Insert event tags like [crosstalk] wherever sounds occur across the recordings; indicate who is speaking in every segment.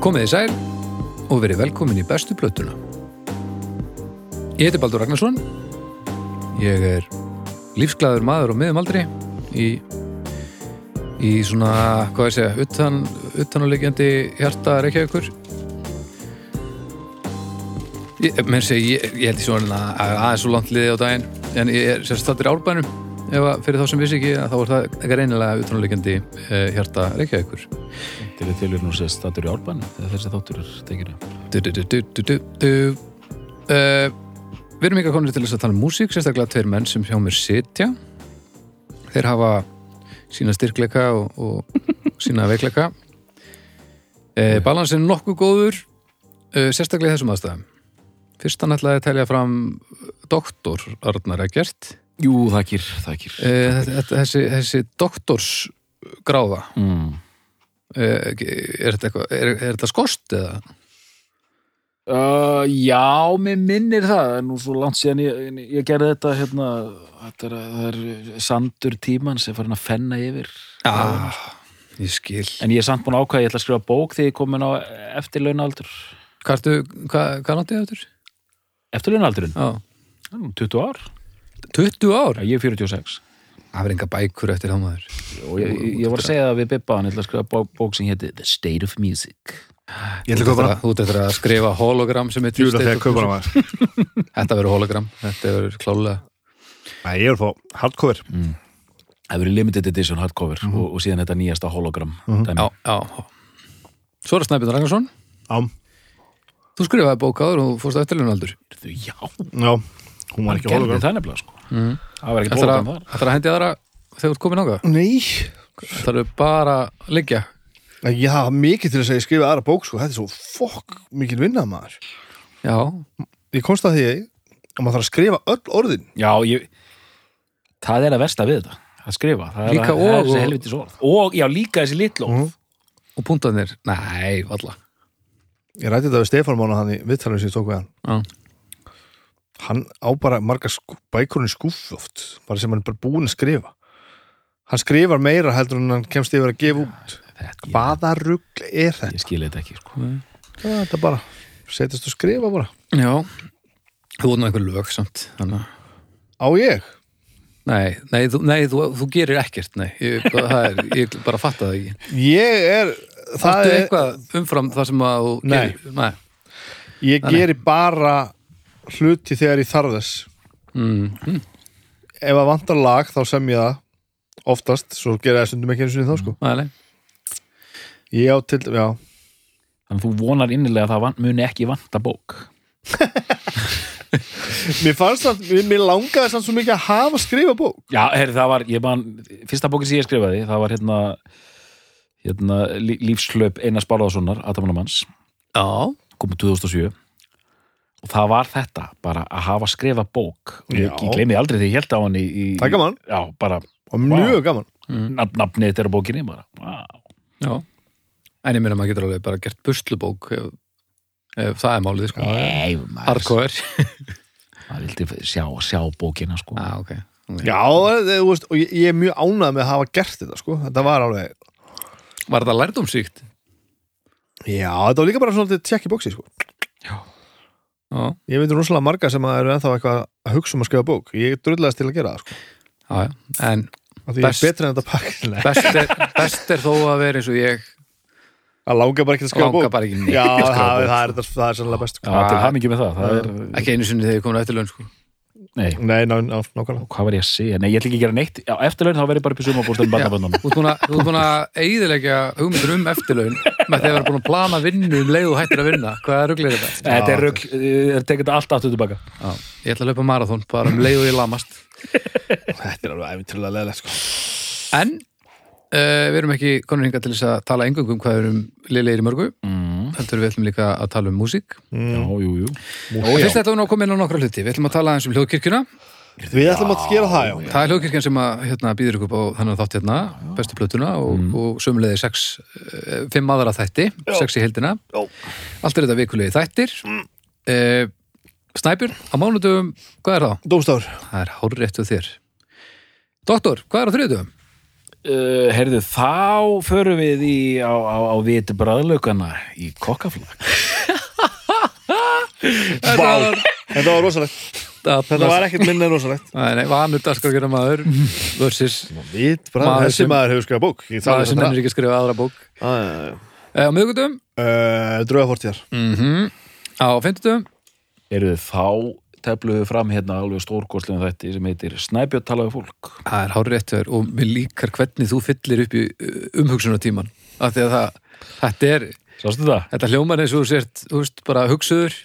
Speaker 1: Komið þið sæl og verið velkomin í bestu blötuna. Ég heiti Baldur Ragnarsson, ég er lífsglæður maður á miðum aldri í, í svona, hvað ég segja, utan, utanulegjandi hjarta reykjavíkur. Ég, eh, mér segi, ég, ég held í svona að aðeins svo langt liði á daginn, en ég er sem stattir árbænum, ef að fyrir þá sem vissi ekki, að þá er það ekki reynilega utanulegjandi eh, hjarta reykjavíkur.
Speaker 2: Til að tilur nú sést þáttur í árbænum þegar þessi þáttur er tekinu.
Speaker 1: du, du, du, du, du, du, du. Uh, Við erum ykkar konir til þess að tala um músík sérstaklega tveir menn sem hjá mér sitja Þeir hafa sína styrkleika og, og sína veikleika uh, Balansin er nokkuð góður uh, sérstaklega í þessum aðstæðum Fyrst hann ætlaði að telja fram eh, doktor Arnar Eggert
Speaker 2: Jú, þakkir, þakkir.
Speaker 1: uh, þessi, þessi doktorsgráða
Speaker 2: Mm.
Speaker 1: uh, er, þetta eitthvað- er, er þetta skost eða?
Speaker 2: Uh, já, mér minnir það, það er nú svo langt síðan ég, ég- ég gerði þetta hérna, þetta er, það er sandur tíman sem farin að fenna yfir.
Speaker 1: Ah, ég skil
Speaker 2: En ég er samt búin að ákvæða, ég ætla að skrifa bók þegar ég komin á eftirlaunaldur.
Speaker 1: Hvað ertu, hvað, hvað náttið eftir?
Speaker 2: Eftirlaunaldurinn?
Speaker 1: Já.
Speaker 2: Mm, 20 ár?
Speaker 1: 20 ár?
Speaker 2: Já, ég er 46.
Speaker 1: Það verður enga bækur eftir það maður.
Speaker 2: Og ég, ég, ég var að segja það við Bibba, hann ég ætla að skrifa bók, bók sem héti The State of Music.
Speaker 3: Ég ætla að kaupa hana.
Speaker 1: Þú ert eftir að skrifa hologram sem er
Speaker 3: Ég vil að þegar kaupa hana maður.
Speaker 1: Þetta verður hologram, þetta verður klálega.
Speaker 3: Nei, ég er að fá hardcover.
Speaker 2: Það verið limited edition hardcover og, og síðan þetta nýjasta hologram. Mm
Speaker 1: Já, já. Svo er að Snæbjörn Ragnarsson.
Speaker 3: Ám.
Speaker 1: Þú skrifaði bók áður og þú fórst eftirlun aldur.
Speaker 2: Já,
Speaker 3: Já, hún var
Speaker 2: hann
Speaker 3: ekki
Speaker 2: gerði
Speaker 3: hologram.
Speaker 2: það nefnilega sko Það var ekki
Speaker 1: Þetta
Speaker 2: hologram
Speaker 1: að,
Speaker 2: þar
Speaker 1: ætlarðu að hendi aðra þegar þú ert komin ága.
Speaker 3: Nei,
Speaker 1: Það eru bara að liggja.
Speaker 3: ég hafa mikið til að segja skrifa aðra bók, sko. Þetta er svo fokk mikil vinna maður.
Speaker 1: Já,
Speaker 3: Ég komst að því að maður þarf að skrifa öll orðin.
Speaker 2: Já, ég Það er að versta við þetta, að skrifa það er
Speaker 1: Líka
Speaker 2: að, það
Speaker 1: og-
Speaker 2: er þessi helvitis orð Og, já, líka þessi litlu orð
Speaker 1: og puntanir. Nei, valla.
Speaker 3: Ég rætti þetta við Stefán Mána hann í viðtalinu sem ég tók við hann.
Speaker 1: Já.
Speaker 3: Hann á bara marga skú, bækurinn skúf oft, bara sem hann er bara búin að skrifa. Hann skrifar meira heldur en hann kemst yfir að gefa út.
Speaker 2: þetta, ég,
Speaker 3: Hvaða rugl er þetta?
Speaker 2: ég skil þetta ekki sko
Speaker 3: Já, Þetta bara, setjast og skrifa bara.
Speaker 1: Já, þú ert nú einhver lög samt. Þannig. að-
Speaker 3: Á ég?
Speaker 1: Nei, nei, þú, nei þú, þú gerir ekkert, nei. Ég, það er, ég bara fatta það ekki.
Speaker 3: Ég er, [laughs] það
Speaker 1: Áttu
Speaker 3: er,
Speaker 1: eitthvað umfram það sem að þú
Speaker 3: Nei.
Speaker 1: gerir? Nei.
Speaker 3: ég geri bara hluti þegar ég þarf þess.
Speaker 1: Mm.
Speaker 3: Ef að vantar lag þá sem ég það oftast, svo gera ég stundum ekki einu sinni þá sko.
Speaker 1: Nei, nei.
Speaker 3: Ég á til, já,
Speaker 2: Þannig að þú vonar innilega að það van, muni ekki vanta bók
Speaker 3: mér fannst það, mér, mér langaði sann svo mikið að hafa skrifa bók.
Speaker 2: Já, herri, það var, ég man Fyrsta bókin sem ég skrifaði, það var hérna hérna, lí- lífslöp Einars Bárðarssonar, Atamannamanns
Speaker 1: Já,
Speaker 2: komið 2007 og það var þetta, bara að hafa skrifa bók og ég,
Speaker 3: Já.
Speaker 2: ég gleymi aldrei því ég held á hann í, í
Speaker 3: Það er gaman.
Speaker 2: já, bara
Speaker 3: Og mjög gaman.
Speaker 2: nafn, nafnið þetta er á bókinni bara, wow.
Speaker 1: Mm, já. En ég meina maður getur alveg bara gert buslubók ef, ef það er málið, sko.
Speaker 2: Nei, maður,
Speaker 1: Hardcore.
Speaker 2: maður vildi sjá, sjá bókina sko.
Speaker 1: Já, Ah, ok.
Speaker 3: Já, það- þú veist, og ég, ég er mjög ánægð með að hafa gert þetta sko. Þetta var alveg,
Speaker 1: Var þetta lærdómsíkt?
Speaker 3: já, þetta var líka bara svona tjekk í bóksi sko.
Speaker 1: Já,
Speaker 3: Ég veit rosalega marga sem að eru ennþá eitthvað að hugsa um að skrifa bók. Ég drullast til að gera það sko.
Speaker 1: já, já. En
Speaker 3: Af Því ég
Speaker 1: Best-
Speaker 3: er betri en þetta pakkilega.
Speaker 1: best er, best er þó að vera eins og ég
Speaker 3: Að langa bara ekki að skrifa bók.
Speaker 1: langar bara ekki neitt.
Speaker 3: Já,
Speaker 1: að [laughs] skrifa
Speaker 3: það,
Speaker 1: bók.
Speaker 3: það, er, það er sannlega best sko. Ah.
Speaker 2: Já, til hamingju með það, það er,
Speaker 1: Ekki einu sinni þegar ég komin á eftirlaun, sko.
Speaker 2: nei,
Speaker 3: Nei, ná, ná, nákvæmlega
Speaker 2: hvað var ég að segja nei, ég ætla ekki að gera neitt, á eftirlaun þá verið bara upp í sumabúrstöðum barnaböndunum,
Speaker 1: [laughs] Þú ert búin að- þú ert búin að eigðilegja hugmyndur um eftirlaun með þegar vera búin að plana vinnu um leið og hættir að vinna. Hvað ruglir þetta?
Speaker 2: þetta er rugg það tekið þetta allt aftur tilbaka
Speaker 1: Já, ég ætla að löpa marathón, bara um leið og ég lamast.
Speaker 3: Þetta er alveg æfintilega leðilegt sko.
Speaker 1: En uh, við erum ekki konur hingað til þess að tala engum um hvað við erum liðlegir í mörgu
Speaker 2: mm.
Speaker 1: heldur við ætlum líka að tala um músík
Speaker 2: já, jú, jú
Speaker 1: og fyrst ætlum við nú að koma inn á nokkra hluti við ætlum að tala eins um hljóðkirkjuna
Speaker 3: Við ætlum að gera það, já
Speaker 1: það er hljóðkirkjan sem að hérna, býður ykkur upp á þannig þátt hérna, bestu plötuna og,
Speaker 2: Mm.
Speaker 1: og sömulegði sex, eh, fimm aðra þætti sex í heldina
Speaker 3: Já.
Speaker 1: allt er þetta vikulegi þættir mm. Snæbjörn, á mánudum hvað er það?
Speaker 3: Dómstafur
Speaker 1: Það er hárrétt við þér Doktor, hvað er á þriðdugum?
Speaker 2: Uh, herðu, þá förum við í, á, á, á viti bræðlaugana í kokkaflag.
Speaker 3: Vá, þetta var rosalegt Þetta var ekkert minna en rosalegt
Speaker 1: Nei, nei, vanur dagskrákjörna
Speaker 3: [laughs]
Speaker 1: maður versus
Speaker 3: Vít, bara,
Speaker 1: Maður
Speaker 3: þessi
Speaker 1: sem-
Speaker 3: maður hefur skrifað bók Ég
Speaker 1: maður
Speaker 3: þarf
Speaker 1: sem
Speaker 3: þetta
Speaker 1: nennir ekki að skrifa aðra bók
Speaker 3: bara
Speaker 1: Eh, Á miðgutum,
Speaker 3: Eh, Draugafortjar
Speaker 1: á fimmtutum
Speaker 2: Herðu, þá tefluðu fram hérna alveg stórkostlum þetta sem heitir Snæbjörn talaði fólk.
Speaker 1: Það er hárið rétt hjá þér og mér líkar hvernig þú fyllir upp í umhugsunartíman af því að það, þetta er
Speaker 2: Sástu það?
Speaker 1: þetta hljómar eins og þú sért, þú veist, bara hugsuður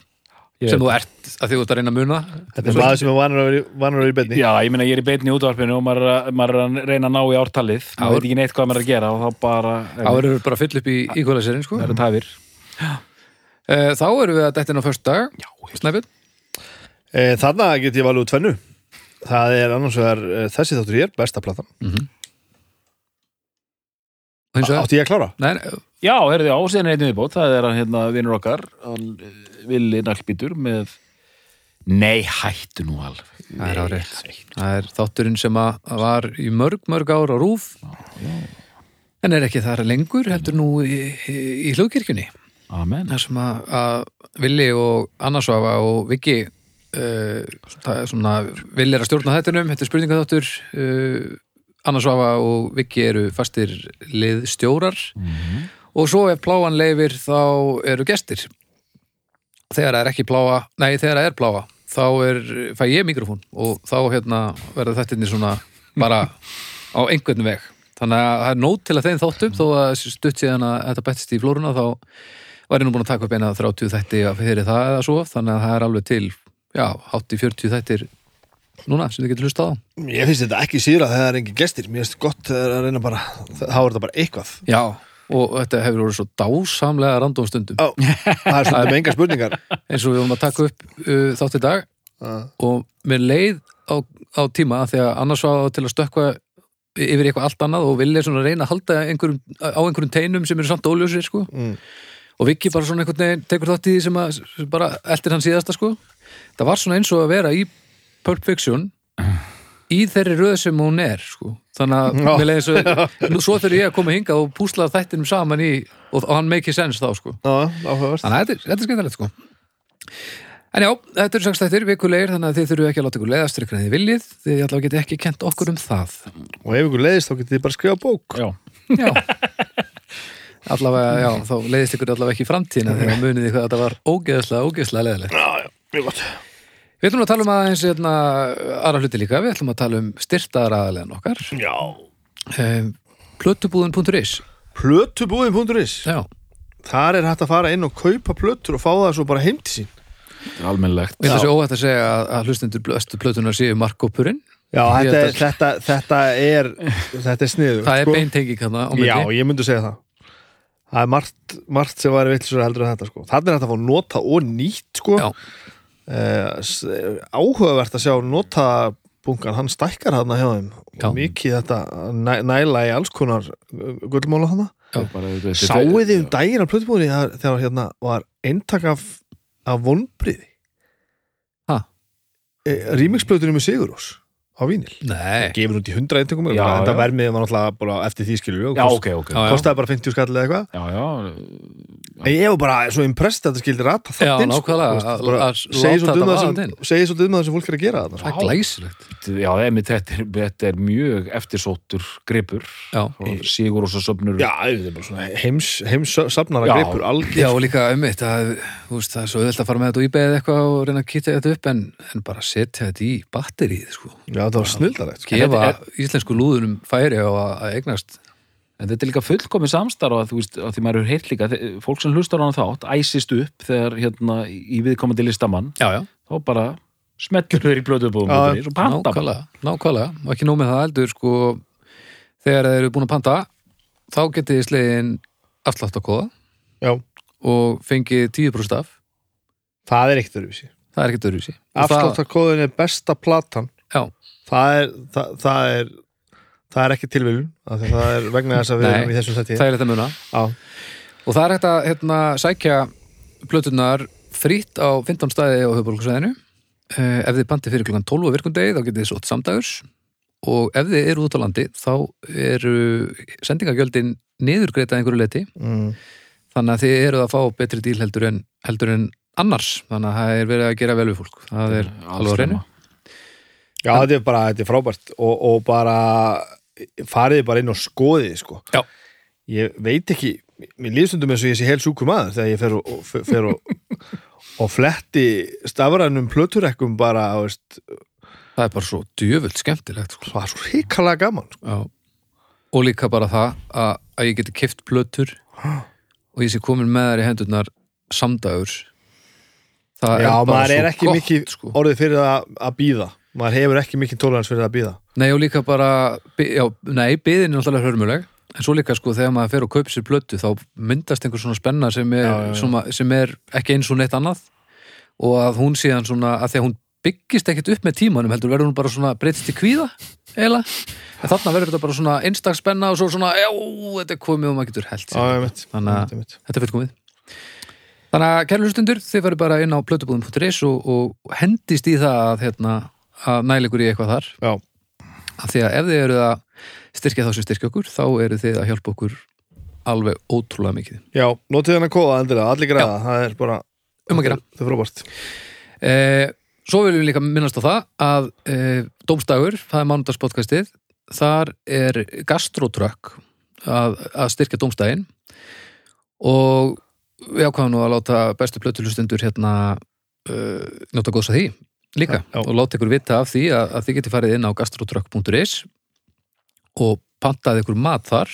Speaker 2: Ég
Speaker 1: sem
Speaker 2: veit
Speaker 1: þú ert, af því þú ert að reyna að muna
Speaker 3: Þetta er maður sem er vanur að vera í- vanur að vera í benni
Speaker 2: Já, ég meina ég er í beinni í útvarpinu og maður, er að- maður er að reyna að ná í ártalið.
Speaker 1: Ár.
Speaker 2: Maður veit ekki neitt hvað maður er að gera og þá bara... eh,
Speaker 1: Þá erum við bara að fylla upp í íkvæðlæsirinn, sko
Speaker 2: Það eru tafir.
Speaker 1: Eh, Þá erum við að dettin á först dag Snæbjörn,
Speaker 3: Eh, Þarna get ég valið úr tvennu Það er annars vegar eh, þessi þáttur ég er besta platan
Speaker 1: hins vegar
Speaker 3: Átti ég að klára?
Speaker 1: Nei, nei,
Speaker 2: Já, herðu, á, síðan er einn viðbót, það er hann hérna vinnur okkar, hann eh, Villi Nallbítur með... Nei, hættu nú alveg.
Speaker 1: Það er
Speaker 2: Nei,
Speaker 1: árið.
Speaker 2: hættu.
Speaker 1: það er þátturinn sem að að var í mörg, mörg ár á rúf en er ekki þar lengur heldur nú í, í, í hlugkirkjunni
Speaker 2: Amen.
Speaker 1: þar sem að, að Vili og Annarsvafa og Viki uh, það er svona Vili er að stjórna þettinum, þetta er spurningaþáttur uh, Annarsvafa og Viki eru fastir liðstjórar og svo ef pláan leifir þá eru gestir þegar það er ekki pláa, nei þegar það er pláa þá er, fæ ég mikrofón og þá hérna verða þetta inni svona bara á einhvern veg þannig að það er nót til að þeim þáttum þó að stutt síðan að þetta bettist í flóruna þá var ég nú búin að taka upp eina 30 þætti fyrir það eða svo þannig að það er alveg til, já, 80-40 þættir núna sem þið getur hlustað á
Speaker 3: Ég finnst þetta ekki síðra þegar það er engin gestir Mér finnst gott þegar það er reyna bara Þá er þetta bara eitthvað
Speaker 1: já, og þetta hefur voru svo dásamlega random stundum [laughs]
Speaker 3: Ó, Það er svona með enga spurningar
Speaker 1: eins og við vorum að taka upp uh, þátt í dag
Speaker 3: Ah.
Speaker 1: og mér leið á, á tíma af því að annars var til að stökkva yfir í eitthvað allt annað og vilja svona reyna að halda einhverjum, á einhverjum teinum sem eru samt óljósir sko.
Speaker 3: Mm.
Speaker 1: og Viki bara svona einhvern veginn tekur þátt í því sem, að, sem bara eldir hann síðasta sko. það var svona eins og að vera í Pulp Fiction í þeirri röð sem hún er sko. þannig að
Speaker 3: Já.
Speaker 1: mér leiði svo,
Speaker 3: [laughs]
Speaker 1: nú, svo þegar ég að koma hingað og púsla þættinum saman í og, og hann make sense þá sko.
Speaker 3: Já, áhugavert
Speaker 1: Þannig að þetta, er- þetta er skemmtilegt sko En já, þetta eru sagst þættir vikulegir þannig að þið þurfum ekki að láta ykkur leiðast ykkur en þið viljið, þið allavega geti ekki kent okkur um það
Speaker 3: Og ef ykkur leiðist þá getið þið bara að skrifa bók
Speaker 2: Já,
Speaker 1: Já Allavega, já, þá leiðist ykkur allavega ekki í framtíðina þegar munið ykkur að þetta var ógeðslega, ógeðslega leiðilegt
Speaker 3: Já, já, mjög gott
Speaker 1: Við ætlum að tala um aðeins hérna, aðra hluti líka, við ætlum að tala um styrtaðar aðalega okkar
Speaker 3: Já
Speaker 1: um, Plötubúðin.is
Speaker 3: Plötubúðin.is
Speaker 1: Já,
Speaker 3: Þar er hægt að fara inn og kaupa plötur og fá það svo bara heim til sín
Speaker 2: þetta er almennlegt.
Speaker 1: við ætlum þessi óhætt að segja að, að hlustendur blöstu plötunar séu markkópurinn
Speaker 3: Já,
Speaker 1: Ég
Speaker 3: þetta,
Speaker 1: held
Speaker 3: er-
Speaker 1: að-
Speaker 3: þetta, þetta er Þetta er sniður
Speaker 1: Það er beintengið kannar á myndi
Speaker 3: Sko. Já, ég myndi segja það Það er margt, margt sem væri vill heldur en þetta sko. Þannig er þetta að fá nota og nýtt sko.
Speaker 1: Já.
Speaker 3: Eh, s- Áhugavert að sjá notabunkan hann stækkar hann hjá þeim
Speaker 1: Já.
Speaker 3: og mikið þetta næ, næla í alls konar eh, gullmála hann
Speaker 2: Þetta er bara- þetta- þetta-
Speaker 3: Sáuð þið um daginn á plötubúðinni þegar þegar hérna var eintak af, af vonbriði
Speaker 1: Ha?
Speaker 3: Rímiksplötunum Eh, með Sigurós á vínil
Speaker 1: Nei,
Speaker 3: gefur út í 100 eintökum
Speaker 2: Já,
Speaker 3: þetta
Speaker 2: já.
Speaker 3: vermið var náttúrulega bara eftir því skilur
Speaker 2: um Já, ok, ok.
Speaker 1: Já, já.
Speaker 3: kostaði bara 50 skall eða eitthvað
Speaker 2: Já, já,
Speaker 3: En ég var bara svo impressed að þetta skildi rata
Speaker 1: Já,
Speaker 3: það inn,
Speaker 1: nákvæmlega,
Speaker 3: þú veist,
Speaker 1: að-
Speaker 3: bara
Speaker 1: að láta
Speaker 3: Segir svolítið um
Speaker 1: þetta
Speaker 3: það
Speaker 1: vaða
Speaker 3: sem-
Speaker 1: inn.
Speaker 3: segir svolítið um það sem fólk er að gera þarna sko.
Speaker 1: það er glæsilegt
Speaker 2: já, emitt, þetta, er, þetta er mjög eftirsóttur gripur.
Speaker 1: Já.
Speaker 2: Sigur og svo söfnur.
Speaker 3: Já, þetta er bara svona heims, heims safnara
Speaker 2: Já.
Speaker 3: greipur algjör
Speaker 1: Já, og líka um eitt að, þú veist, það er svo auðvelt að fara með þetta og íbeðið eitthvað og reyna að kýta þetta upp en, en bara setja þetta í batterið, sko.
Speaker 3: Já, það var snildarlegt sko.
Speaker 1: Gefa íslensku lúðunum færi á að, að eignast.
Speaker 2: En þetta er líka fullkomið samstarf að þú veist, að því maður er heilt líka, þe- fólk sem hlustar á hann þátt, æsist upp þegar hérna í viðkomandi listamann,
Speaker 1: Já, já.
Speaker 2: þá bara smellur þeir í blöduðbúðum
Speaker 3: Já,
Speaker 2: út í svo panta. bara.
Speaker 1: Nákvæmlega, nákvæmlega. Og ekki nóg með það heldur, sko, þegar þeir eru búin að panta, þá getið þið slegin afslátt að kóða
Speaker 3: Já,
Speaker 1: og fengið 10% af.
Speaker 3: það er ekkert öruvísi
Speaker 1: Það er ekkert öruvísi. Og það-
Speaker 3: Afsláttakóðin er besta platan
Speaker 1: Já.
Speaker 3: Það er, það, það er það er ekki tilviljun af því að það er vegna þess
Speaker 1: [laughs]
Speaker 3: að við
Speaker 1: Nei,
Speaker 3: erum í þessum þetta
Speaker 1: Það er þetta muna.
Speaker 3: Já,
Speaker 1: Og það er hægt að hérna, sækja plötunar frýtt á Eh, 15 staði á höfbólksveðinu. Ef þið pantið fyrir klukkan 12 á virkundegi þá getið þið sótt samdagurs og ef þið eru út á landi þá eru sendingagjöldin niðurgreita einhverju leiti
Speaker 3: mm.
Speaker 1: þannig að þið eruð að fá betri díl heldur en, heldur en annars þannig að það er verið að gera vel við fólk það er alveg á reynu
Speaker 3: Já, þetta er bara, þetta er frábært og, og bara fariði bara inn og skoðið, sko.
Speaker 1: Já.
Speaker 3: Ég veit ekki, mér líðstundum eins og ég sé hel sjúkur maður þegar ég fer og, og, fer og,
Speaker 1: [laughs]
Speaker 3: og fletti stafrænum plöturekkum bara, þú veist,
Speaker 1: það er bara svo djöfult skemmtilegt sko.
Speaker 3: það var svo hrikalega gaman, sko.
Speaker 1: Já. og líka bara það að, að ég geti keft plötur og ég sé komin með þær í hendurnar samdagur það
Speaker 3: Já,
Speaker 1: er bara
Speaker 3: maður
Speaker 1: svo
Speaker 3: er ekki
Speaker 1: gott
Speaker 3: mikið
Speaker 1: sko.
Speaker 3: orðið fyrir að, að býða. Maður hefur ekki mikið tólans fyrir að býða.
Speaker 1: Nei, og líka bara, bi- já, nei, byðin er náttúrulega hörmuleg, en svo líka sko þegar maður fer og kaup sér blötu þá myndast einhver svona spenna sem er,
Speaker 3: Já, já, já.
Speaker 1: Svona, sem er ekki eins og neitt annað og að hún síðan svona, að því að hún byggist ekkit upp með tímanum heldur verður hún bara svona breytist í kvíða, eiginlega en þarna verður þetta bara svona einstak spenna og svo svona, já, þetta er komið og maður getur held sér.
Speaker 3: Já, ég veit.
Speaker 1: Þannig að- Þetta er fullkomið. Þannig að kæru hlustundur, þið farið bara inn á plötubúðum.is og, og hendist í það að, hérna, að næla ykkur í eitthvað þar.
Speaker 3: Já.
Speaker 1: Af því að ef þið eruð að styrkja þá sem styrkja okkur, þá eru þið að hjálpa okkur alveg ótrúlega mikið.
Speaker 3: Já, notið hennar kóða endilega, allir græða, það er bara,
Speaker 1: Um að gera.
Speaker 3: það er frábært.
Speaker 1: E, svo viljum við líka minnast á það að e, Dómstagur, það er mánudagspodcastið, þar er gastrotrökk að, að styrkja Dómstaginn og við ákvaðum nú að láta bestu plötulustundur hérna e, njóta góðs að því líka
Speaker 3: Já, já.
Speaker 1: og láta ykkur vita af því að, að þið geti farið inn á gastrotrökk.is og pantaði ykkur mat þar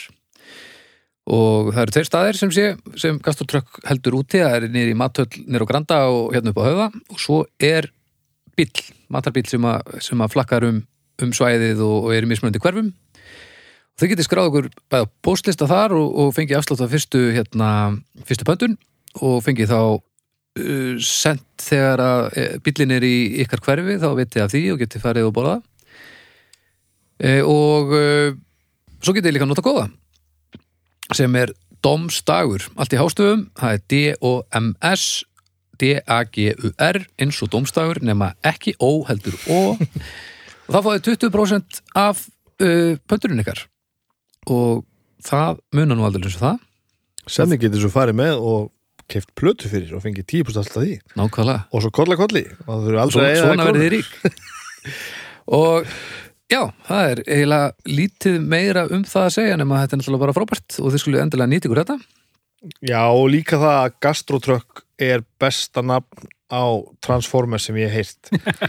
Speaker 1: og það eru tveir staðir sem sé sem gastrotrökk heldur úti það er nýri í mathöll nýri á Granda og hérna upp á höfða og svo er bíll, matarbíll sem, að- sem að flakkar um, um svæðið og, og er í mismunandi hverfum og þau getið skráð okkur bæða bóstlista þar og, og fengið afslátt af fyrstu hérna, fyrstu pöntun og fengið þá uh, sendt þegar að eh, bíllinn er í ykkar hverfi þá vitið af því og getið farið og bólað e, og uh, svo getið þið líka nota góða sem er domstagur, allt í hástöfum það er D-O-M-S D-A-G-U-R eins og domstagur nema ekki O heldur O og það fáið 20% af uh, pönturinn ykkar og það munar nú aldrei eins og það
Speaker 3: Semmi getur svo farið með og keft plötu fyrir og fengið 10% alltaf því
Speaker 1: nákvæmlega,
Speaker 3: og svo kolla kolli og það þurfi aldrei
Speaker 1: Svo,
Speaker 3: að eyða
Speaker 1: svona
Speaker 3: krónu.
Speaker 1: verðið þið rík og já, það er eiginlega lítið meira um það að segja nema þetta er náttúrulega bara frábært og þið skulle endilega nýta ykkur þetta
Speaker 3: Já, og líka það að gastrotrökk er besta nafn á Transformers sem [laughs] ég heilt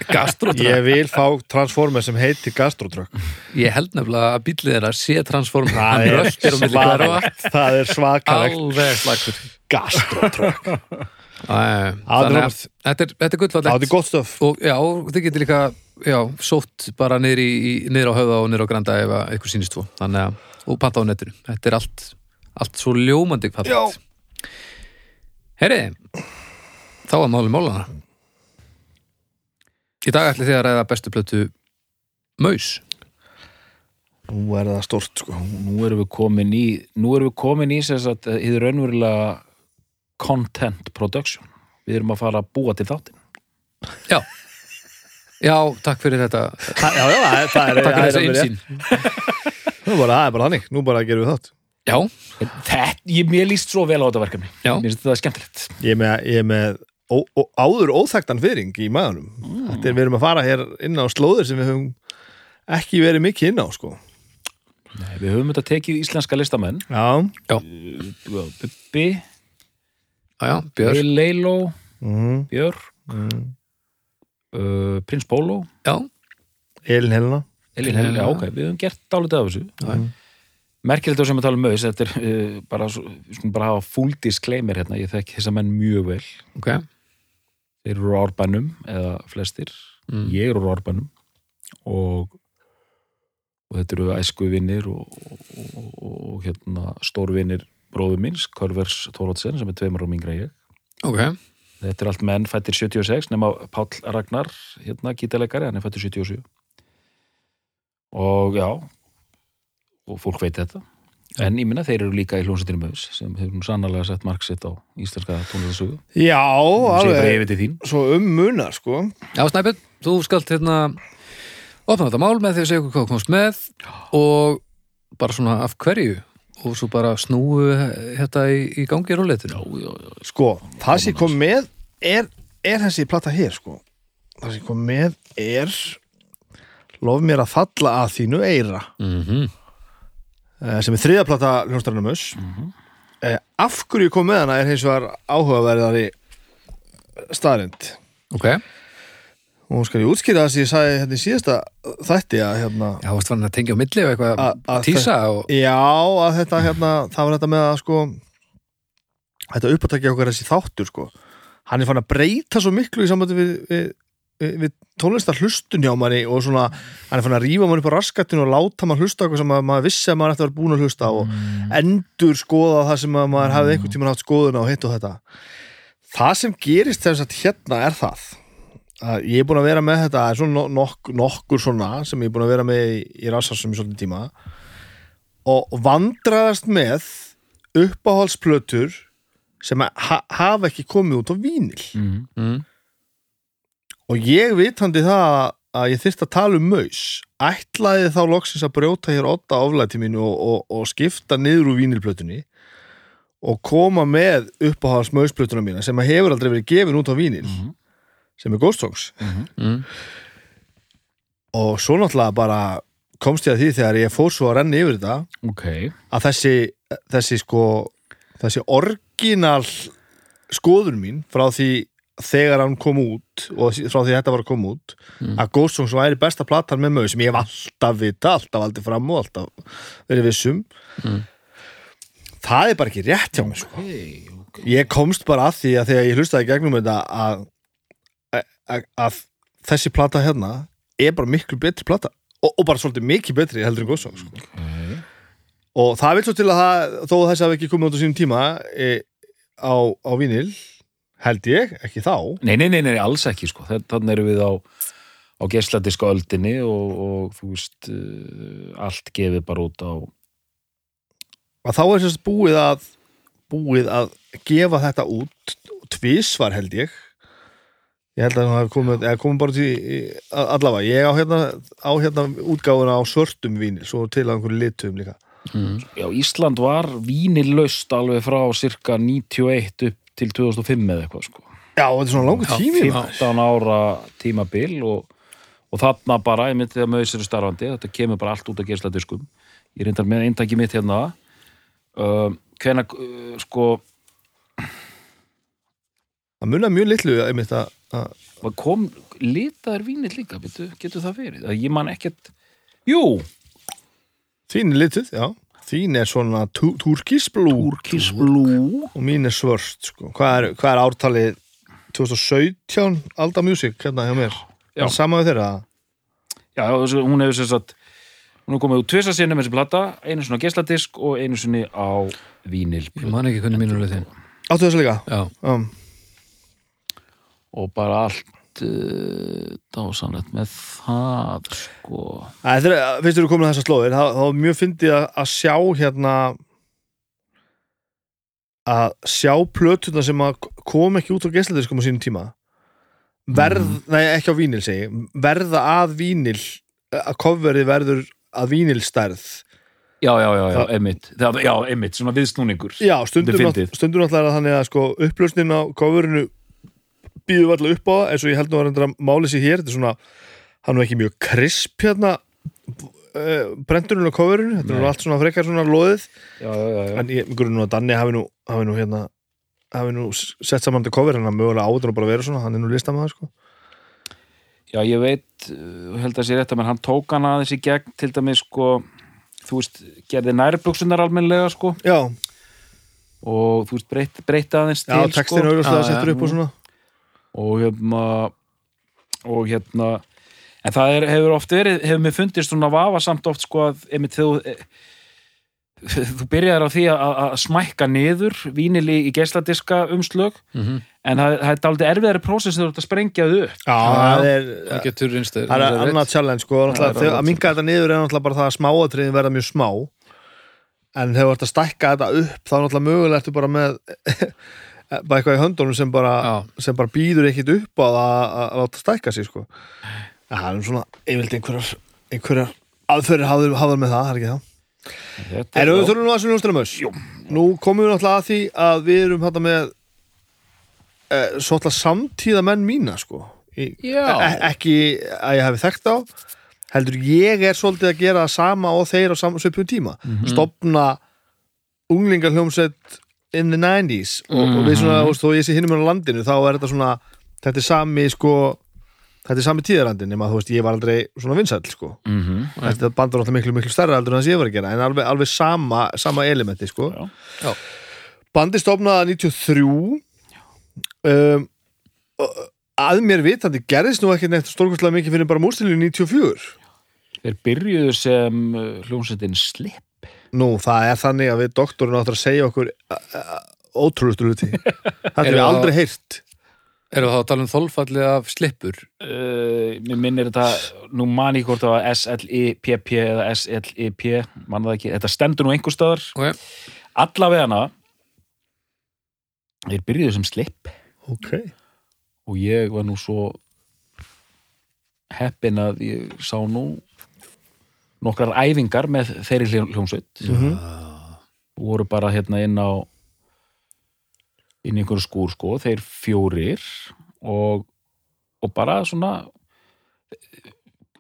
Speaker 1: Gastrotrökk,
Speaker 3: Ég vil fá Transformers sem heitir gastrotrökk
Speaker 1: ég held nefnilega að bíllið þeirra sé transform, hann
Speaker 3: er
Speaker 1: röstir og milli hverfa
Speaker 3: svakalegt Það er svakalegt
Speaker 1: alveg slagsur
Speaker 3: gastrotrökk
Speaker 1: þannig að
Speaker 3: Robert.
Speaker 1: þetta er, þetta er
Speaker 3: Það er
Speaker 1: gullvallegt
Speaker 3: gott stöf
Speaker 1: og já, þið getur líka já, sótt bara niður, í, í, niður á höfða og niður á granda ef að eitthvað sýnist þú þannig að, og panta á netinu þetta er allt, allt svo ljómandi
Speaker 3: Já.
Speaker 1: fallegt herri þá að máli málana í dag ætli þið að ræða bestu plötu Maus
Speaker 3: Nú er það stort sko
Speaker 2: Nú erum við komin í nú erum við komin í þess að þið er raunverulega content production við erum að fara að búa til þáttin
Speaker 1: já, já, takk fyrir þetta
Speaker 3: Það- Já, já, það er- það er
Speaker 1: takk fyrir
Speaker 3: það
Speaker 1: þessa
Speaker 3: er-
Speaker 1: einsýn
Speaker 3: Nú bara- það er bara þannig, nú bara gerum við þátt
Speaker 1: já,
Speaker 2: Þetta, ég, mér líst svo vel á þetta verkefni
Speaker 1: Já.
Speaker 2: Mér finnst þetta skemmtilegt
Speaker 3: Ég er með, ég er með ó, ó, áður óþægtan fyrring í maðurum. Þetta er við erum að fara hér inn á slóðir sem við höfum ekki verið mikið inn á, sko.
Speaker 2: Nei, Við höfum þetta tekið íslenska listamenn
Speaker 3: Já.
Speaker 2: Bubbi,
Speaker 1: já, já, Björn
Speaker 2: Leiló,
Speaker 3: Mm,
Speaker 2: Björk
Speaker 3: mm.
Speaker 2: uh, Prins Bóló
Speaker 1: já,
Speaker 3: Elin Helena.
Speaker 2: Elín
Speaker 1: Elín
Speaker 2: Helga, já,
Speaker 1: Helga.
Speaker 2: ok, við höfum gert dálítið af þessu
Speaker 1: Já.
Speaker 2: Merkilegt á sem að tala um maus, þetta er uh, bara, svo- við skulum bara hafa full disclaimer hérna, ég þekki þessa menn mjög vel
Speaker 1: ok
Speaker 2: Þeir eru á árbænum, eða flestir
Speaker 1: Mm.
Speaker 2: Ég eru á árbænum og, og þetta eru æskuvinnir og, og, og, og, og hérna stórvinnir bróður minns, Körvers Þórótsen sem er tveimur á mingra en ég
Speaker 1: ok,
Speaker 2: Þetta er allt menn fættir 76 nema Páll Ragnar, hérna gítalegari, hann er fættir 77 og já og fólk veit þetta en ég minna þeir eru líka í hljónsettinu möðus sem hefur nú sannarlega sett marksitt á íslenska tónlistasögu
Speaker 3: Já,
Speaker 2: og sé bara
Speaker 3: alveg.
Speaker 2: yfir til þín
Speaker 3: Svo um munar, sko.
Speaker 1: Já, Snæbjörn, þú skalt hérna opna þetta mál með því að segja okkur hvað komst með og bara svona af hverju og svo bara snúu þetta í, í gangi róleitinu.
Speaker 2: já, já,
Speaker 3: sko, það sem ég kom með er, er þessi plata hér sko. það sem ég kom með er lof mér að falla að þínu eira
Speaker 1: Mm -hmm.
Speaker 3: eh, sem er þriða plata hljónstarinn um us af hverju ég kom með hana er hins vegar áhugaverðari staðrind
Speaker 1: Ok.
Speaker 3: og hún skal ég útskýra það sem ég sagði hérna í síðasta þætti að hérna
Speaker 1: Já, varst fann að tengja á milli og eitthvað
Speaker 3: A- að
Speaker 1: að tísa og...
Speaker 3: Já, að þetta hérna, það var þetta með að sko þetta uppátækja okkar þessi þáttur sko hann er fann að breyta svo miklu í samvættu við, við, við, við tónlistar hlustun hjá manni og svona, hann er fann að rífa mann upp á raskatinu og láta mann hlusta á eitthvað sem að maður vissi að maður eftir að vera búin að hlusta á og endur skoða það sem að maður hafði einhvern tímann haft skoðun á hitt og þetta það sem gerist þess að hérna er það að ég er búin að vera með þetta það er svona nok nokkur svona sem ég er búin að vera með í, í rassarsum í svolítið tíma og vandraðast með uppáhaldsplötur sem að ha hafa ekki komið út á vínil
Speaker 2: Mm.
Speaker 1: Mm.
Speaker 3: og ég vitandi það að ég þyrst að tala um maus ætlaði þá loksins að brjóta hér otta oflæti mínu og, og, og skipta niður úr vínilplötunni og koma með uppáhalds mausplötuna mína sem að hefur aldrei verið gefin út á vínil
Speaker 2: Mhm.
Speaker 3: sem er Ghost Songs
Speaker 1: Mm.
Speaker 3: og svo náttúrulega bara komst ég að því þegar ég fór svo að renna yfir þetta
Speaker 2: ok
Speaker 3: að þessi, þessi sko þessi orginal skoðun mín frá því þegar hann kom út og frá því þetta var að koma út að Ghost Songs væri besta platan með mög sem ég hef alltaf vita, alltaf aldrei fram og alltaf verið vissum það er bara ekki rétt hjá mér sko.
Speaker 2: Hey, ok.
Speaker 3: ég komst bara að því að þegar ég hlustaði í gegnum þetta að, að, að, að þessi plata hérna er bara miklu betri plata og, og bara svolítið mikið betri heldur en Ghost Songs sko og það vil svo til að það, þó að þessi hafi ekki komið út á sínum tíma e, á, á vinil held ég, ekki þá
Speaker 2: Nei, nei, nei, nei, alls ekki sko. Þannig erum við á, á gesladiska öldinni og, og þú veist uh, allt gefið bara út á
Speaker 3: að þá er sérst búið að búið að gefa þetta út tvísvar held ég ég held að það hafi komið, eða komið bara til í- a- allavega, ég á hérna, á hérna útgáfuna á svörtum vinil svo til að einhverju litum líka
Speaker 2: Já, Ísland var vínilaust alveg frá cirka 91 upp til 2005 eða eitthvað sko.
Speaker 3: já, þetta er svona langur
Speaker 1: Já,
Speaker 3: tími maður.
Speaker 2: 15 ára tímabil og, og þarna bara, ég myndi það með þessari starfandi þetta kemur bara allt út af geisladiskum ég reyndar með eintaki mitt hérna um, hvena uh, sko,
Speaker 3: það munar mjög litlu einmitt að að-
Speaker 2: Hvað kom litaður vínir líka, betur, getur það verið? Að Ég man ekkert, jú,
Speaker 3: þín er lituð, já þín er svona tú, túrkisblú
Speaker 2: Turkish Blue,
Speaker 3: og mín er svörst sko. hvað, er, hvað er ártalið 2017 Alda Music hérna hjá mér
Speaker 2: Já.
Speaker 3: já. sama við þeirra
Speaker 2: já, þessi- hún hefur sem sagt, hún hefur komið úr tvisa sinni með þessi plata, einu sinni á geisladisk og einu sinni á vínil.
Speaker 1: Ég man ekki hvernig mínu leitin.
Speaker 3: áttu þessu líka
Speaker 1: Já.
Speaker 3: um,
Speaker 2: Og bara allt uh, dásanlegt með það, sko.
Speaker 3: að þeirra, finnst þú komin að þessar slóðir þá, þá er mjög fyndið að, að sjá hérna að sjá plötuna sem að kom ekki út á geisladiskum á sínum tíma verð, nei ekki á vínil segi ég, verða að vínil að kofverið verður að vínilstærð
Speaker 2: Já, já, já, já,
Speaker 3: Það-
Speaker 2: einmitt, það, já, einmitt, svona viðsnúningur.
Speaker 3: Já, stundum,
Speaker 2: Þetta er
Speaker 3: nátt,
Speaker 2: fyndið.
Speaker 3: stundum náttúrulega er það þannig að sko, upplösnin á kofurinu býðum alltaf upp á það eins og ég held nú að reyndra máli sér hér þetta er svona, hann er ekki mjög krisp hérna uh, brendurinn á kofurinu, þetta er
Speaker 2: Nei.
Speaker 3: nú allt svona frekar svona loðið,
Speaker 2: Já, já, já, já.
Speaker 3: en ég grunum nú að Danni hafi nú, hafi nú hérna hafi nú s- sett saman til kofur, hann að mögulega áður og bara vera svona, hann er nú listamaður sko
Speaker 2: Já, ég veit, uh, held að sé rétt að menn hann tók hann aðeins í gegn, til dæmis, sko, þú veist, gerði nærbuxunar almennlega, sko.
Speaker 3: Já,
Speaker 2: og þú veist breytt, breytt aðeins
Speaker 3: já
Speaker 2: til
Speaker 3: textin
Speaker 2: sko.
Speaker 1: Já,
Speaker 3: auðvitað settur upp og svona
Speaker 2: og hérna og hérna en það er, hefur oft verið, hefur mér fundist svona vafasamt oft sko að einmitt þú eh, þú byrjar á því að, að smækka niður vínili í geisladiska umslög en það, það er daldið erfiðari prósess þegar þú ert að sprengja þau upp
Speaker 3: Já, það er
Speaker 1: Það getur reynst
Speaker 3: Það er
Speaker 1: reynst-
Speaker 3: annað challenge sko, náttúrulega,
Speaker 2: er
Speaker 3: þegar-
Speaker 2: annað
Speaker 3: að minka þetta niður er náttúrulega bara það að smáatriðin verða mjög smá en þegar þú ert að stækka þetta upp þá náttúrulega mögulega ertu bara með [laughs] bara eitthvað í höndunum sem bara,
Speaker 1: Já.
Speaker 3: sem bara býður ekkit upp á það að, að láta stækka sig sko Það er nú svona, ég vildi einhverjar, einhverjar aðferðir hafður, hafður með það, það er ekki það.
Speaker 2: Þetta
Speaker 3: Erum við
Speaker 2: er
Speaker 3: þurfum nú að svona hústunumhaus? Jú. Nú komum við náttúrulega að því að við erum þetta með e, svolítið samtíða menn mína, sko. Í,
Speaker 1: Já.
Speaker 3: E ekki að ég hefði þekkt á, heldur ég er svolítið að gera það sama og þeir á sam- svipum tíma. Stofna unglingarhljómsveit in the 90s og, og við svona, þú veist, þó ég sé hinum á landinu, þá er þetta svona, þetta er sami, sko, þetta er sami tíðarandin, nema þú veist, ég var aldrei svona vinsæll, sko
Speaker 2: Mhm.
Speaker 3: þetta band var náttúrulega miklu, miklu stærra heldur en það sem ég var að gera en alveg, alveg sama, sama elementi sko.
Speaker 2: Já.
Speaker 1: Já.
Speaker 3: bandi stofnaði 93 um, og að mér vitandi gerðist nú ekki neitt stórkostlega mikið fyrir bara múrstilu 94
Speaker 2: Þeir byrjuðu sem uh, hljómsveitin Slip
Speaker 3: nú það er þannig að við doktorinn áttur að segja okkur ótrúlustu [laughs] hluti þetta er
Speaker 1: Eru
Speaker 3: við
Speaker 1: það-
Speaker 3: aldrei heyrt
Speaker 1: Eru þá að tala um þolfallið af slippur?
Speaker 2: uh, Mér minnir þetta, nú man ég hvort það var SLIPP eða SLIP mann það ekki, þetta stendur nú einhver staðar
Speaker 1: Okay.
Speaker 2: allavega hana Þeir byrjuðu sem Slip
Speaker 3: ok
Speaker 2: og ég var nú svo heppin að ég sá nú nokkrar æfingar með þeirri hljó- hljómsveit og voru bara hérna inn á inn í einhverju skúr sko, þeir fjórir og, og bara svona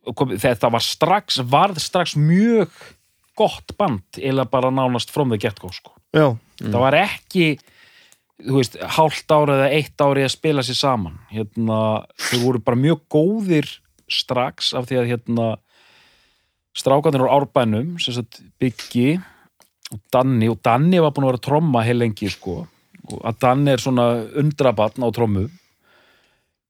Speaker 2: og kom, þetta var strax, varð strax mjög gott band eða bara nánast from the get go sko
Speaker 3: já,
Speaker 2: það var ekki þú veist, hálft ára eða eitt ári að spila sér saman hérna, þau voru bara mjög góðir strax af því að hérna, strákanir úr árbænum sem sagt Byggi og Danni, og Danni var búin að vera að tromma heil lengi sko, og að Danni er svona undrabatn á trommu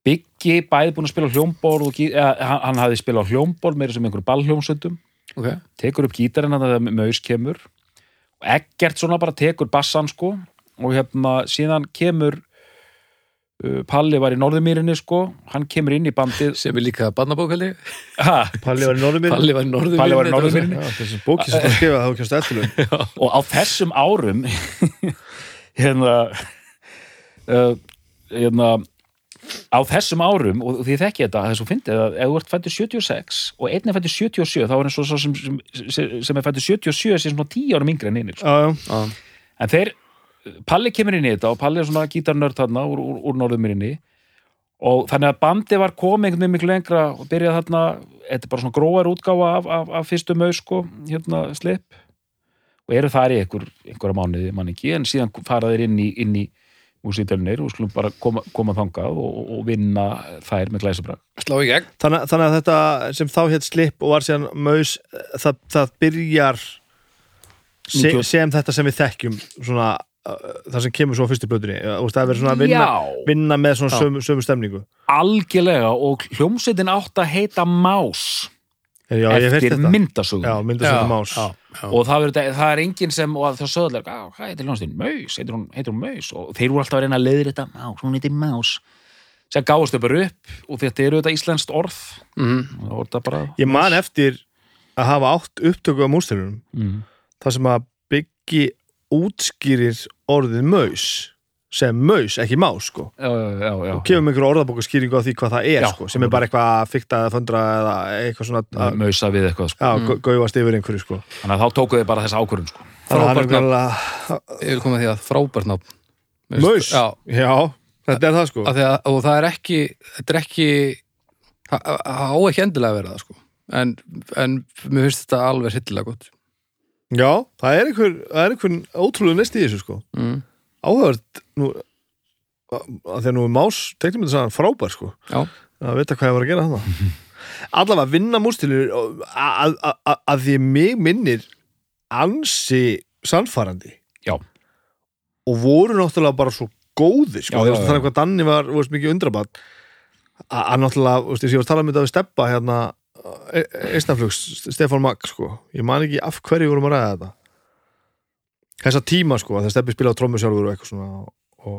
Speaker 2: Byggi bæði búin að spila á hljómborð og, gí- eða, hann, hann hafði spila á hljómborð meira sem einhverjum ballhljómsöndum
Speaker 1: Okay.
Speaker 2: tekur upp gítarinn að það maus kemur og ekkert svona bara tekur bassan sko og hérna síðan kemur uh, Palli var í Norðumýrinni sko hann kemur inn í
Speaker 1: [laughs]
Speaker 2: bandið
Speaker 1: Sem er líka barnabókaldi?
Speaker 2: ha,
Speaker 3: Palli var í norðum minn
Speaker 1: Palli var í norður
Speaker 2: Palli var í norður
Speaker 1: þetta
Speaker 2: mínum.
Speaker 3: já, þessi bóki sem það skrifaði þá kjast eftirlun
Speaker 2: og á þessum árum [laughs] hérna uh, hérna á þessum árum, og því þekki þetta þess að fyndið að ef þú ert fættur 76 og einn er fættur 77, þá er eins og sá sem, sem, sem er fættur 77 sem svona 10 árum yngri en einir
Speaker 3: já, já,
Speaker 1: var í
Speaker 2: En þeir, Palli kemur inn í þetta og Palli er svona gítarnörd þarna úr, úr, úr norðumýrinni og þannig að bandi var komið einhvern veginn miklu lengra og byrjaði þarna, þetta er bara svona gróar útgáfa af, af, af fyrstu maus sko, hérna slip og eru þar í einhver, einhverja mánuði mann ekki en síðan fara þeir inn í, inn í úsýtölunir og skulum bara koma, koma þangað og, og- og vinna þær með glæsabrak.
Speaker 1: Slá í gegn
Speaker 3: þannig, þannig að þetta sem þá hétt slip og var síðan maus það, það byrjar sem,
Speaker 2: 90.
Speaker 3: sem þetta sem við þekkjum svona, uh, það sem kemur svo á fyrstu blöðunni og það verður svona að vinna,
Speaker 2: Já.
Speaker 3: vinna með svona
Speaker 1: Já.
Speaker 3: sömu, sömu stemningu
Speaker 2: Algjörlega og hljómsveitin átt að heita Más
Speaker 3: já, ég hef heyrt
Speaker 2: eftir
Speaker 3: þetta
Speaker 2: myndasögum.
Speaker 3: já, mynda
Speaker 1: Já,
Speaker 3: svona más
Speaker 1: já, já.
Speaker 2: og það, verður, það er enginn sem og það söðlar, á, hvað heitir hljónstinn, Maus heitir hún, heitir hún Maus og þeir voru alltaf að reyna að leiðir þetta Maus, hún heitir Maus sem gáðast upp upp og þetta eru þetta íslenskt orð
Speaker 1: Mhm.
Speaker 2: það voru þetta bara
Speaker 3: ég man eftir að hafa átt upptöku á mústelunum
Speaker 2: mm.
Speaker 3: það sem að byggi útskýrir orðið maus sem maus, ekki más sko
Speaker 2: já, já, já, já,
Speaker 3: og kemur með einhverju orðabókaskýringu á því hvað það er
Speaker 2: Já.
Speaker 3: sko, sem er bara eitthvað að fykta eða föndra eða eitthvað svona að-
Speaker 1: Mm.
Speaker 2: já. Mausa við eitthvað sko.
Speaker 3: Já, mm. gauðast yfir einhverju sko
Speaker 2: þannig að þá tóku þau bara þessa ákvörðum sko.
Speaker 3: Þannig að hann er
Speaker 1: Frábært nafn.
Speaker 3: nefnilega-
Speaker 1: Ég vil koma að því að frábært nátt
Speaker 3: Maus
Speaker 1: Já,
Speaker 3: já, þetta er það sko
Speaker 1: af því að, og það er ekki þetta er ekki það það á ekki endilega að vera það sko en, en mér finnst þetta alveg hittilega gott
Speaker 3: Já, það er einhver, það er einhver ótrúlega nesti í þessu sko
Speaker 1: mm.
Speaker 3: Áhört, nú að að því að nú er Más teiknumyndir sagðan frábær sko
Speaker 1: Já,
Speaker 3: að vita hvað ég var að gera þarna
Speaker 2: [laughs]
Speaker 3: Allavega vinna mústilur að að- að- að því mig minnir ansi sannfærandi
Speaker 2: já,
Speaker 3: og voru náttúrulega bara svo góði sko,
Speaker 2: Já,
Speaker 3: já,
Speaker 2: já, já.
Speaker 3: þannig hvað Danni var þú veist, mikið undrabatt að að náttúrulega, þú veist, ég var að tala um þetta við steppa hérna, einnaflugs Stefán Magg, sko, ég man ekki af hverju vorum að ræða þetta þessa tíma, sko, að það steppi spila á trommu sjálfur og eitthvað svona og,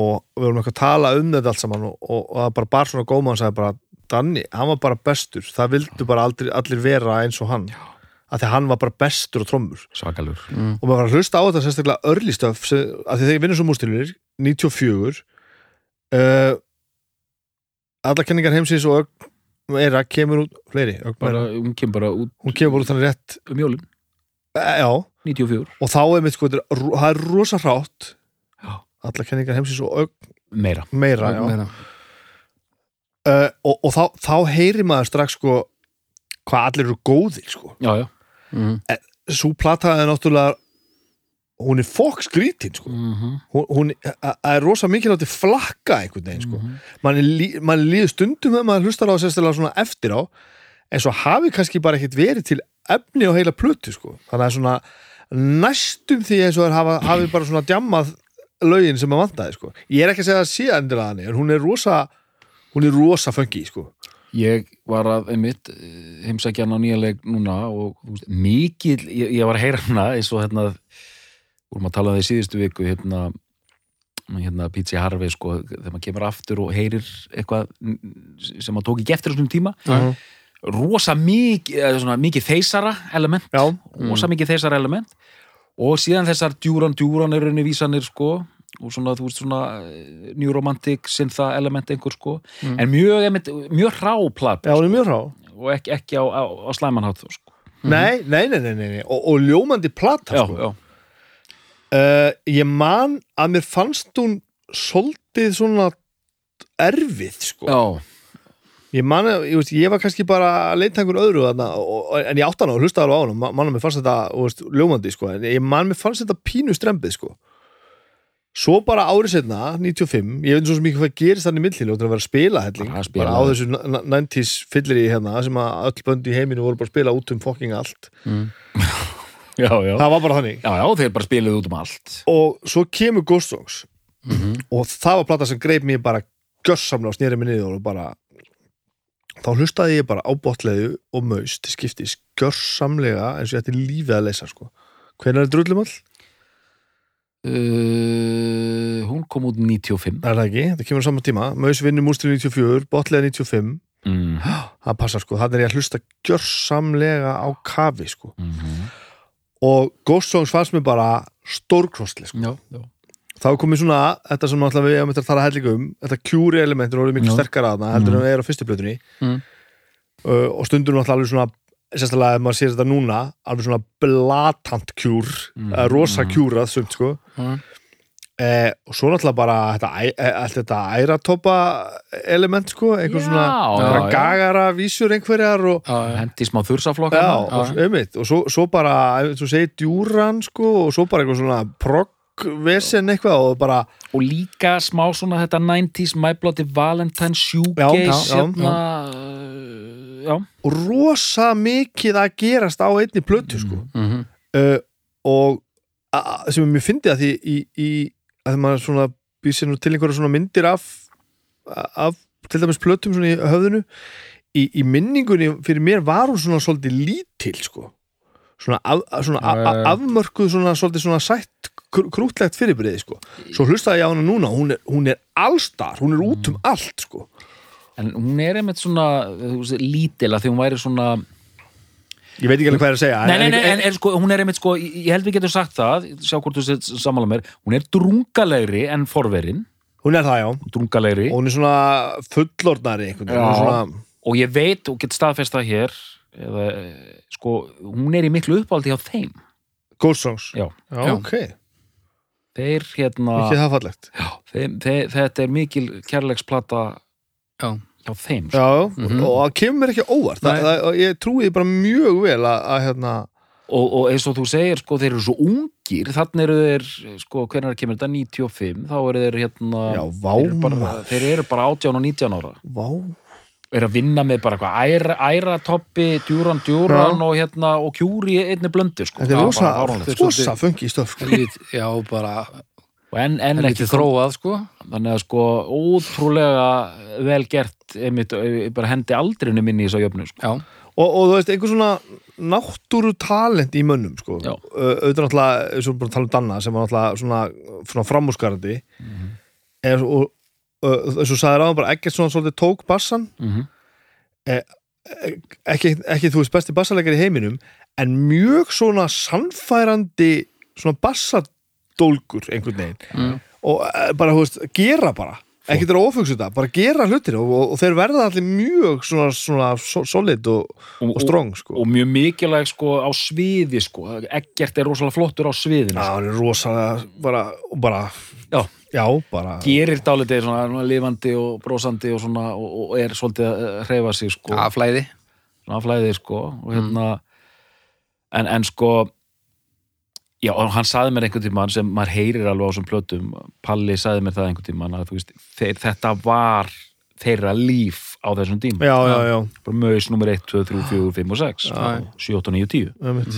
Speaker 3: og við vorum eitthvað að tala um þetta allt saman og, og, og það bara bar svona góma hann sagði bara, Danni, hann var bara bestur það vildu bara aldrei, allir vera eins og hann að því að hann var bara bestur á trommur
Speaker 2: svakalur
Speaker 1: mm.
Speaker 3: og maður var að hlusta á þetta sérstaklega early stuff sem, að því þegar ég vinnur svo mústilir 94 uh, alla kenningar heimsins og ögmæra kemur út, fleiri, ögmæra
Speaker 2: bara, hún kemur bara út
Speaker 3: hún kemur út þannig rétt,
Speaker 2: um jólin
Speaker 3: e, já
Speaker 2: 94,
Speaker 3: og þá er mitt sko, þetta er ro- það er rosa hrátt
Speaker 2: Já.
Speaker 3: alla kenningar heimsins og
Speaker 2: meira
Speaker 3: ögmæra já.
Speaker 1: meina,
Speaker 3: Uh, og, og þá, þá heyri maður strax sko hvað allir eru góðir sko
Speaker 2: já, já,
Speaker 1: mm,
Speaker 3: svo plata er náttúrulega hún er fokk skrítin sko. hún, hún a- a- er rosa mikið látið flakka einhvern veginn sko.
Speaker 2: Mhm.
Speaker 3: mann lí, man líður stundum þegar maður hlustar á það sérstilega svona eftir á en svo hafi kannski bara ekkert verið til efni og heila plötu sko. þannig að svona næstum því eins og þær hafa, hafi bara svona djammað lögin sem maður vantaði sko. ég er ekki að segja að sé endilega hann en hún er rosa hún er rosa fengi sko.
Speaker 2: ég var að einmitt eh, heimsækja hann á nýjanleik núna og þú veist, mikið, ég, ég var að heyra hana eins og hérna vorum að tala um það í síðustu viku hérna, hérna Pizzi Harvey sko, þegar maður kemur aftur og heyrir eitthvað mm, sem maður tók ekki eftir á þessum tíma
Speaker 3: Mhm.
Speaker 2: rosa mikið, eða svona mikið þeysara element,
Speaker 3: já,
Speaker 2: rosa mikið þeysara element og síðan þessar djúran djúran er raunni vísanir sko og svona, þú veist, svona eh, New Romantic, Syntha element einhver sko
Speaker 1: Mm.
Speaker 2: en mjög, einmitt, mjög ráplat
Speaker 3: já hún er mjög rá
Speaker 2: og ekki, ekki á, á, á slæmanhátt þó sko.
Speaker 3: nei, nei, nei, nei, nei, nei. Og, og ljómandi plata
Speaker 2: já,
Speaker 3: sko.
Speaker 2: já,
Speaker 3: Uh, ég man að mér fannst hún svolítið svona erfið sko
Speaker 2: já,
Speaker 3: ég man að, ég, veist, ég var kannski bara að leita einhver öðru þarna og, og, en ég átti hana og hlusta alveg á hana man man að mér fannst þetta þú veist, ljómandi sko en ég man að mér fannst þetta pínu strempið sko svo bara árið setna 95, ég veit svo sem ekki hvað gerist þannig millil og það er að vera að spila helling
Speaker 2: Bara að spila.
Speaker 3: bara á þessu n- n- 90s fyllir í hérna sem að öll bönd í heiminu voru bara að spila út um fokking allt
Speaker 1: mm.
Speaker 2: já, já.
Speaker 3: það var bara þannig
Speaker 2: já, já þeir bara spiluðu út um allt
Speaker 3: og svo kemur Ghost Songs
Speaker 1: Mhm.
Speaker 3: og það var plata sem greip mér bara gössamlega og snýri mig niður og bara þá hlustaði ég bara á botleðu og maust til skiptis gössamlega eins og ég ætti lífið að leysa sko. hvenær er drullumall?
Speaker 2: uh, hún kom út 95
Speaker 3: Er það ekki? Það kemur á sama tíma maust vinnur mústur 94, botleða 95
Speaker 2: [gasps] mm.
Speaker 3: það passar sko, þannig er ég að hlusta gössamlega á kafi sko.
Speaker 2: Mm
Speaker 3: og Ghost Songs fannst mér bara stórkostli sko.
Speaker 2: já, já.
Speaker 3: þá er komið svona, þetta sem náttúrulega við erum eftir að fara hellinga um, þetta kjúri elementur eru miklu
Speaker 1: Já.
Speaker 3: sterkara þarna heldur en það er á fyrstu blötunni
Speaker 1: Mm.
Speaker 3: uh, og stundur náttúrulega alveg svona sérstaklega ef maður sér þetta núna alveg svona blatant kjúr
Speaker 2: Mm.
Speaker 3: mm. rosa
Speaker 2: Mm.
Speaker 3: kjúrað sumt sko
Speaker 1: Mm.
Speaker 3: eh, og svo náttúrulega bara þetta, æ- eh, allt þetta æratoppa element sko, einhver
Speaker 2: Já,
Speaker 3: svona
Speaker 2: já,
Speaker 3: bara
Speaker 2: já.
Speaker 3: gagara vísur einhverjar og
Speaker 1: já,
Speaker 2: hendi smá hérna. þursaflokka
Speaker 3: Já,
Speaker 1: Já.
Speaker 3: og, einmitt, og svo, svo bara eins og segir djúran sko og svo bara eitthvað svona proggvesen eitthvað og bara
Speaker 2: og líka smá svona þetta 90s My Bloody Valentine
Speaker 3: Já,
Speaker 2: shoegaze
Speaker 3: já,
Speaker 2: hérna já. já,
Speaker 3: og rosa mikið að gerast á einni plötu sko
Speaker 1: mhm,
Speaker 3: uh, og a- a- sem ég mér fyndi að því í, í, að því maður svona býr sér nú til einhverja svona myndir af, af til dæmis plötum svona í höfðinu í, í minningunni fyrir mér var hún svona svolítið lítil sko svona, af, að- svona a, a,
Speaker 1: Já, já, já.
Speaker 3: afmörkuð svona svolítið svona sætt kr- krútlegt fyrirbyrði sko svo hlustaði ég á hana núna, hún er, hún er allstar hún er út um allt sko
Speaker 2: en hún er einmitt svona þú veist, lítil að því hún væri svona
Speaker 3: ég veit ekki alveg hvað er að segja
Speaker 2: Nei, nei, nei, en, en sko, hún er einmitt sko, ég held við getum sagt það, sjá hvort þú sér sammála mér, hún er drungalegri en forverin,
Speaker 3: hún er það já
Speaker 2: drungalegri,
Speaker 3: og
Speaker 2: og,
Speaker 3: hún er svona fullornari einhvern veginn, hún er
Speaker 2: Já.
Speaker 3: svona
Speaker 2: ég veit og get staðfest það hér, eða, eh, sko, hún er í miklu uppáldi hjá þeim.
Speaker 3: Ghost Songs
Speaker 2: Já,
Speaker 3: Já,
Speaker 1: Já.
Speaker 3: ok,
Speaker 2: þeir hérna,
Speaker 3: ekki það fallegt
Speaker 2: já, þeim, þeir, þetta er mikil kærleiksplata
Speaker 1: já,
Speaker 2: hjá þeim. sko.
Speaker 3: Já,
Speaker 1: Mhm.
Speaker 3: og það kemur mér ekki á óvart það,
Speaker 1: Nei.
Speaker 3: það, og Ég trúi því bara mjög vel að, að hérna,
Speaker 2: Og, og eins og þú segir, sko, þeir eru svo ungir, þannig eru þeir, sko, hvernig kemur þetta 95, þá eru þeir hérna,
Speaker 3: já,
Speaker 2: þeir, eru
Speaker 3: váma
Speaker 2: bara, þeir eru bara 18 og 19 ára.
Speaker 3: Vá,
Speaker 2: er að vinna með bara eitthvað æra, æra toppi, djúran, djúran og hérna, og kjúri einni blöndu sko.
Speaker 3: þetta
Speaker 2: Það
Speaker 3: er
Speaker 2: var
Speaker 3: rosa,
Speaker 2: bara fáránlegt.
Speaker 1: þetta er
Speaker 3: rosa
Speaker 1: svolítið-
Speaker 3: fengi í stöf sko.
Speaker 1: Lít, já, bara
Speaker 2: Og en, en
Speaker 1: en
Speaker 2: ekki
Speaker 1: ekki þróað sko
Speaker 2: þannig að sko ótrúlega vel gert einmitt, eh, bara hendi aldrinu minni í þessu jöfnu sko.
Speaker 1: já,
Speaker 3: og, og þú veist, einhver svona náttúru talent í mönnum sko.
Speaker 2: Já.
Speaker 3: Ö, auðvitað náttúrulega, eins og við búin að tala um Danna sem var náttúrulega svona, svona framúskarandi mm -hmm. og ö, eins og sagði ráðan bara ekkert svona svolítið tók bassan
Speaker 2: mm -hmm.
Speaker 3: ekki, ekki þú veist besti bassaleggar í heiminum en mjög svona sannfærandi svona bassadólgur einhvern veginn
Speaker 1: Mm.
Speaker 3: og eh, bara, þú veist, gera bara ekki þetta er ofugst þetta, bara gera hlutir og, og, og þeir verða allir mjög svona, svona so- solid og,
Speaker 2: og,
Speaker 3: og strong sko.
Speaker 2: og mjög mikilvæg sko á sviði sko, ekkert er rosalega flottur á
Speaker 3: Já,
Speaker 2: sviðinu sko.
Speaker 3: hann er rosalega bara, og bara
Speaker 2: Já.
Speaker 3: já bara
Speaker 2: gerir dálítið svona, svona lifandi og brosandi og svona og, og er svolítið að hreyfa sig sko
Speaker 1: að flæði
Speaker 2: svona flæði sko og hérna en, en sko já og hann saði mér einhvern tímann sem maður heyrir alveg á þessum plötum Palli saði mér það einhvern tímann að þú veist þeir, þetta var þeirra líf á þessum tíma
Speaker 3: já, já, já,
Speaker 2: bara mögis nummer 1, 2, 3, 4, 5 og 6
Speaker 3: Já.
Speaker 2: 7, 8, 9, 10
Speaker 3: um mitt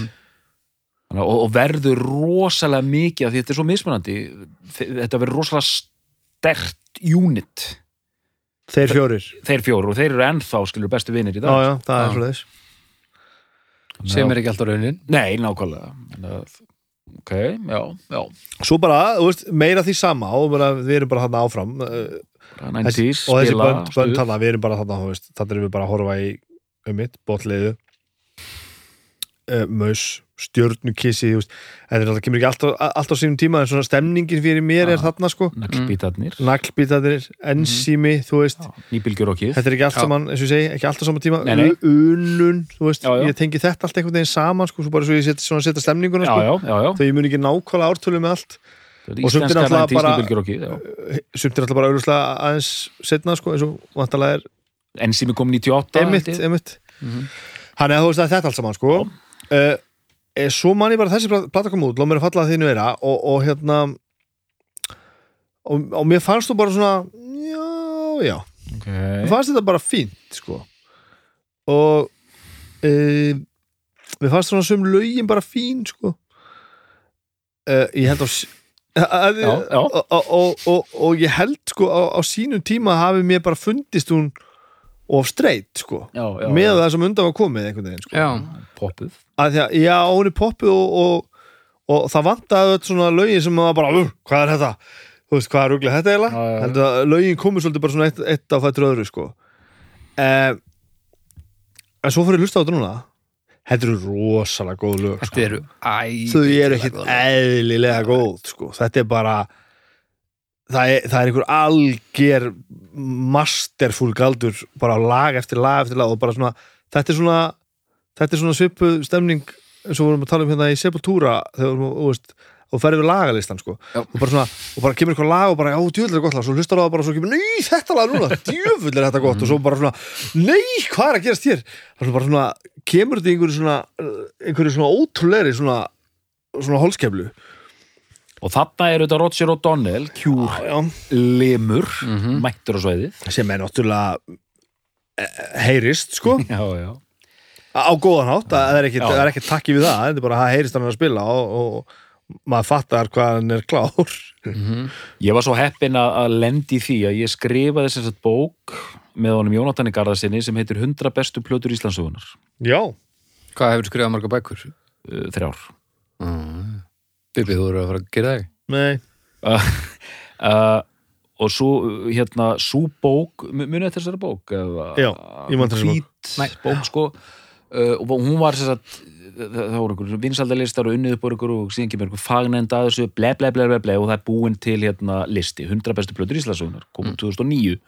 Speaker 2: Þannig, að- og, og verður rosalega mikið af því þetta er svo mismunandi Þe- þetta verður rosalega stert unit
Speaker 3: þeir fjórir,
Speaker 2: þeir fjóru og þeir eru ennþá skilur bestu vinir í
Speaker 3: já,
Speaker 2: dag
Speaker 3: já, það
Speaker 1: Já.
Speaker 3: er svoleiðis
Speaker 1: sem er ekki alltaf raunin
Speaker 2: Nei, nákvæmlega Þannig að- Ok, já, já
Speaker 3: svo bara, þú veist, meira því sama og bara, við erum bara þarna áfram uh,
Speaker 2: Bara
Speaker 3: þessi,
Speaker 2: 90s,
Speaker 3: og þessi
Speaker 2: spila,
Speaker 3: bönd, bönd
Speaker 2: stuð.
Speaker 3: þarna, við erum bara þarna þú veist, þarna erum við bara að horfa í um mitt, botliðu uh, maus, stjörnukissi þú veist, þetta er alltaf, kemur ekki alltaf, alltaf sínum tíma, en svona stemningin fyrir mér er
Speaker 2: Já.
Speaker 3: þarna sko,
Speaker 1: Mm.
Speaker 2: naglbítarnir
Speaker 3: naglbítatir ensími,
Speaker 2: Mhm.
Speaker 3: þú veist
Speaker 2: nýbylgjurokkið
Speaker 3: þetta er ekki allt
Speaker 1: Já.
Speaker 3: saman, eins og ég segi, ekki allt á sama tíma
Speaker 2: Nei, nei.
Speaker 3: U- unun, þú veist,
Speaker 2: Já, já.
Speaker 3: ég tengi þetta allt einhvern veginn saman, sko, svo bara svo ég setja svona setja stemninguna,
Speaker 2: já,
Speaker 3: sko,
Speaker 2: já, já, já
Speaker 3: þegar ég mun ekki nákvæmlega ártölu með allt
Speaker 2: Þetta er
Speaker 3: Og sumt er
Speaker 2: íslenska
Speaker 3: náttúrulega
Speaker 2: 90s
Speaker 3: bara-
Speaker 2: nýbylgjurokkið já.
Speaker 3: sumt er alltaf bara auðvitað aðeins setna, sko, eins og vantalega er
Speaker 2: enn sem er kom 98
Speaker 3: emitt,
Speaker 2: held ég.
Speaker 3: emitt
Speaker 1: Mhm.
Speaker 3: hann er þú veist að þetta allt saman sko uh, e, svo man ég bara að þessi plat- plata kom út lá mér að falla að þínu vera og, og hérna og, og mér fannst þú bara svona já, já, mér
Speaker 2: Ok.
Speaker 3: fannst þetta bara fínt sko og uh, mér fannst svona sum lögin bara fín sko uh, ég held á s- að,
Speaker 2: Já, já.
Speaker 3: Og, og, og, og ég held sko á, á sínum tíma hafi mér bara fundist hún of straight sko
Speaker 2: já, já,
Speaker 3: með
Speaker 2: já.
Speaker 3: það sem undan var komið einhvern veginn sko.
Speaker 1: já,
Speaker 2: poppuð
Speaker 3: að því að, já, hún er poppuð og, og, og það vantaði öll svona lögin sem maður bara, "Ugh, hvað er þetta þú veist, hvað er ruglið þetta eiginlega
Speaker 2: Já, já, já.
Speaker 3: heldur að lögin komið svolítið bara svona eitt, eitt á fættur öðru sko um, en svo fyrir að hlusta á þetta núna þetta eru rosalega góð lög sko.
Speaker 1: þetta eru
Speaker 3: þau
Speaker 1: æ
Speaker 3: eru ekkit eðlilega góð sko. þetta er bara það er, það er einhver alger masterful galdur bara lag eftir lag eftir lag og bara svona þetta er svona, þetta er svona svipuð stemning eins og við vorum að tala um hérna í Sepultura þegar við vorum, þú veist og ferði við lagalistan sko
Speaker 1: Já.
Speaker 3: og bara, svona, og bara kemur eitthvað lag og bara, já, djöfull er gott lag svo hlustar á það bara, svo kemur, nei, þetta lag núna djöfull er þetta gott og svo bara svona nei, hvað er að gerast hér það er svona bara svona, kemur þetta í einhverju svona uh, einhverju svona ótrúleiri svona svona holskeflu
Speaker 2: og þarna er þetta Roger O'Donnell kjúr limur
Speaker 1: Mhm.
Speaker 2: mættur á sveiðið
Speaker 3: sem er náttúrulega eh, heyrist sko
Speaker 2: já, já
Speaker 3: á góðan hátt, það er ekkit,
Speaker 2: Já.
Speaker 3: það er ekkit takki við það, þetta er bara að heyrist hann er að spila og, og maður fattar hvað hann er klár
Speaker 1: Mhm.
Speaker 2: Ég var svo heppinn að, að lendi því að ég skrifaði sem sagt bók með honum Jónatani Garðarsinni sem heitir 100 bestu plötur Íslandsögunar
Speaker 3: já,
Speaker 1: hvað hefur skrifað marga bækur?
Speaker 2: uh, þrjár
Speaker 1: Mm. Bibi, þú eru að fara að gera það ekki?
Speaker 3: nei,
Speaker 2: uh, Eh, og svo uh, hérna, svo bók mu- munið þessari bók? eða-
Speaker 3: Já, ég man þessari bók.
Speaker 2: Hvít bók, sko uh, og hún var sem sagt það voru einhverjum vinsaldalistar og unnið upp úr ykkur og síðan kemur einhver fagnend að þessu ble, ble, ble, ble, ble og það er búin til hérna listi 100 bestu plötur Íslandsögunar,
Speaker 3: Mm.
Speaker 2: komum 2009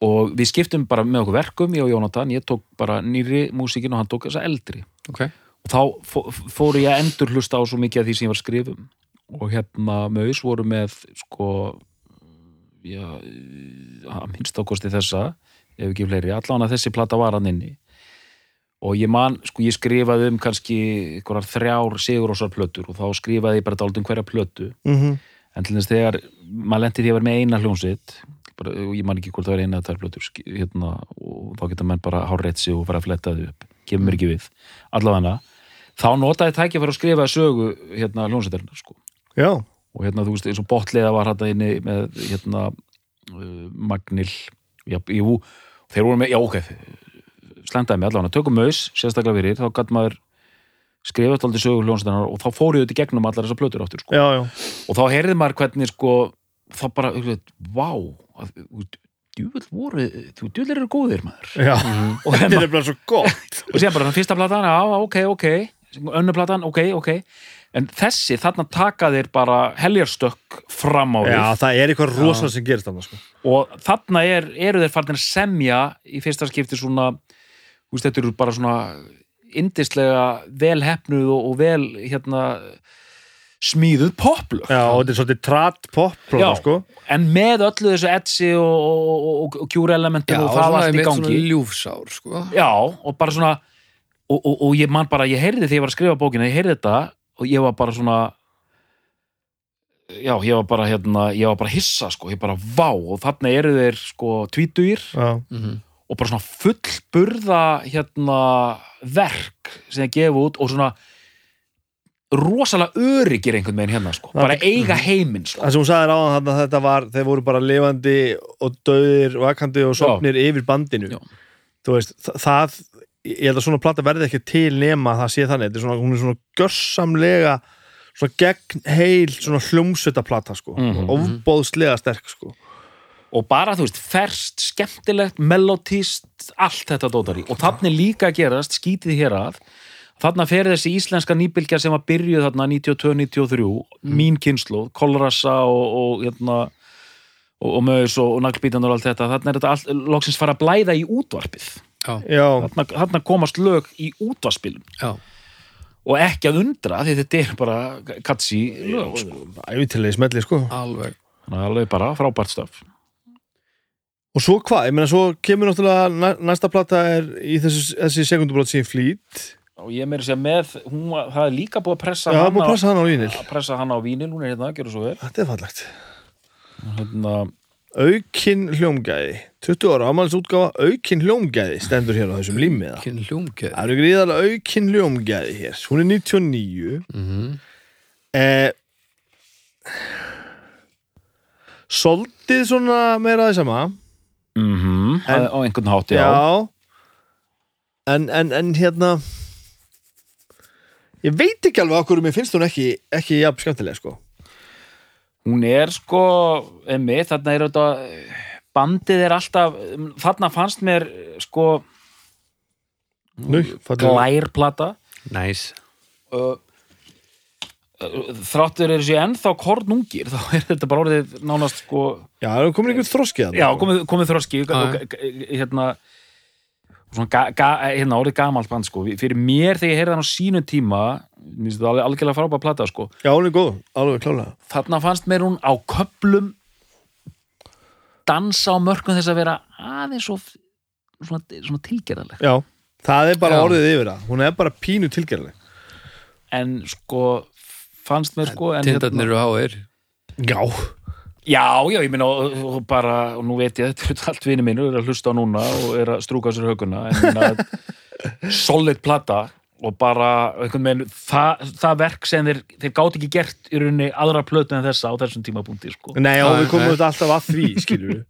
Speaker 2: og við skiptum bara með okkur verkum, ég og Jónatan ég tók bara nýri músikin og hann tók þessa eldri
Speaker 1: ok,
Speaker 2: og þá fó- fór ég að endur hlusta á svo mikið af því sem ég var að skrifa um og hérna Maus voru með sko já, að minnst ákosti þessa ef ekki fleiri, allan að þessi plata var hann inni og ég man, sko ég skrifaði um kannski einhverjar þrjár sigurósar plötur og þá skrifaði ég bara dálítið um hverja plötu
Speaker 3: mm -hmm.
Speaker 2: en til þess þegar maður lendi því að vera með eina hljómsveit bara, og ég man ekki hvort það var eina að plötur sk- hérna, og þá geta menn bara hárreitt sig og fara að fletta því upp, kemur mér ekki við allavega þá notaði tækja fyrir að skrifa sögu hérna hljómsveitarinnar sko.
Speaker 3: já,
Speaker 2: og hérna þú veist eins og botliða var hérna inni með hérna uh, Magnil já, jú, þeir voru með, já ok slendaði mig allavega, tökum maus, sérstaklega fyrir þá gætt maður skrifast aldrei sögu hljómsveitarinnar og þá fór ég þetta í gegnum allar þessar plötur áttur sko
Speaker 3: já, já
Speaker 2: og þá heyrði maður hvernig sko þá bara, þú veist, vá að, þú- djúvel voru, þú djúvel eru góðir maður
Speaker 3: [laughs] Já,
Speaker 2: og,
Speaker 3: þetta
Speaker 2: hérna,
Speaker 3: er bara svo gott
Speaker 2: og síðan bara fyrsta platan, já, ok, ok önnur platan, ok, ok en þessi, þarna taka þeir bara heljarstökk fram á
Speaker 3: Já,
Speaker 2: við
Speaker 3: það er eitthvað rosa sem gerist þarna sko.
Speaker 2: og þarna er, eru þeir farnir að semja í fyrsta skipti svona þú veist, þetta eru bara svona indislega vel hefnuð og, og vel hérna smíðuð poplög
Speaker 3: Já, og þetta er svolítið trat pop
Speaker 2: Já.
Speaker 3: sko.
Speaker 2: en með öllu þessu Etsy og, og, og, og Cure elementum og það
Speaker 1: svona
Speaker 2: allt í
Speaker 1: mitt
Speaker 2: gangi
Speaker 1: svona ljúfsár, sko.
Speaker 2: Já, og bara svona og, og, og ég man bara, ég heyrði því ég var að skrifa bókina ég heyrði þetta og ég var bara svona já, ég var bara hérna, ég var bara hissa sko, ég bara vá og þarna eru þeir sko tvítugir
Speaker 3: Já.
Speaker 1: Mhm.
Speaker 2: og bara svona fullburða hérna verk sem ég gefa út og svona rosalega öryggir einhvern veginn hérna sko, bara eiga heiminn sko.
Speaker 3: Það sem hún sagði ráðan þarna þetta var þeir voru bara lifandi og döðir vakandi og sopnir yfir bandinu
Speaker 2: Já.
Speaker 3: þú veist, þa- það ég held að svona plata verði ekki til nema að það sé þannig, þetta er svona, hún er svona görsamlega svona gegn heil svona hljómsöta plata sko
Speaker 2: Mhm.
Speaker 3: ofbóðslega sterk sko
Speaker 2: og bara, þú veist, ferst, skemmtilegt melodíst, allt þetta dótari og þarna er líka að gerast, skítið hér að þarna fer þessi íslenska nýbylgja sem að byrjuð þarna 92-93 mín kynslu, kolrassa og, og hérna og, og mögis og, og naglbítan og allt þetta þarna er þetta all, loksins fara að blæða í útvarpið
Speaker 3: Já,
Speaker 2: þarna, þarna komast lög í útvarpspilum
Speaker 1: Já.
Speaker 2: og ekki að undra því þetta er bara katsi lög, sko.
Speaker 3: ævitilegi smelli sko
Speaker 1: Alveg.
Speaker 2: þannig að alveg bara frábært stöf
Speaker 3: og svo hvað, ég meina svo kemur náttúrulega næ- næsta plata er í þessu, þessi sekundubrot síðan flýt
Speaker 2: og ég meiri sér með, hún, var- það er líka búið að pressa
Speaker 3: Já, það er
Speaker 2: hana
Speaker 3: búið að pressa hann á vínil
Speaker 2: að pressa hana á vínil, hún er hérna, gerur svo vel
Speaker 3: Þetta er fallegt
Speaker 2: hérna,
Speaker 3: Aukin hljómgæði 20 ára ámælis útgáfa Aukin hljómgæði stendur hér á þessum límiða
Speaker 1: Kyn
Speaker 3: Það
Speaker 1: hljómgeð.
Speaker 3: eru gríðarlega aukin hljómgæði hér Hún er 99
Speaker 1: Mhm.
Speaker 3: eh, Soltið svona meira því sama
Speaker 2: mm
Speaker 1: Mhm.
Speaker 3: En-
Speaker 2: á einhvern hátt, já,
Speaker 3: En, en, en hérna Ég veit ekki alveg okkur mér finnst hún ekki, ekki jafn skemmtilega sko
Speaker 2: hún er sko emmi, þarna er þetta bandið er alltaf, þarna fannst mér sko
Speaker 3: Nú,
Speaker 2: Mm.
Speaker 3: fallega.
Speaker 2: glærplata
Speaker 1: Næs.
Speaker 2: uh, þráttur er þessi ennþá kornungir [laughs] þá er þetta bara orðið nánast sko
Speaker 3: Já, það er komin einhver þroskið þarna,
Speaker 2: já,
Speaker 3: sko.
Speaker 2: komið, komið þroski
Speaker 1: Já,
Speaker 2: og,
Speaker 1: já.
Speaker 2: g- g- hérna svona ga, ga, hérna orðið gamalt band sko fyrir mér þegar ég heyrði hann á sínu tíma mér finnst þetta alveg algjörlega frábæð plata sko
Speaker 3: Já, hún er góð, alveg klálega
Speaker 2: þarna fannst mér hún á köplum dansa á mörgum þess að vera aðeins og svona, svona tilgerðaleg
Speaker 3: Já, það er bara
Speaker 1: Já.
Speaker 3: orðið yfir það Hún er bara pínu tilgerðleg
Speaker 2: en sko fannst mér sko en
Speaker 1: Tindarnir eru háir.
Speaker 3: Já
Speaker 2: já, já, ég minna og, og bara, og nú veit ég, þetta er allt vini mínu er að hlusta á núna og er að strúka sér höguna en minna, solid plata og bara, einhvern veginn það, það verk sem þeir, þeir gátt ekki gert í rauninni aðra plötu en þessa á þessum tímapunkti sko.
Speaker 3: Nei, og
Speaker 1: Nei,
Speaker 3: við komum
Speaker 1: nei.
Speaker 3: auðvitað alltaf að því, skilur við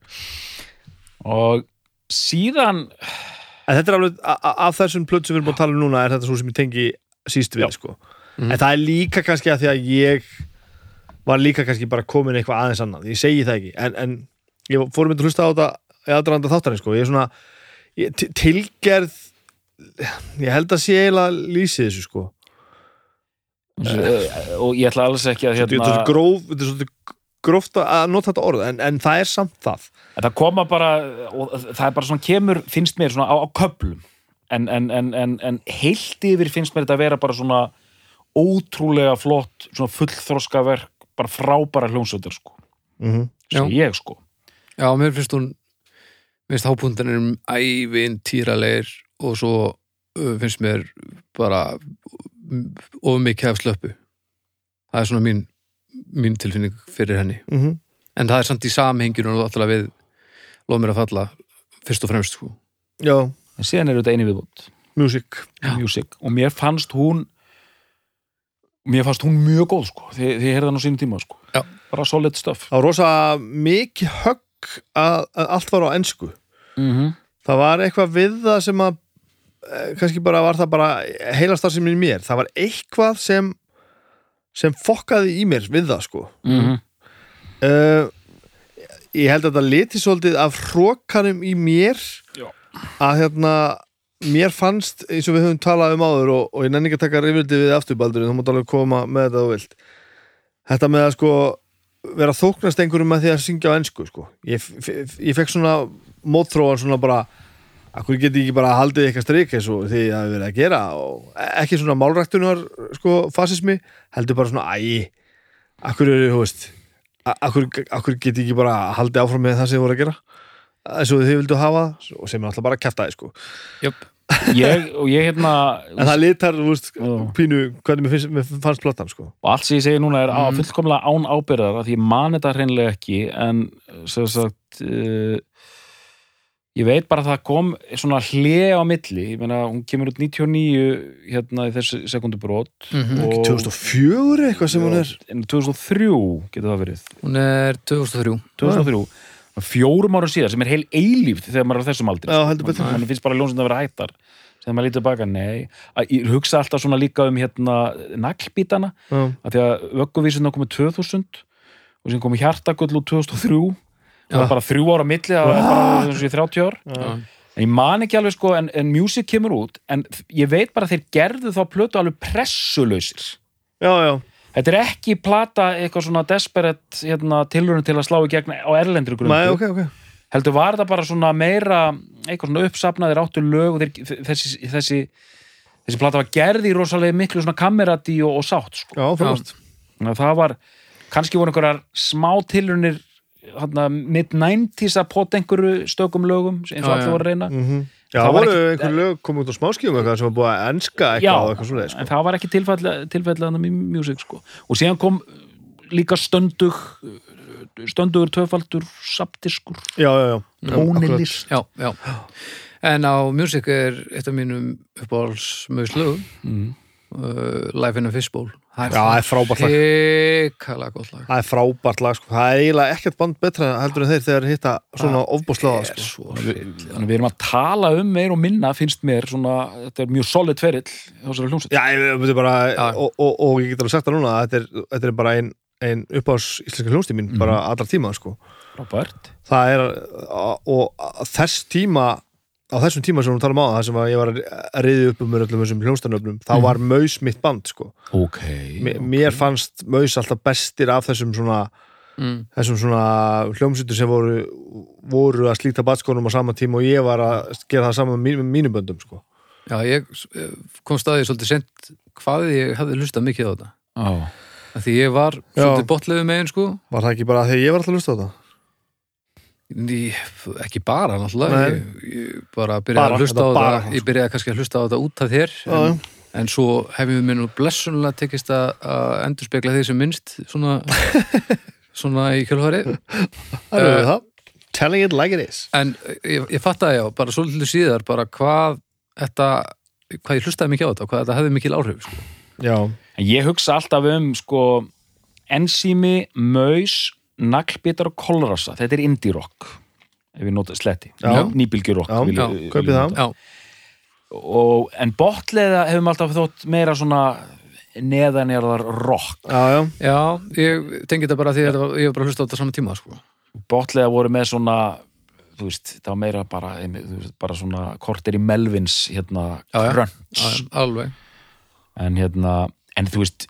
Speaker 2: og síðan
Speaker 3: [laughs] En þetta er alveg, a- a- af þessum plötu sem við erum búin að tala um núna er þetta svo sem ég tengi síst við,
Speaker 2: Já.
Speaker 3: sko En það er líka kannski að því að ég var líka kannski bara komin eitthvað aðeins annað Ég segi það ekki, en, en ég fórum myndi að hlusta á þetta í aðdraðanda þáttarinn, sko Ég er svona, ég, til- tilgerð Ég held að sé eiginlega lýsið þessu, sko
Speaker 2: Eh, og ég ætla alls ekki að
Speaker 3: Þetta er
Speaker 2: hérna,
Speaker 3: svolítið gróf, þetta er svolítið gróft að- að nota þetta orð, en, en það er samt það
Speaker 2: en það koma bara og það er bara svona kemur, finnst mér svona á, á köplum en, en, en, en, en heilt yfir finnst mér þetta að vera bara svona ótrúlega flott svona fullþroskaverk, bara frábæra hljómsveitir sko,
Speaker 3: mm
Speaker 2: sem ég sko
Speaker 1: Já, mér finnst hún mér finnst hápundanir um ævinn týralegir og svo uh, finnst mér bara of mikið af slöppu það er svona mín, mín tilfinning fyrir henni,
Speaker 3: -hmm.
Speaker 1: en það er samt í samhenginu og alltaf við lof mér að falla fyrst og fremst sko.
Speaker 3: Já,
Speaker 2: en síðan er þetta eini viðbútt
Speaker 3: music
Speaker 1: Já.
Speaker 2: music, og mér fannst hún mér fannst hún mjög góð sko, því, því ég heyrði hann á sínum tíma sko
Speaker 1: Já.
Speaker 2: bara solid stuff
Speaker 3: Það var rosa mikið högg að, að allt var á ensku
Speaker 2: mm
Speaker 3: Það var eitthvað við það sem að eh, kannski bara var það bara heilastar sem í mér, það var eitthvað sem sem fokkaði í mér við það sko uh, ég held að þetta liti svolítið af hrókanum í mér
Speaker 2: Já.
Speaker 3: að hérna mér fannst, eins og við höfum talað um áður og, og ég nenni ekki að taka rifrildi við afturbaldur þú mátt alveg koma með þetta og vilt þetta með að sko vera að þóknast einhverjum með því að syngja á ensku sko. ég, f- f- ég fekk svona mótþróan svona bara akkur geti ekki bara haldið eitthvað streik eins og því að við verið að gera og e- ekki svona málræktunar sko fasismi heldur bara svona æ akkur eru, þú veist a- akkur, akkur geti ekki bara haldið áfram með það sem þið voru að gera eins og þið vildu hafa það, og sem er alltaf bara að kæfta þið sko
Speaker 1: Jöp.
Speaker 2: ég, og ég hérna
Speaker 3: en það litar, þú veist,
Speaker 2: Já.
Speaker 3: pínu hvernig mér, finnst, mér fannst platan sko
Speaker 2: og allt sem ég segi núna er
Speaker 1: Mm.
Speaker 2: mm. fullkomlega án ábyrðar af því ég man þetta hreinlega ekki en sem sagt uh, ég veit bara að það kom svona hlið á milli ég meina hún kemur út 99 hérna í þessu sekundubrót
Speaker 1: Mhm.
Speaker 2: og
Speaker 3: 2004 eitthvað sem hún er
Speaker 2: en 2003 getur það verið
Speaker 1: Hún er 2003
Speaker 2: 2003 fjórum árum síðar sem er heil eilíft þegar maður er á þessum aldri
Speaker 3: Já, heldur betur.
Speaker 2: mann finnst bara ljónsinn að vera hættar þegar maður lítur baka, nei Að- ég hugsa alltaf svona líka um hérna naglbítana
Speaker 3: Já.
Speaker 2: að því að vögguvísuna komið 2000 og sem komið hjartagull úr 2003 það var bara þrjú ára milli það var bara eins og ég 30 ár
Speaker 3: Já.
Speaker 2: en ég man ekki alveg sko en, en music kemur út en ég veit bara að þeir gerðu þá plötu alveg pressulausir
Speaker 3: já, já,
Speaker 2: þetta er ekki plata eitthvað svona desperate hérna, tilrunum til að slá í gegn á erlendri grundu
Speaker 3: Nei, ok, ok
Speaker 2: heldur var það bara svona meira eitthvað svona uppsafnaðir áttu lög og þeir, þessi, þessi þessi plata var gerð í rosalega miklu svona kamerati og, og sátt sko
Speaker 3: já, fyrst
Speaker 2: Þannig að það var, kannski voru einhverjar smá tilrunir mid-90s að pota einhverju stökum lögum eins og
Speaker 1: Já,
Speaker 2: allir
Speaker 1: já.
Speaker 2: voru að reyna
Speaker 3: Mhm. Já,
Speaker 2: Það
Speaker 3: það
Speaker 2: var
Speaker 3: voru
Speaker 2: ekki-
Speaker 3: einhver lög komið út á smáskífum eitthvað sem var búið að enska
Speaker 2: Já,
Speaker 3: eitthvað og eitthvað svoleiðis
Speaker 2: en
Speaker 3: sko.
Speaker 2: það var ekki tilfæðlega í music sko. og síðan kom uh, líka stöndug uh, stöndugur töfaldur saptiskur,
Speaker 3: Já, já, já
Speaker 2: tónilist
Speaker 1: já, já. En á Music er eitt af mínum uppáhalsmauðslögum
Speaker 2: Mm.
Speaker 1: uh, Life in a Fishbowl Það
Speaker 3: Já, það er frábært lag
Speaker 1: Hikalega gott lag
Speaker 3: Það er frábært lag, sko Það er eiginlega ekkert band betra heldur en þeir þegar þeir hitta svona ofbúslega,
Speaker 1: er
Speaker 3: sko
Speaker 1: svo
Speaker 2: Þannig að við erum að tala um meir og minna finnst mér svona, þetta er mjög solid ferill þessari hljómsveit
Speaker 3: Já, ég ég veit bara
Speaker 1: Já.
Speaker 3: og, og, og ég get alveg sagt það núna að þetta er, þetta er bara ein, ein uppáhás íslenska hljónstí mín bara allra tíma, sko
Speaker 2: Robert,
Speaker 3: það er og þess tíma á þessum tíma sem við talum á það sem að ég var að riði upp um mér öllum þessum hljónstanöfnum þá var Maus mitt band sko
Speaker 2: ok
Speaker 3: M mér fannst Maus alltaf bestir af þessum svona
Speaker 1: mm.
Speaker 3: þessum svona hljómsutur sem voru voru að slíta batskónum á sama tíma og ég var að gera það saman með mín- mínum böndum sko
Speaker 1: Já, ég eh, kom staðið svolítið sent hvað ég hafði hlustað mikið á þetta
Speaker 2: Já.
Speaker 1: Af Því ég var
Speaker 3: Já.
Speaker 1: svolítið botleðu megin sko
Speaker 3: var það ekki bara þegar ég var alltaf að lusta á þetta
Speaker 1: Ný, ekki bara náttúrulega
Speaker 3: Nei.
Speaker 1: ég, ég bara byrjaði
Speaker 3: Bara,
Speaker 1: að hlusta á
Speaker 3: þetta bara,
Speaker 1: þetta ég byrjaði kannski að hlusta á þetta út af þér
Speaker 3: Já,
Speaker 1: en, en svo hefum við minn og blessunlega tekist að, að endurspegla því sem minnst [laughs] svona, svona í kjölfari
Speaker 3: það eru það uh, telling it like it is
Speaker 1: en ég, ég fatt að já, bara svolítið síðar bara hvað þetta hvað ég hlustaði mikið á þetta, hvað þetta hefði mikil áhrif sko.
Speaker 3: já,
Speaker 2: En ég hugsa alltaf um sko ensími, maus, naglbitar og kolrasa. Þetta er indie rock ef ég nota sletti.
Speaker 3: Já.
Speaker 2: Nýbylgjur rock.
Speaker 3: Já,
Speaker 1: já,
Speaker 3: kaupið það.
Speaker 1: já,
Speaker 2: Og, en botleða hefum alltaf þótt meira svona neðanjarðar rock.
Speaker 3: já, já,
Speaker 1: já, ég tengi þetta bara því að þetta var- ég var bara að hlusta á þetta saman tíma sko.
Speaker 2: Botleða voru með svona þú veist, það var meira bara, einmi- þú veist, bara svona kortir í Melvins hérna
Speaker 1: Já, já.
Speaker 2: crunch.
Speaker 1: Al- alveg
Speaker 2: en hérna, en þú veist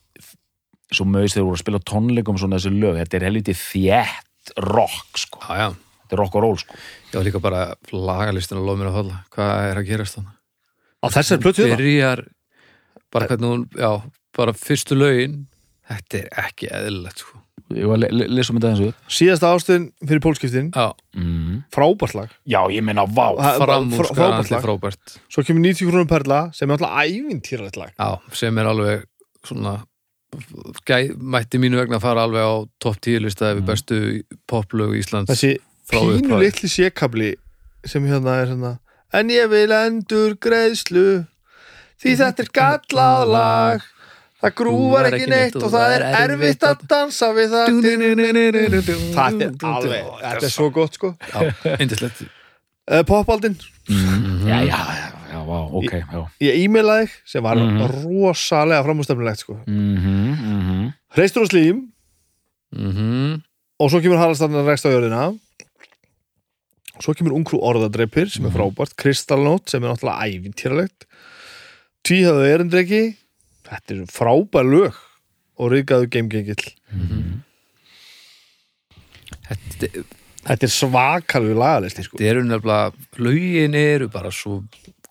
Speaker 2: svo maus þeir voru að spila á tónleikum svona þessi lög, þetta er helviti þjætt rock sko,
Speaker 1: já, já.
Speaker 2: þetta er rock og roll sko
Speaker 1: ég var líka bara lagalistin að lofa mér að holla hvað er að gerast þannig
Speaker 3: á þessar plötu hérna
Speaker 1: byrjar bara hvernig hún, já, bara fyrstu lögin þetta er ekki eðlilegt sko.
Speaker 2: ég var að lesa um þetta eins og
Speaker 3: síðasta ástun fyrir pólskiptin
Speaker 1: já,
Speaker 2: mm.
Speaker 3: frábært lag
Speaker 2: já, ég meina, vá
Speaker 3: Það er bara frá- frábært
Speaker 1: framúrskarandi
Speaker 3: lag.
Speaker 1: frábært
Speaker 3: svo kemur 90 krónum perla sem er alltaf ævintýralegt lag
Speaker 1: já, sem er alveg svona gæ, mætti mínu vegna að fara alveg á topp 10 lista yfir bestu poplög Íslands
Speaker 3: Mhm. þessi
Speaker 1: Frá
Speaker 3: pínu
Speaker 1: upphafi.
Speaker 3: litli sékabli sem hérna er hérna en ég vil endur greiðslu því þetta er gallað lag það grúvar ekki neitt og það er erfitt að dansa við það það er alveg, þetta er svo gott sko
Speaker 1: já, indislegt
Speaker 3: Eh, Popaldin,
Speaker 2: já, já, já, já, vá, ok já.
Speaker 3: ég e-mailaði þig sem var
Speaker 2: Mhm.
Speaker 3: rosalega framústemnilegt sko
Speaker 2: Mm -hmm, mm -hmm.
Speaker 3: hreistur og slím
Speaker 1: mhm,
Speaker 3: og svo kemur Haraldstarnar rekst á jörðina svo kemur ungfrú orðadreipir sem
Speaker 1: Mhm.
Speaker 3: er frábært, kristallnót sem er náttúrulega ævintýralegt tvíhæðu erindreki þetta er frábær lög og ríkaðu geimgengill
Speaker 1: þetta,
Speaker 3: þetta er svakalegu lagalisti sko.
Speaker 1: þetta eru nefnilega, lögin eru bara svo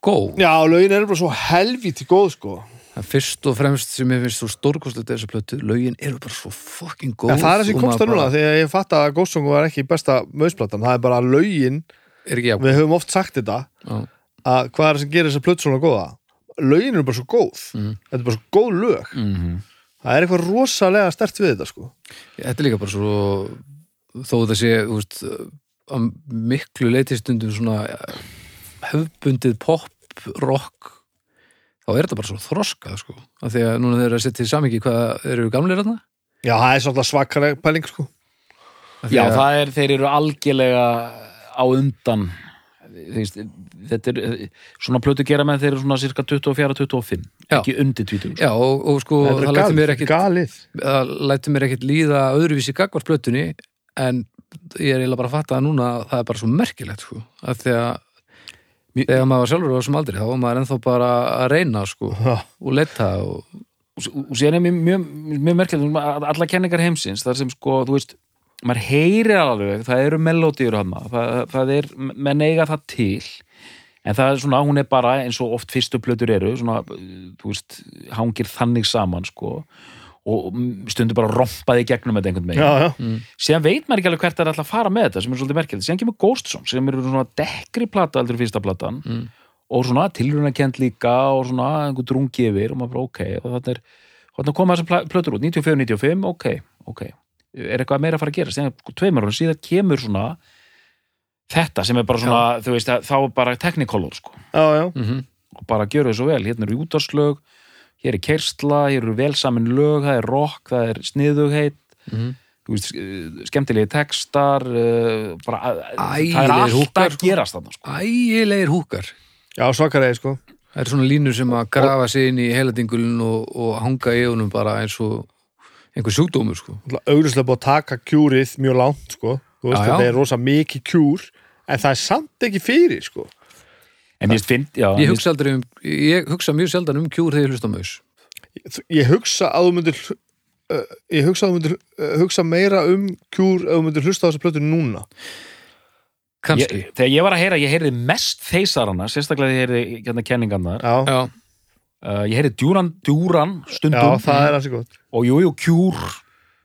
Speaker 1: góð
Speaker 3: já, lögin er bara svo helvíti góð sko.
Speaker 1: Það fyrst og fremst sem ég finnst svo stórkostlegt þessu plötu, lögin eru bara svo fucking góð
Speaker 3: en það er þessi
Speaker 1: og
Speaker 3: komst
Speaker 1: maður
Speaker 3: það núna
Speaker 1: um bara-
Speaker 3: þegar ég fatt að Góðsung var ekki besta möðsplatan, það er bara lögin
Speaker 1: er ekki jafn
Speaker 3: við höfum oft sagt þetta
Speaker 1: Já.
Speaker 3: að hvað er það sem gerir þessa plötu svona góða lögin eru bara svo góð
Speaker 1: Mhm.
Speaker 3: þetta er bara svo góð lög
Speaker 2: Mm-hmm.
Speaker 3: það er eitthvað rosalega stert við þetta sko.
Speaker 1: Þetta er líka bara svo þó það sé, þú veist að miklu leitistundum svona eh, hefbundið pop, rock þá er þetta bara svo þroskað sko, af því að núna þeir eru að setja í samingi hvað eru gamlir þarna
Speaker 3: já, það er svolítið svakalega pæling sko.
Speaker 1: Af því
Speaker 2: Já,
Speaker 1: að-
Speaker 2: það er, þeir eru algjörlega á undan Þú veist, þetta er svona plötu gera með þeir eru svona cirka 24-25
Speaker 1: Já.
Speaker 2: ekki undir 20
Speaker 1: Já, og, og sko,
Speaker 3: Þetta er
Speaker 1: það lætur
Speaker 3: galið,
Speaker 1: mér ekkit
Speaker 3: galið.
Speaker 1: það lætur mér ekkit líða öðruvísi gagvart plötunni, en ég er eiginlega bara að fatta að núna að það er bara svo merkilegt sko, af því að
Speaker 2: Mér-
Speaker 1: þegar maður var sjálfur á þessum aldri, þá var maður ennþá bara að reyna sko,
Speaker 3: Já.
Speaker 1: og leta og
Speaker 2: og, og sér er mér mjög, mjög merkilegt að allar kenningar heimsins þar sem sko, þú veist maður heyrir alveg, það eru melodíur hann það, það er, menn eiga það til en það er svona, hún er bara eins og oft fyrstu plötur eru svona, uh, þú veist, hangir þannig saman sko, og mm, stundum bara rompaði gegnum þetta einhvern veginn
Speaker 3: já, já.
Speaker 1: Mm.
Speaker 2: síðan veit maður ekki alveg hvert það er alltaf að fara með þetta sem er svolítið merkilegt, síðan kemur Ghost Song sem eru svona dekkri plata heldur en fyrsta platan
Speaker 1: Mm.
Speaker 2: og svona tilrunarkend líka og svona einhver drungi yfir og maður bara ok og þannig er, þannig koma þessar pla- plötur út 94-95, ok, ok er eitthvað meira að fara að gera, síðan sko, tveimur árum síðan kemur svona þetta sem er bara svona, þú veist, þá er bara teknikolor sko
Speaker 3: já, já.
Speaker 1: mm
Speaker 2: og bara gjöru þið svo vel, hérna eru jútarslög hér er kersla, hér eru velsamin lög það er rock, það er sniðugheit
Speaker 1: Mhm.
Speaker 2: þú veist, eh, skemmtilegi textar eh, bara,
Speaker 1: Ægilegir
Speaker 2: það er alltaf
Speaker 1: húkkar,
Speaker 2: að
Speaker 1: sko.
Speaker 2: gerast þarna sko.
Speaker 1: ægilegir húkar
Speaker 3: já svakalega sko.
Speaker 1: það eru svona línur sem að grafa sig inn í heiladingulun og, og hanga í honum bara eins og einhver sjúkdómur sko.
Speaker 3: auglislega búið að taka kjúrið mjög langt sko. Þú veist,
Speaker 1: Já, já.
Speaker 3: þetta er rosa mikið kjúr en það er samt ekki fyrir sko.
Speaker 2: en ég finn, já,
Speaker 1: ég,
Speaker 2: mér-
Speaker 1: hugsa aldrei um, ég hugsa mjög sjaldan um kjúr þegar ég hlusta á maus
Speaker 3: Þú- ég hugsa að þú myndir hl- uh, ég hugsa að þú myndir uh, hugsa meira um kjúr ef þú myndir hlusta á þessa plötu núna
Speaker 1: kannski
Speaker 2: ég, þegar ég var að heyra, ég heyrði mest þeysarana, sérstaklega þegar ég heyrði hérna kenningarnar,
Speaker 3: já, já,
Speaker 1: Já,
Speaker 2: uh, ég heyrði djúran, djúran stundum
Speaker 3: það er hansi gott
Speaker 2: og jújú, jú, kjúr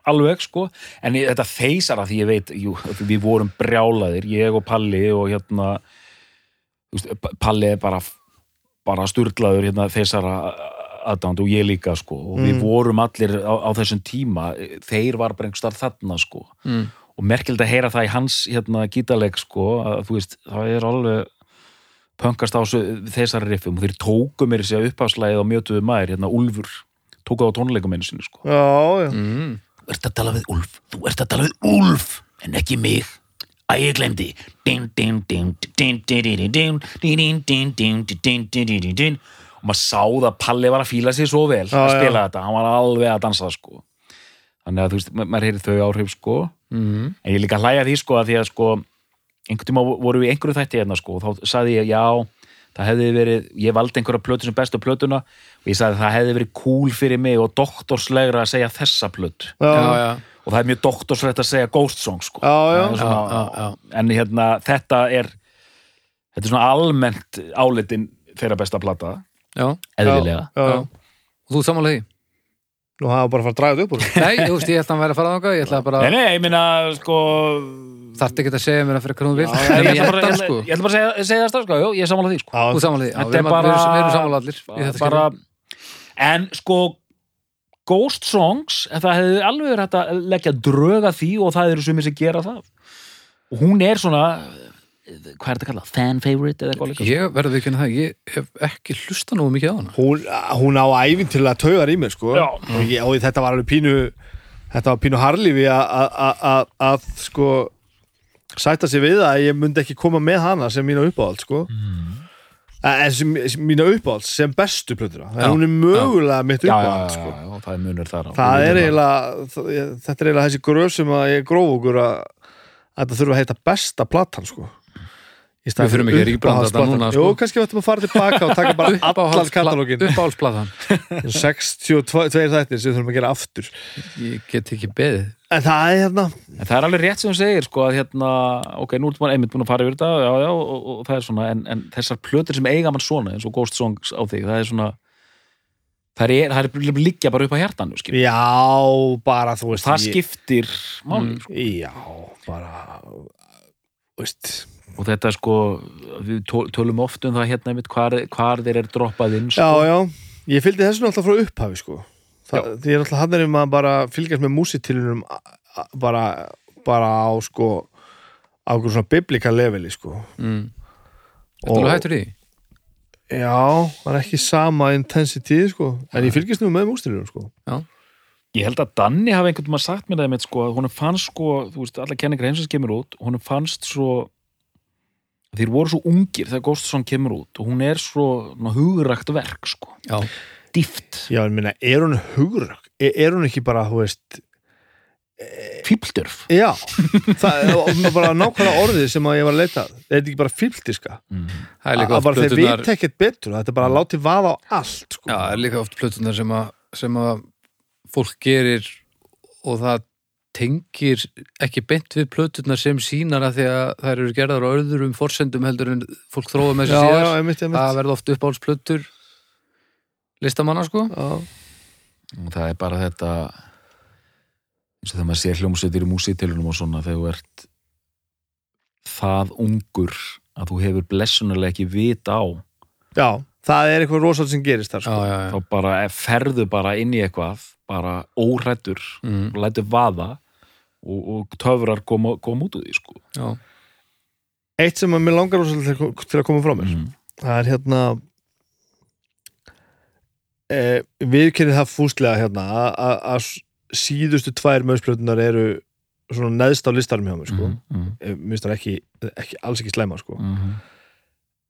Speaker 2: alveg sko, en ég, þetta feysar að því ég veit, jú, við vorum brjálaðir ég og Palli og hérna þú veist, P- Palli er bara bara sturglaður hérna feysara aðdánd og ég líka sko og við
Speaker 3: Mm.
Speaker 2: vorum allir á, á þessum tíma þeir var bara einhverstaðar þarna sko
Speaker 1: mm.
Speaker 2: og merkild að heyra það í hans hérna gítaleg sko, að þú veist, það er alveg pönkast á þessu- þessari riffum og þeir tóku mér þessi uppafslæðið á mjötuðu maður, hérna Úlfur tóku það á tónleikum einu sinni sko
Speaker 3: já, já,
Speaker 1: Mm.
Speaker 2: Þú ert að tala við Úlf, þú ert að tala við Úlf en ekki mig Æ, ég glemdi og maður sá það að Palli var að fíla sig svo vel að
Speaker 3: já.
Speaker 2: spila þetta, hann var alveg að dansa sko þannig að þú veist, ma- maður heyri þau áhrif sko
Speaker 3: Mhm.
Speaker 1: Mm.
Speaker 2: en ég er líka að hlæja að því sko að því að sko einhvern tíma voru við í einhverju þætti hérna sko og þá sagði ég já það hefði verið, ég valdi einhverja plötu sem bestu plötuna og ég sagði það hefði verið cool fyrir mig og doktorslegra að segja þessa plötu
Speaker 3: já,
Speaker 1: já,
Speaker 3: já.
Speaker 1: já.
Speaker 2: og það er mjög doktorsrætt að segja ghost song sko.
Speaker 3: Já, já.
Speaker 2: Það er svona,
Speaker 1: Já, já,
Speaker 2: en hérna þetta er þetta er svona almennt álitin þeirra besta plata,
Speaker 1: já.
Speaker 2: eðlilega
Speaker 3: já, já.
Speaker 1: og
Speaker 2: [laughs]
Speaker 1: þú sammálaði?
Speaker 3: nú hafa bara að fara að draga þetta upp úr
Speaker 1: Nei, ég, veist, ég ætla að vera að fara þangað ég ætla bara,
Speaker 2: nei, nei, ég meina sko
Speaker 1: þarf ekki að segja mér að fyrir hvað hún vil
Speaker 2: já, ég,
Speaker 1: Nei,
Speaker 2: ætla bara,
Speaker 1: þetta,
Speaker 2: ég,
Speaker 1: sko.
Speaker 2: ætla- ég ætla bara að segja, segja það strax sko, jú, ég er sammála því sko.
Speaker 1: Þú
Speaker 3: já,
Speaker 1: sammálaði, já,
Speaker 2: Þetta
Speaker 1: við erum,
Speaker 2: er
Speaker 1: bara,
Speaker 2: bara-
Speaker 1: við erum, við erum sammála allir í þetta
Speaker 2: bara,
Speaker 1: skilur.
Speaker 2: en sko ghost songs, það hefði alveg verið hægt að leggja dröga því og það eru sumir sem gera það og hún er svona hvað er þetta kallað, fan favorite eða eitthvað líka
Speaker 1: Ég verður við kynna það, ég hef ekki hlusta nú mikið á hana
Speaker 3: hún, hún á ævinn til að taugar í mér sko.
Speaker 2: Já.
Speaker 3: og, ég, og þetta var alveg pínu þetta var pínu harlífi að- að- að að- að sko sætta sér við að ég myndi ekki koma með hana sem mína uppáhald sko.
Speaker 2: Mm.
Speaker 3: Eh, en sem, sem mína uppáhald sem bestu plötuna,
Speaker 1: Já.
Speaker 3: en hún er mögulega mitt
Speaker 2: já, já, já,
Speaker 3: uppáhald sko.
Speaker 2: já, já, það er munur þar á.
Speaker 3: það er
Speaker 2: Munur þar á.
Speaker 3: eiginlega það- ég- þetta er eiginlega þessi gröf sem að ég gróf okkur að að þetta þurfa að heita besta platan sko. Í staðinn
Speaker 1: Við þurfum ekki að ríkbranda þetta
Speaker 3: uppáhaldsplatan.
Speaker 1: núna, sko.
Speaker 3: Jú, kannski við ættum að fara tilbaka og taka
Speaker 1: [laughs]
Speaker 3: bara allan katalógin
Speaker 1: uppáhalsplatan
Speaker 3: 62 þættir sem við þurfum að gera aftur
Speaker 1: ég get ekki beðið
Speaker 3: En það er hérna
Speaker 2: En það er alveg rétt sem þú segir, sko, að hérna, ok, nú ertu maður einmitt búin að fara yfir þetta, já, já, og, og það er svona, en, en þessar plötur sem eiga mann svona, eins og Ghost Songs á þig, það er svona, það er, það er líkja bara upp á hjartanu, skil.
Speaker 3: Já, bara þú veist
Speaker 2: það
Speaker 3: ég-
Speaker 2: skiptir máli,
Speaker 1: Mm.
Speaker 2: sko.
Speaker 3: Já, bara þú veist,
Speaker 2: Og þetta, sko, við tó- tölum oft um það hérna einmitt, hvar, hvar þeir eru droppað inn,
Speaker 3: Já,
Speaker 2: sko.
Speaker 3: já, ég fylgdi þessu náttúrulega frá upphafi sko. Þa, Því er náttúrulega hann er um að bara fylgjast með músitilunum bara, bara á sko á einhverjum svona biblika leveli sko.
Speaker 1: mm. Þetta er alveg hættur í því?
Speaker 3: Já, það er ekki sama intensity sko. en ég fylgjast nú með músitilunum sko.
Speaker 2: Ég held að Danni hafi einhvern veginn sagt mér það einmitt, sko, að hún fannst, sko, þú veist, alla kenningar eins og kemur út, hún fannst svo, þeir voru svo ungir þegar Ghost Song kemur út og hún er svo ná, hugrakt verk, sko.
Speaker 1: Já.
Speaker 2: dýft,
Speaker 3: Já, en minna, er hún hugrökk? Er, er hún ekki bara, þú veist
Speaker 2: fíbldörf
Speaker 1: [laughs]
Speaker 3: Já, það er bara nákvæmlega orðið sem að ég var að leita að. Er þetta ekki bara fylgdiska?
Speaker 2: Mm-hmm.
Speaker 1: það er
Speaker 3: Að
Speaker 1: líka
Speaker 3: að
Speaker 1: oft
Speaker 3: bara þeir
Speaker 1: plötunar
Speaker 3: veit ekkert betur þetta er bara að láti vaða á allt sko.
Speaker 1: já, það er líka oft plötunar sem að, sem að fólk gerir og það tengir ekki beint við plötunar sem sínar að því að þær eru gerðar á öðrum forsendum heldur en fólk þróa með
Speaker 3: já,
Speaker 1: sér
Speaker 3: já,
Speaker 1: síðar
Speaker 3: einmitt,
Speaker 1: það
Speaker 3: einmitt
Speaker 1: verða oft uppáhaldsplötur listamanna sko
Speaker 3: Já.
Speaker 2: og það er bara þetta eins og þegar maður sér hljómsveitir í músitilunum og svona þegar þú ert það ungur að þú hefur blessunarlega ekki vit á
Speaker 3: já, það er eitthvað rosalt sem gerist þar
Speaker 1: já,
Speaker 3: sko.
Speaker 1: já, já.
Speaker 2: þá bara ferðu bara inn í eitthvað bara órættur
Speaker 1: Mm,
Speaker 2: og lætur vaða og, og töfrar koma, koma út úr því sko
Speaker 1: já.
Speaker 3: eitt sem að mér langar rosalt til, til að koma frá mér
Speaker 2: mm.
Speaker 3: það er hérna e, við kynni það fúslega hérna að- að að síðustu tvær möðsplötunar eru svona neðst á listarum hjá mér sko. mm.
Speaker 2: mm,
Speaker 3: mér finnst það ekki, ekki, alls ekki slæma sko.
Speaker 2: mm.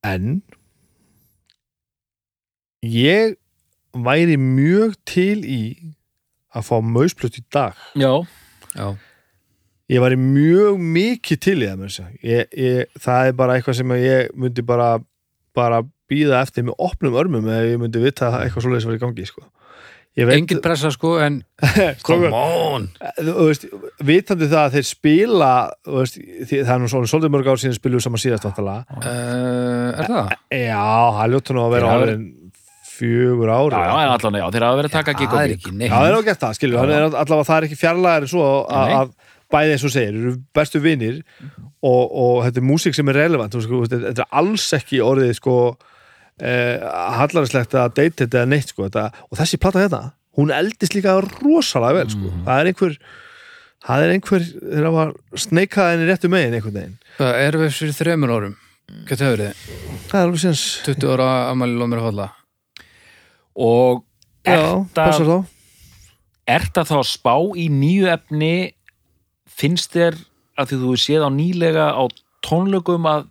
Speaker 3: en ég væri mjög til í að fá mausplöt í dag
Speaker 2: já,
Speaker 1: já.
Speaker 3: ég væri mjög mikið til í það með þess ég, ég, það er bara eitthvað sem að ég myndi bara, bara býða eftir með opnum örmum eða ég myndi vita að eitthvað svoleiðis var í gangi sko. ég veit
Speaker 1: engin pressa sko en
Speaker 3: Strákar,
Speaker 1: on
Speaker 3: þú veist, vitandi það að þeir spila þú veist, því- það er nú svolítið svolítið mörg ár síðan spilum við saman síðast vantala
Speaker 1: uh, er það?
Speaker 3: já, það ljóttu nú að
Speaker 2: Já,
Speaker 3: vera
Speaker 2: það er-
Speaker 3: áður en fjögur
Speaker 2: já,
Speaker 3: ári
Speaker 2: já, en allan já, þeir hafa verið að taka gig og
Speaker 1: það er
Speaker 2: gig.
Speaker 1: ekki
Speaker 3: Já, það er
Speaker 1: neitt
Speaker 3: á gert það, skilur,
Speaker 2: Já,
Speaker 3: hann
Speaker 2: já.
Speaker 3: er allavega það er ekki fjarlæðar en svo að,
Speaker 2: Nei.
Speaker 3: að bæði eins og þú segir, eru bestu vinir og, og þetta er músík sem er relevant þú veist, sko, þetta þetta er alls ekki orðið sko eh, hallarislegt að deyta þetta eða neitt sko þetta, og þessi plata þetta, hún eldist líka rosalega vel sko,
Speaker 2: Mm.
Speaker 3: það er einhver það er einhver, þegar var sneikað henni réttu megin einhvern veginn
Speaker 1: það er við fyrir þremur árum hvað það verið?
Speaker 3: það er alveg séns,
Speaker 1: 20 ára amæli lómir að falla
Speaker 2: og
Speaker 3: já,
Speaker 2: þetta
Speaker 3: passar þá
Speaker 2: Er það þá að spá í nýju efni finnst þér að því þú hefur séð á nýlega á tónlökum að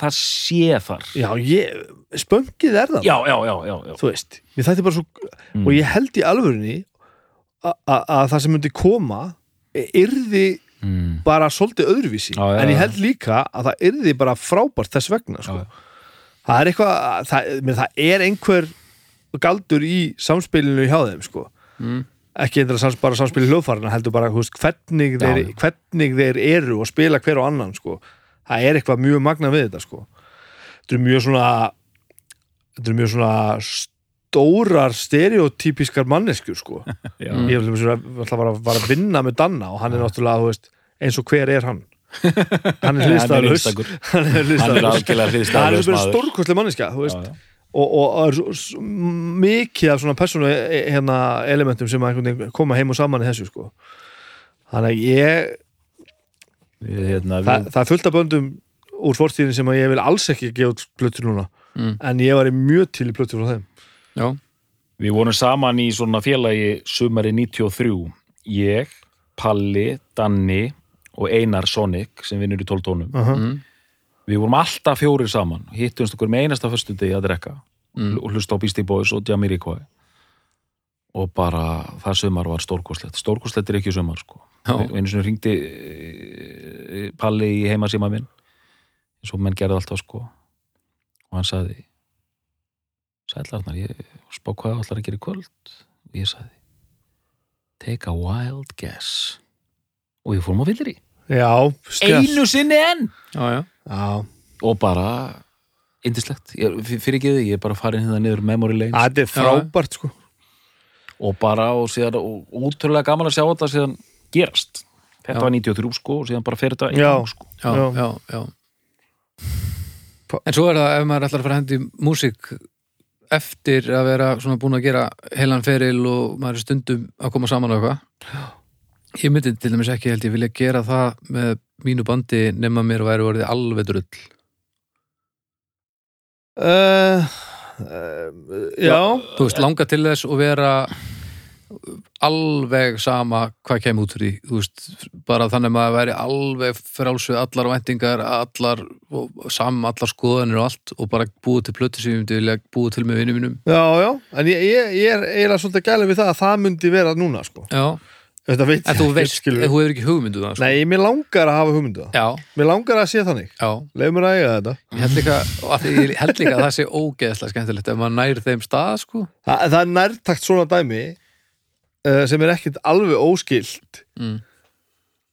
Speaker 2: það sé þar?
Speaker 3: já, ég, spöngið er það
Speaker 2: Já, já, já, já, já.
Speaker 3: þú veist, mér þætti bara svo
Speaker 2: Mm.
Speaker 3: og ég held í alvörunni a- a- að það sem myndi koma e- yrði
Speaker 2: Mm.
Speaker 3: bara svolítið öðruvísi,
Speaker 2: Já, já,
Speaker 3: en ég
Speaker 2: já.
Speaker 3: held líka að það yrði bara frábært þess vegna sko.
Speaker 2: Já,
Speaker 3: það er eitthvað það, mér, það er einhver galdur í samspilinu hjá þeim sko.
Speaker 1: Mm.
Speaker 3: ekki endur sams, bara samspilinu hljóðfarina heldur bara þú veist, hvernig,
Speaker 2: Já.
Speaker 3: þeir, hvernig þeir eru og spila hver og annan sko. það er eitthvað mjög magna við þetta sko. þetta er mjög svona þetta er mjög svona stórar stereotypískar manneskjur sko
Speaker 2: [laughs] já.
Speaker 1: Mm.
Speaker 3: ég ætla að- ætla bara var að vinna með Danna og hann er náttúrulega, þú veist, eins og hver er hann hann
Speaker 2: [laughs] Hann
Speaker 3: er
Speaker 2: er
Speaker 3: hlistaðlaus
Speaker 2: einstakur.
Speaker 3: [laughs] hann er
Speaker 2: Hann er
Speaker 3: hlistaðlaus
Speaker 2: algjörlega
Speaker 3: hann
Speaker 2: hliðstæðlaus
Speaker 3: er bara stórkostlega manneskja, þú veist og, og, og er svo, svo, mikið af svona persónu e- hérna, elementum sem að einhvern veginn koma heim og saman í þessu sko þannig að ég,
Speaker 2: Við, hérna, við,
Speaker 1: Mm.
Speaker 3: það, það er fullt af böndum úr fortíðin sem að ég vil alls ekki gefa út plötur núna,
Speaker 1: Mm.
Speaker 3: en ég var mjög til í plötur frá þeim
Speaker 1: já,
Speaker 2: við vorum saman í svona félagi sumari 93. Ég, Palli, Danni og Einar Sonic sem vinnur í 12 tónum.
Speaker 3: uh -huh.
Speaker 1: mm.
Speaker 2: Við vorum alltaf fjórir saman, hittumst okkur með einasta fyrstu degi að drekka
Speaker 1: Mm.
Speaker 2: og hlusta á Beastie Boys og Jamiroquai og bara það sumar var stórkoslegt stórkoslegt er ekki sumar sko
Speaker 1: Já.
Speaker 2: eh, og einu sinni ringdi Palli í heimasíma minn eins og menn gerði alltaf sko og hann sagði Sællarnar, ég spá hvað allar að gera í kvöld og ég sagði Take a wild guess og við fórum á villir í
Speaker 3: Já, stjæð
Speaker 2: einu sinni enn
Speaker 1: já, já.
Speaker 3: Já,
Speaker 2: og bara indislegt, fyrir ekki þið, ég er bara farin hérna niður memory lane
Speaker 3: þetta er frábært sko
Speaker 2: og bara og síðan og útrúlega gaman að sjá þetta síðan gerast þetta
Speaker 1: Já.
Speaker 2: var 93 sko og síðan bara fyrir þetta í
Speaker 3: Já.
Speaker 2: gang, sko.
Speaker 1: já,
Speaker 3: Já.
Speaker 1: já, já.
Speaker 3: Pa-
Speaker 1: En svo er það ef maður ætlar að fara að hendi músík eftir að vera svona búin að gera heilan feril og maður er stundum að koma saman á eitthvað ég myndi til dæmis ekki held ég vilja gera það með mínu bandi nema mér væri orðið alveg drull
Speaker 3: uh, uh, Já
Speaker 1: þú veist, langa til þess og vera alveg sama hvað kemur út úr því þú veist, bara þannig að maður væri alveg frálsuð allar væntingar allar, og sam, allar skoðanir og allt og bara búið til plötu sem ég myndi vilja búið til með vinnum mínum
Speaker 3: Já, já, en ég, ég, ég er eiginlega svolítið gælið við það að það myndi vera núna, sko.
Speaker 1: já,
Speaker 3: Þetta veit
Speaker 1: en þú veist,
Speaker 3: skilur við.
Speaker 1: þú hefur ekki hugmyndu það sko.
Speaker 3: Nei, mér langar að hafa hugmyndu það.
Speaker 1: já,
Speaker 3: Mér langar að sé þannig.
Speaker 1: já,
Speaker 3: Leif mér að eiga þetta.
Speaker 1: ég held líka og að því- ég held líka að það sé ógeðslega skemmtilegt ef maður nær þeim stað, sko
Speaker 3: Þa, það er nærtakt svona dæmi uh, sem er ekkit alveg óskilt
Speaker 1: Mm.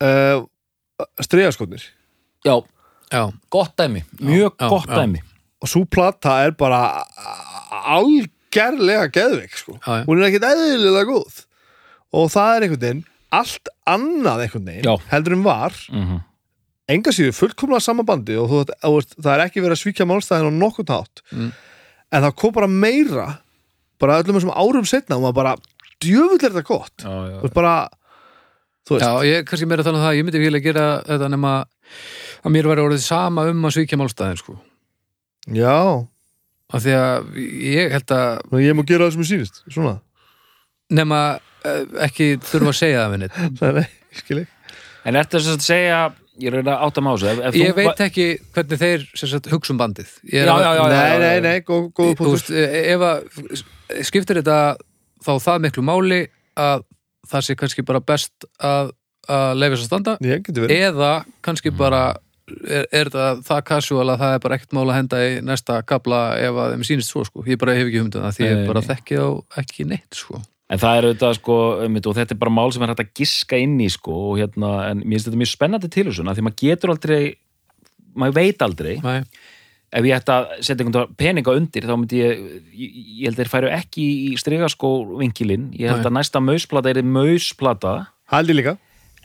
Speaker 3: uh, stregaskotnir.
Speaker 2: já,
Speaker 1: já,
Speaker 2: gott dæmi, mjög
Speaker 1: Já,
Speaker 2: gott
Speaker 1: já.
Speaker 2: dæmi
Speaker 3: Og svo plata er bara algerlega geðveik, sko.
Speaker 1: Já, já.
Speaker 3: Hún er ekkit eðlilega góð. Og það er einhvern veginn, allt annað einhvern veginn,
Speaker 2: Já.
Speaker 3: heldur en var,
Speaker 2: mm
Speaker 1: Mhm.
Speaker 3: enga síður fullkomlega sama bandi og þú, ert- þú, veist, það er ekki verið að svíkja málstæðin á nokkurn hátt
Speaker 1: Mm.
Speaker 3: en það kom bara meira bara öllum þessum árum setna og maður bara djöfull er þetta gott
Speaker 2: já, já.
Speaker 3: þú veist bara þú veist,
Speaker 1: já, ég er kannski meira að tala um það að ég myndi vilja gera þetta nema að mér væri orðið sama um að svíkja málstæðin, sko
Speaker 3: já, já.
Speaker 1: af því að ég held að
Speaker 3: Nú, ég má gera það sem ég sýnist svona,
Speaker 2: [laughs]
Speaker 1: nema eh, ekki þurfa að segja það minni
Speaker 3: það er nei, skil ég
Speaker 2: en ertu þess að segja ég reyna að átta másu [laughs] ef, ef
Speaker 1: ég
Speaker 2: þú
Speaker 1: veit
Speaker 2: va-
Speaker 1: ekki hvernig þeir sem sagt, hugsa um bandið Ég er
Speaker 2: Já,
Speaker 1: að-
Speaker 2: já, já, já.
Speaker 3: nei, nei, nei, góð, góð
Speaker 1: þú
Speaker 3: punktur
Speaker 1: veist, eh, ef að skiptir þetta þá það miklu máli að það sé kannski bara best að, að leifa þess að standa
Speaker 3: ég getur
Speaker 2: Eh-
Speaker 3: verið
Speaker 1: eða
Speaker 2: Mm.
Speaker 1: kannski bara er, er það, það casual að það er bara ekkert mál að henda í næsta kabla ef að þeim sýnist svo sko, ég bara hef ekki humdum það því
Speaker 2: Nei,
Speaker 1: ég bara
Speaker 2: nei.
Speaker 1: þekki þá ekki neitt sko
Speaker 2: en það er auðvitað sko einmitt, og þetta er bara mál sem er hægt að giska inn í sko og hérna, en mér finnst þetta mjög spennandi tilhugsun af því maður getur aldrei maður veit aldrei
Speaker 1: Nei.
Speaker 2: ef ég ætti að setja einhvern peninga undir þá myndi ég, ég, ég held þeir færu ekki í stregaskó vinkilinn ég held
Speaker 1: Nei.
Speaker 2: að næsta mausplata er mausplata
Speaker 3: hældi líka,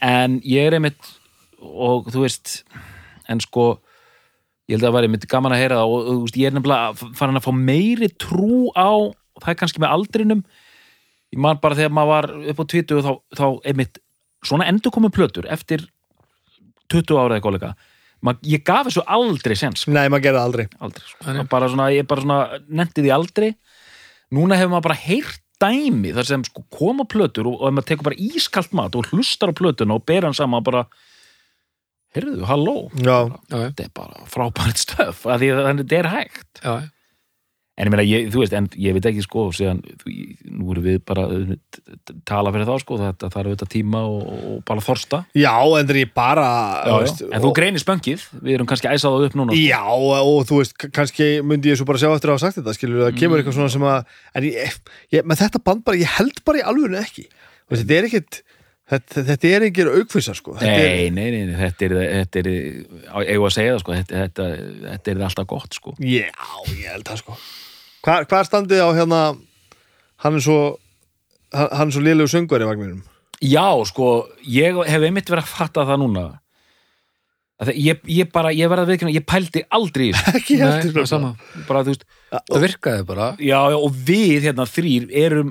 Speaker 2: en ég er einmitt og þú veist en sko, ég held að það væri einmitt gaman að heyra það og þú veist, ég er nefnilega farin að fá meiri trú á og það er kannski með aldrinum ég man bara þegar maður var upp á 20 þá, þá einmitt svona endur komum plötur eftir 20 ára eða kollega Ma, ég gaf þessu aldrei sens
Speaker 3: nei, maður gerði það aldrei
Speaker 2: aldrei sko.
Speaker 1: Nei, nei.
Speaker 2: Það bara svona, ég bara svona nefndi því aldrei núna hefur maður bara heyrt dæmi þar sem sko koma plötur og, og ef maður tekur bara ískalt mat og hlustar á plötuna og ber hann saman bara heyrðu, halló
Speaker 3: já,
Speaker 1: já,
Speaker 2: þetta er bara frábært stöf að því að þetta er hægt
Speaker 1: já, já,
Speaker 2: en ég meina, ég, þú veist, en ég veit ekki sko síðan, þú, ég- nú erum við bara uh, t- tala fyrir þá sko, þetta þarf auðvitað tíma og, og bara þorsta
Speaker 3: já, en það er ég bara þú veist,
Speaker 2: en þú
Speaker 3: og-
Speaker 2: greinir spöngið, við erum kannski æsað það upp núna sko.
Speaker 3: Já, og þú veist, k- kannski myndi ég svo bara sjá eftir að hafa sagt þetta, skilur, það
Speaker 2: Mm.
Speaker 3: kemur eitthvað svona sem að, en ég, eh, ég með þetta band bara, ég held bara í alvöru ekki Þú veist, þetta er ekkit, þetta, þetta er engir aukfísar, sko Þetta
Speaker 2: Nei,
Speaker 3: er-
Speaker 2: nei, nei, nei, þetta er, þetta er á- eigum að segja það sko, þetta, þetta, þetta er alltaf gott sko.
Speaker 3: Já, ég held það, sko Hva, Hvað er standið á hérna, hann er svo, hann hann er svo lélegu söngvar í vagninum [laughs]
Speaker 2: Já, sko, ég hef einmitt verið að fatta það núna að það, ég, ég bara, ég verið að viðkynna ég pældi aldrei í þessu.
Speaker 3: Ekki
Speaker 1: Nei,
Speaker 3: heldur
Speaker 1: það
Speaker 3: sko.
Speaker 1: er sama.
Speaker 2: [laughs] bara, þú veist,
Speaker 1: það virkaði bara
Speaker 2: já, já, og við hérna þrýr erum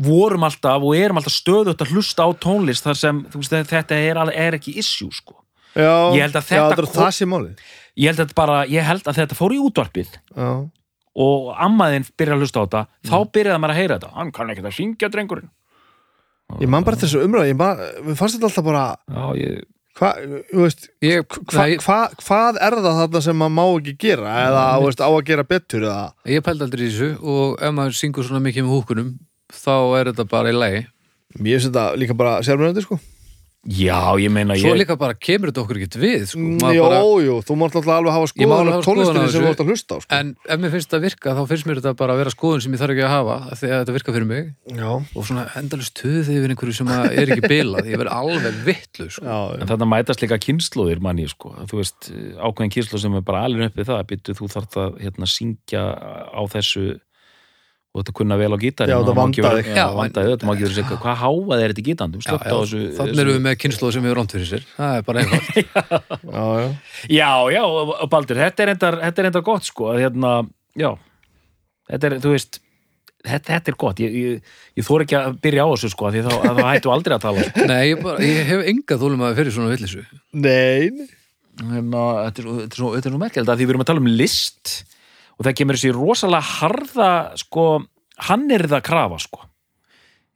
Speaker 2: vorum alltaf og erum alltaf stöðut að hlusta á tónlist þar sem, þú veist, þetta er, alveg- er ekki issue, sko.
Speaker 3: Já,
Speaker 2: Ég held að
Speaker 3: já,
Speaker 2: þetta
Speaker 3: þetta er
Speaker 2: kom-
Speaker 3: það sem málið
Speaker 2: Ég held að bara, ég held að þetta fór í útvarpið
Speaker 3: Já,
Speaker 2: og ammaðinn byrja að hlusta á þetta þá byrjaði maður að heyra þetta, hann kann ekki að syngja drengurinn
Speaker 3: ég man bara þessu umræð, ég man, við fannst þetta alltaf bara
Speaker 2: Já, ég,
Speaker 3: Hvað, þú veist,
Speaker 1: ég,
Speaker 3: hva,
Speaker 1: nei,
Speaker 3: hva, hvað er það þarna sem maður má ekki gera eða á, veist, á að gera betur eða,
Speaker 1: Ég pældi aldrei í þessu og ef maður syngur svona mikið með húkunum þá er þetta bara í lagi
Speaker 3: mér finnst þetta líka bara sérmjöndi sko
Speaker 2: Já, ég meina
Speaker 1: Svo
Speaker 2: ég
Speaker 1: líka bara kemur þetta okkur ekkert við sko. Maður
Speaker 3: Jó,
Speaker 1: bara,
Speaker 3: jú, þú mátt alltaf alveg hafa
Speaker 1: Ég má alveg hafa
Speaker 3: skoðan af Mm, tónlistinni
Speaker 1: skoðun á
Speaker 3: sem
Speaker 1: þessu.
Speaker 3: þú ert að hlusta á sko.
Speaker 1: En ef mér finnst þetta virka þá finnst mér þetta bara að vera skoðun sem ég þarf ekki að hafa af því að þetta virka fyrir mig
Speaker 3: Já,
Speaker 1: og svona endalist töð yfir einhverju sem að er ekki bilað ég verð alveg vittlu sko.
Speaker 3: já,
Speaker 2: En þarna mætast líka kynnslóðir manni, sko. Þú veist, eh, ákveðin kynnslóð sem er bara alveg uppið það, byttu þú þarf að hérna, syngja á þessu og þetta kunna vel á gítarinn.
Speaker 3: Já, þetta
Speaker 2: það má ekki
Speaker 3: vandaði.
Speaker 2: vera-
Speaker 1: Já,
Speaker 2: Já, vandaði, þetta má ekki verið segja, hvað háað er þetta í gítarinn? Þú
Speaker 1: Já,
Speaker 2: slökta
Speaker 1: já,
Speaker 2: á þessu.
Speaker 1: þannig erum við með kynnslóð sem hefur rámt fyrir sér það er bara
Speaker 3: [laughs]
Speaker 1: eitthvað
Speaker 3: já, já.
Speaker 2: Já, já, og- og Baldur, þetta er endar, þetta er endar gott, sko, að hérna, já, þetta er, þú veist, þetta, þetta er gott. Ég, ég, ég þór ekki að byrja á þessu, sko, af því þá, þá hættu aldrei að tala. sko.
Speaker 1: Nei, ég, bara, ég hef enga þólum að fyrir svona villisu
Speaker 3: Nei, nei.
Speaker 2: hérna, þetta er, svo- þetta er svo, þetta er svo merkjald að því við erum að tala um list og það kemur þessi rosalega harða sko, hann er það krafa sko.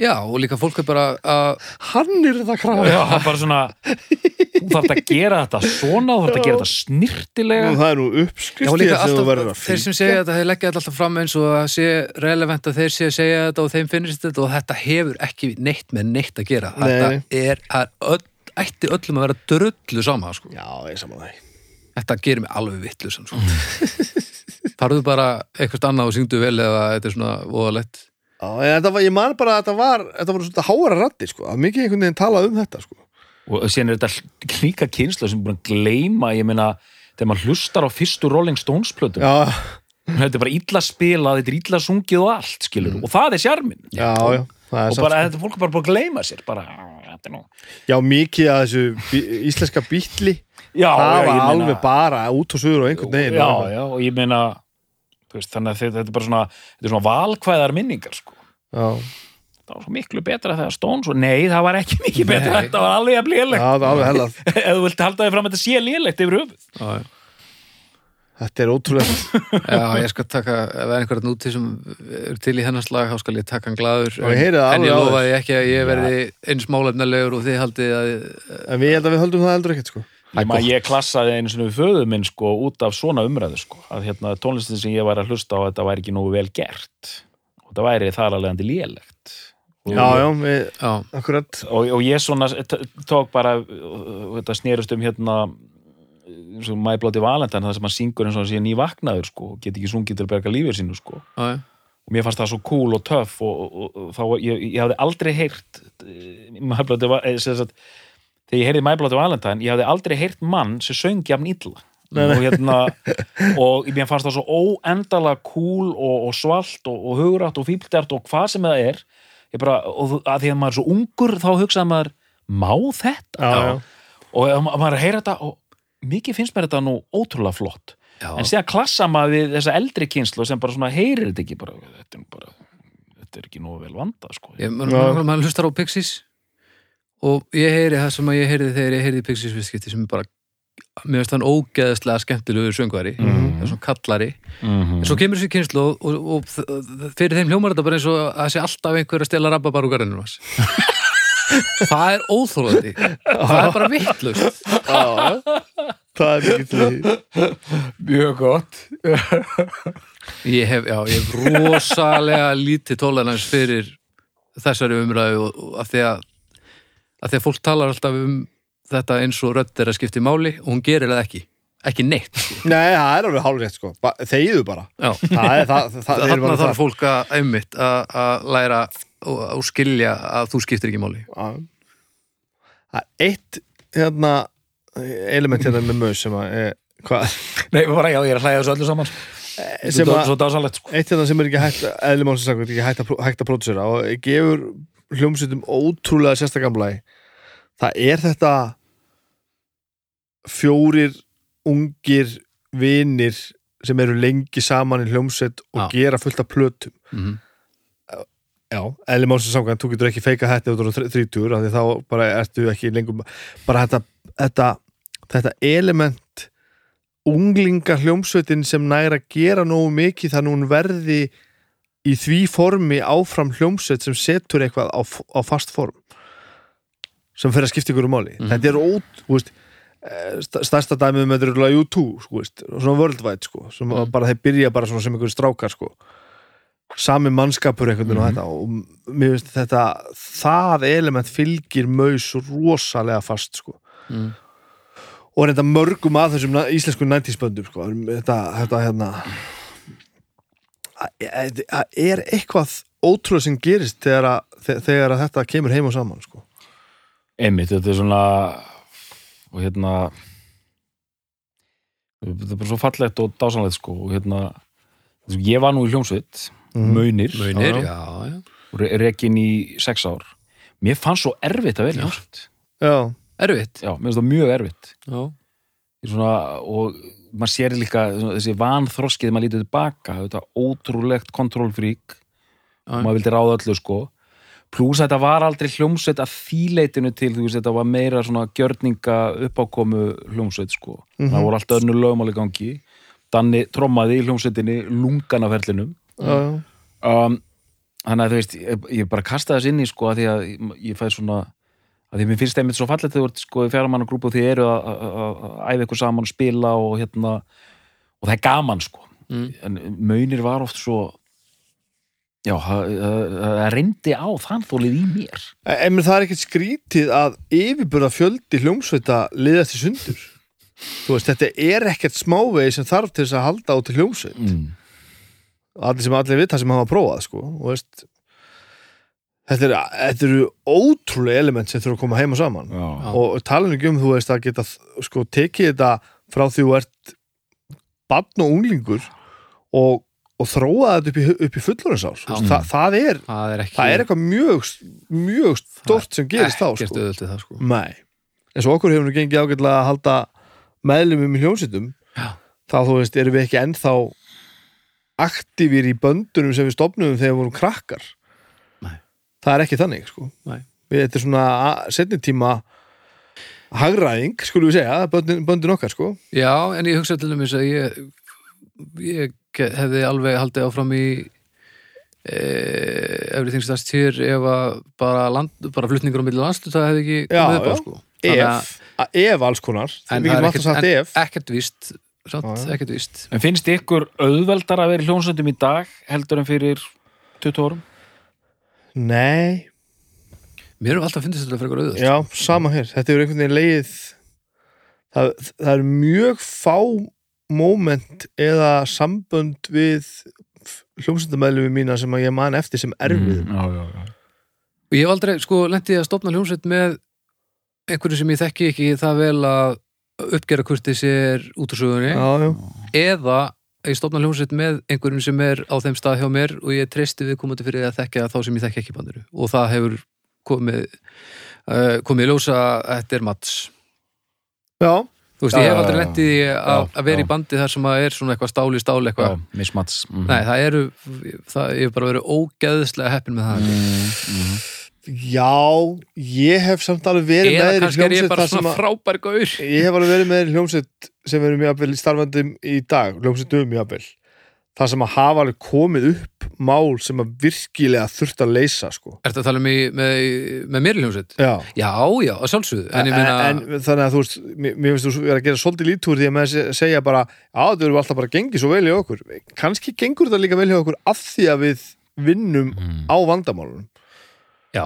Speaker 1: Já, og líka fólk er bara að
Speaker 3: hann er það krafa
Speaker 2: Já, það er bara svona þú þarf að gera þetta svona þú þarf að gera þetta snirtilega
Speaker 3: Nú, það er nú
Speaker 1: Já,
Speaker 3: uppskrift í
Speaker 1: líka
Speaker 3: þess að þú verður
Speaker 1: alltaf,
Speaker 3: að
Speaker 1: þeir
Speaker 3: fylgja
Speaker 1: sem segja þetta, þeir leggja þetta alltaf fram eins og að sé relevant að þeir sé að segja þetta og þeim finnist þetta og þetta hefur ekki neitt með neitt að gera.
Speaker 3: Nei.
Speaker 1: Þetta er, er öll, ætti öllum að vera drullu sama, sko.
Speaker 3: Já, ég saman það
Speaker 1: Þetta gerir mig alveg vittlusan,
Speaker 3: [laughs]
Speaker 1: sko. Farðu bara eitthvað annað og syngdu vel eða þetta er svona voðalegt.
Speaker 3: Já, en þetta var, ég man bara að þetta var þetta voru svona háara rætti, sko að mikið einhvern veginn talað um þetta, sko
Speaker 2: og síðan er þetta líka kynsla sem er búin að gleyma, ég meina þegar maður hlustar á fyrstu Rolling Stones plötum
Speaker 3: Já,
Speaker 2: þetta er bara illa spilað, þetta er illa sungið og allt skilur, og það er sjarmin
Speaker 3: Mm. já, já það er
Speaker 2: og
Speaker 3: samt, sko.
Speaker 2: bara, þetta fólk er bara búin að gleyma sér bara, "Ah, þetta er nú
Speaker 3: Já, mikið að þessu bí- íslenska býtli
Speaker 2: Já,
Speaker 3: það
Speaker 2: já,
Speaker 3: var
Speaker 2: ég meina-
Speaker 3: alveg bara út og suður á einhvern veginn
Speaker 2: já, já, og ég meina þú veist, þannig að þetta, þetta er bara svona, þetta er svona valkvæðar minningar sko.
Speaker 3: já
Speaker 2: það var svo miklu betra þegar Stones og nei, það var ekki mikið betra,
Speaker 1: Nei.
Speaker 2: þetta var alveg að
Speaker 3: Já,
Speaker 2: lélegt
Speaker 3: það var alveg hella
Speaker 2: [laughs] ef þú vilt halda þig fram að þetta sé lélegt yfir höfuð
Speaker 1: Já, já.
Speaker 3: [laughs] Þetta er ótrúlegt
Speaker 1: Já, ég skal taka, ef það er einhverjum úti sem er til í hennar slag, þá skal ég taka hann glaður
Speaker 3: Og ég heyri það
Speaker 1: en ég
Speaker 3: alveg á
Speaker 1: lofaði ekki að ég verði eins málefnilegur og þið haldið að
Speaker 3: En við held að við höldum það heldur ekkert, sko
Speaker 2: ég, man, ég klassaði einu svona við föðu minn sko, út af svona umræðu sko, að hérna, tónlistin sem ég var að hlusta á þetta væri ekki nógu vel gert og það væri þar alveg andi lélegt og,
Speaker 3: Já, já, við,
Speaker 1: Já,
Speaker 3: akkurat
Speaker 2: og, og ég svona t- tók bara og þetta snerist um hérna eins og My Bloody Valentine það sem hann syngur eins og hann sé nývaknaður sko, og get ekki sungið til að berga lífið sínu sko.
Speaker 1: já, já
Speaker 2: og mér fannst það svo cool og töff og, og, og þá, ég, ég hafði aldrei heyrt eh, My Bloody Valentine þegar ég heyrði My Bloody Valentine ég hafði aldrei heyrt mann sem söng jafn illa og hérna og mér fannst það svo óendalega cool og, og svalt og, og hugrætt og fíbldært og hvað sem það er ég bara, og þú- að því að maður er svo ungur þá hugsaði maður, má þetta?
Speaker 3: Já, já.
Speaker 2: og ef ma- maður heyra þetta og mikið finnst mér þetta nú ótrúlega flott
Speaker 1: Já.
Speaker 2: en síðan klassa maður við þessa eldri kynslu sem bara svona heyrir þetta ekki bara, þetta er nú bara þetta er ekki nú vel vanda sko
Speaker 1: Ég, man, man, man hlustar á Pixies og ég heyri það sem að ég heyriði þegar ég heyriði Pixies viðskipti sem er bara mér finnst hann ógeðslega skemmtilegur söngvari mm.
Speaker 2: Mhm.
Speaker 1: svona kallari, en svo kemur þessi kynslu og, og, og þ- þ- fyrir þeim hljómar þetta bara eins og að það sé alltaf einhver að stela rabbabar úr garðinum hans það er óþólandi það er bara vittlust
Speaker 3: Já, það er mikið til því
Speaker 2: mjög gott
Speaker 1: ég hef, já, ég hef rosalega [laughs] lítið tolerans fyrir þessari umræðu og, og af því að af því að fólk talar alltaf um þetta eins og rödd er að skipta í máli og hún gerir það ekki, ekki neitt sko.
Speaker 3: Nei, það er alveg hálfrétt, sko Ba- Þegiðu bara
Speaker 1: já,
Speaker 3: Það er það, það, það,
Speaker 1: þarna
Speaker 3: það,
Speaker 1: þarf fólk að einmitt að, að læra og, og skilja að þú skiptir ekki máli
Speaker 3: Já. Það er eitt hérna, element hérna með mög sem að er, hvað,
Speaker 2: Nei, bara, já, ég er að hlæja þessu öllu saman sko.
Speaker 3: sem
Speaker 2: svo,
Speaker 3: að,
Speaker 2: svo dásalegt sko
Speaker 3: eitt hérna sem er ekki hægt eðlumálsins sagt, ekki hægt að, pró- hægt að pródusera og gefur hljómsveitum ótrúlega sérstakamlæg það er þetta fjórir ungir vinir sem eru lengi saman í hljómsveit og
Speaker 1: Já.
Speaker 3: gera fullt af plötum
Speaker 1: mm
Speaker 3: Já, eðli málsins samkvæmt, þú getur ekki feika þetta út á þrítúr, af því þá bara ertu ekki lengur, bara þetta þetta, þetta element unglinga hljómsveitin sem næra gera nógu mikið þannig hún verði í því formi áfram hljómsveit sem setur eitthvað á, f- á fast form sem fer að skipta ykkur um máli
Speaker 1: Mhm.
Speaker 3: þetta er ót, þú veist eh, sta- stærsta dæmið með þetta er U2 sko, veist, svona worldwide sko, sem
Speaker 1: Mhm.
Speaker 3: bara þeir byrja bara svona sem einhverjum strákar sko sami mannskapur einhvern veginn
Speaker 1: Mhm.
Speaker 3: og þetta og mér finnst þetta, það element fylgir maus rosalega fast sko
Speaker 1: Mm.
Speaker 3: og reynda mörgum að þessum na- íslensku 90s böndum sko, þetta, þetta hérna það er- það er eitthvað ótrúlega sem gerist þegar að, þe- þegar að þetta kemur heim og saman sko.
Speaker 2: einmitt, þetta er svona og hérna þetta er bara svo fallegt og dásanlegt sko og hérna eins og ég var nú í hljómsveit Mhm. Munir,
Speaker 1: Munir,
Speaker 2: já,
Speaker 1: já, já.
Speaker 2: og re- rekin í sex ár mér fannst svo erfitt að vera í
Speaker 1: Já.
Speaker 2: hljómsveit
Speaker 3: Já,
Speaker 1: Erfitt.
Speaker 2: já, mér finnst það mjög erfitt
Speaker 1: Já.
Speaker 2: Ég svona, og maður sér líka svona, þessi vanþroskið þegar maður lítið tilbaka þetta ótrúlegt kontrollfrík
Speaker 1: Já.
Speaker 2: maður vildi ráða öllu sko pluss að þetta var aldrei hljómsveit að þýleitinu til, þú veist, þetta var meira svona gjörninga uppákomu hljómsveit sko það voru alltaf önnur lögumál í gangi Danni trommaði í hljómsveitinni lunganaferlinum
Speaker 3: já, já.
Speaker 2: um, þannig að þú veist ég, ég bara kasta þess inn í sko að því að ég, ég fæði svona að því að mér finnst einmitt svo fallið þegar þú ert sko fjármann og grúpu og þið eru að- að að- að æfa ykkur saman og spila og hérna og það er gaman sko
Speaker 1: Mm.
Speaker 2: en maunir var oft svo já, það- það það reyndi á þann þólið í mér
Speaker 3: E, En menn það er ekkert skrítið að yfirburða fjöldi hljómsveita liðast í sundur Þú veist, þetta er ekkert smávegi sem þarf til þess að halda út til hljómsveit
Speaker 2: mm.
Speaker 3: Allir sem allir vita sem hafa prófað, sko og veist Þetta eru þetta eru ótrúlega element sem þurfa að koma heima saman
Speaker 2: já,
Speaker 3: og talinu ekki um, þú veist, að geta sko, tekið þetta frá því þú ert barn og unglingur og, og þróa þetta upp í, upp í fullorinsár
Speaker 1: Já.
Speaker 3: Þa, það, er,
Speaker 1: Það er ekki...
Speaker 3: það er eitthvað mjög, mjög stort sem gerist þá, sko
Speaker 1: Ekkert auðvöldið það, sko.
Speaker 3: Nei, eins og okkur hefur nú gengið ágætlega að halda meðlumum í hljómsveitum
Speaker 1: Já.
Speaker 3: þá þú veist, erum við ekki ennþá aktífir í böndunum sem við stopnum þegar við vorum krakkar
Speaker 1: Nei.
Speaker 3: Það er ekki þannig, sko
Speaker 1: Nei.
Speaker 3: Við þetta er svona setni tíma hagræðing, skulum við segja böndin, böndin okkar, sko
Speaker 1: Já, en ég hugsa til dæmis að ég, ég hefði alveg haldið áfram í e, everything starts here ef að bara, land, bara flutningur á milli landstu það hefði ekki
Speaker 3: Já,
Speaker 1: komið upp á,
Speaker 3: já.
Speaker 1: sko. Þannig að-
Speaker 3: Ef, að, ef alls konar
Speaker 1: En það er
Speaker 3: Við getum alltaf sagt ef
Speaker 1: ekkert víst, samt,
Speaker 3: Já, já.
Speaker 1: ekkert víst.
Speaker 2: en finnst ykkur auðveldar að vera í hljómsveitum í dag heldur en fyrir 20 árum
Speaker 3: Nei,
Speaker 1: Mér hefur alltaf fyndist þetta frekar auðvöld.
Speaker 3: já, sama hér Þetta er einhvern veginn leið það, það er mjög fá moment eða sambönd við hljómsendamæðlum mína sem að ég man eftir sem erfið
Speaker 1: Mm.
Speaker 2: Mm, já, já, já.
Speaker 1: Og ég hef aldrei, sko, lendið að stopna hljómsveit með einhverju sem ég þekki ekki það vel að uppgera kurtið sér út úr sögunni
Speaker 3: Já, já,
Speaker 1: eða að ég stopna hljómsveit með einhverjum sem er á þeim stað hjá mér og ég treysti við komandi fyrir að þekka þá sem ég þekki ekki í bandinu og það hefur komið uh, komið í ljósa þetta er mats
Speaker 3: já,
Speaker 1: þú veist,
Speaker 2: Já,
Speaker 1: ég hef
Speaker 2: já,
Speaker 1: aldrei
Speaker 2: já,
Speaker 1: lendið í að
Speaker 2: Já,
Speaker 1: að
Speaker 2: já.
Speaker 1: vera í bandi þar sem að er svona eitthvað stáli stáli eitthvað,
Speaker 2: mismats mm.
Speaker 1: nei það eru það, ég hef bara verið ógeðslega heppin með það
Speaker 2: mm,
Speaker 3: já ég hef samt alveg verið með
Speaker 1: eða
Speaker 3: þér í
Speaker 1: kannski er ég
Speaker 3: hljómsveit
Speaker 1: bara
Speaker 3: þar sem
Speaker 1: svona
Speaker 3: að
Speaker 1: frábær gaur
Speaker 3: ég hef alveg verið með þér í hljómsveit sem erum jafnvel starfandi um í dag hljómsveitum jafnvel það sem að hafa alveg komið upp mál sem að virkilega þurft að leysa sko.
Speaker 1: Ertu að tala um í, með, með mér í hljómsveit?
Speaker 3: já
Speaker 1: Já, já, að sjálfsögðu En ég meina,
Speaker 3: en, en þannig að þú veist mér, mér finnst þú vera að gera svolítið lítúr því að með að segja bara já þetta eru alltaf bara gengið svo vel hjá okkur kannski gengur þetta líka vel hjá okkur af því að við vinnum
Speaker 1: Mm.
Speaker 3: á vandamálunum
Speaker 1: já,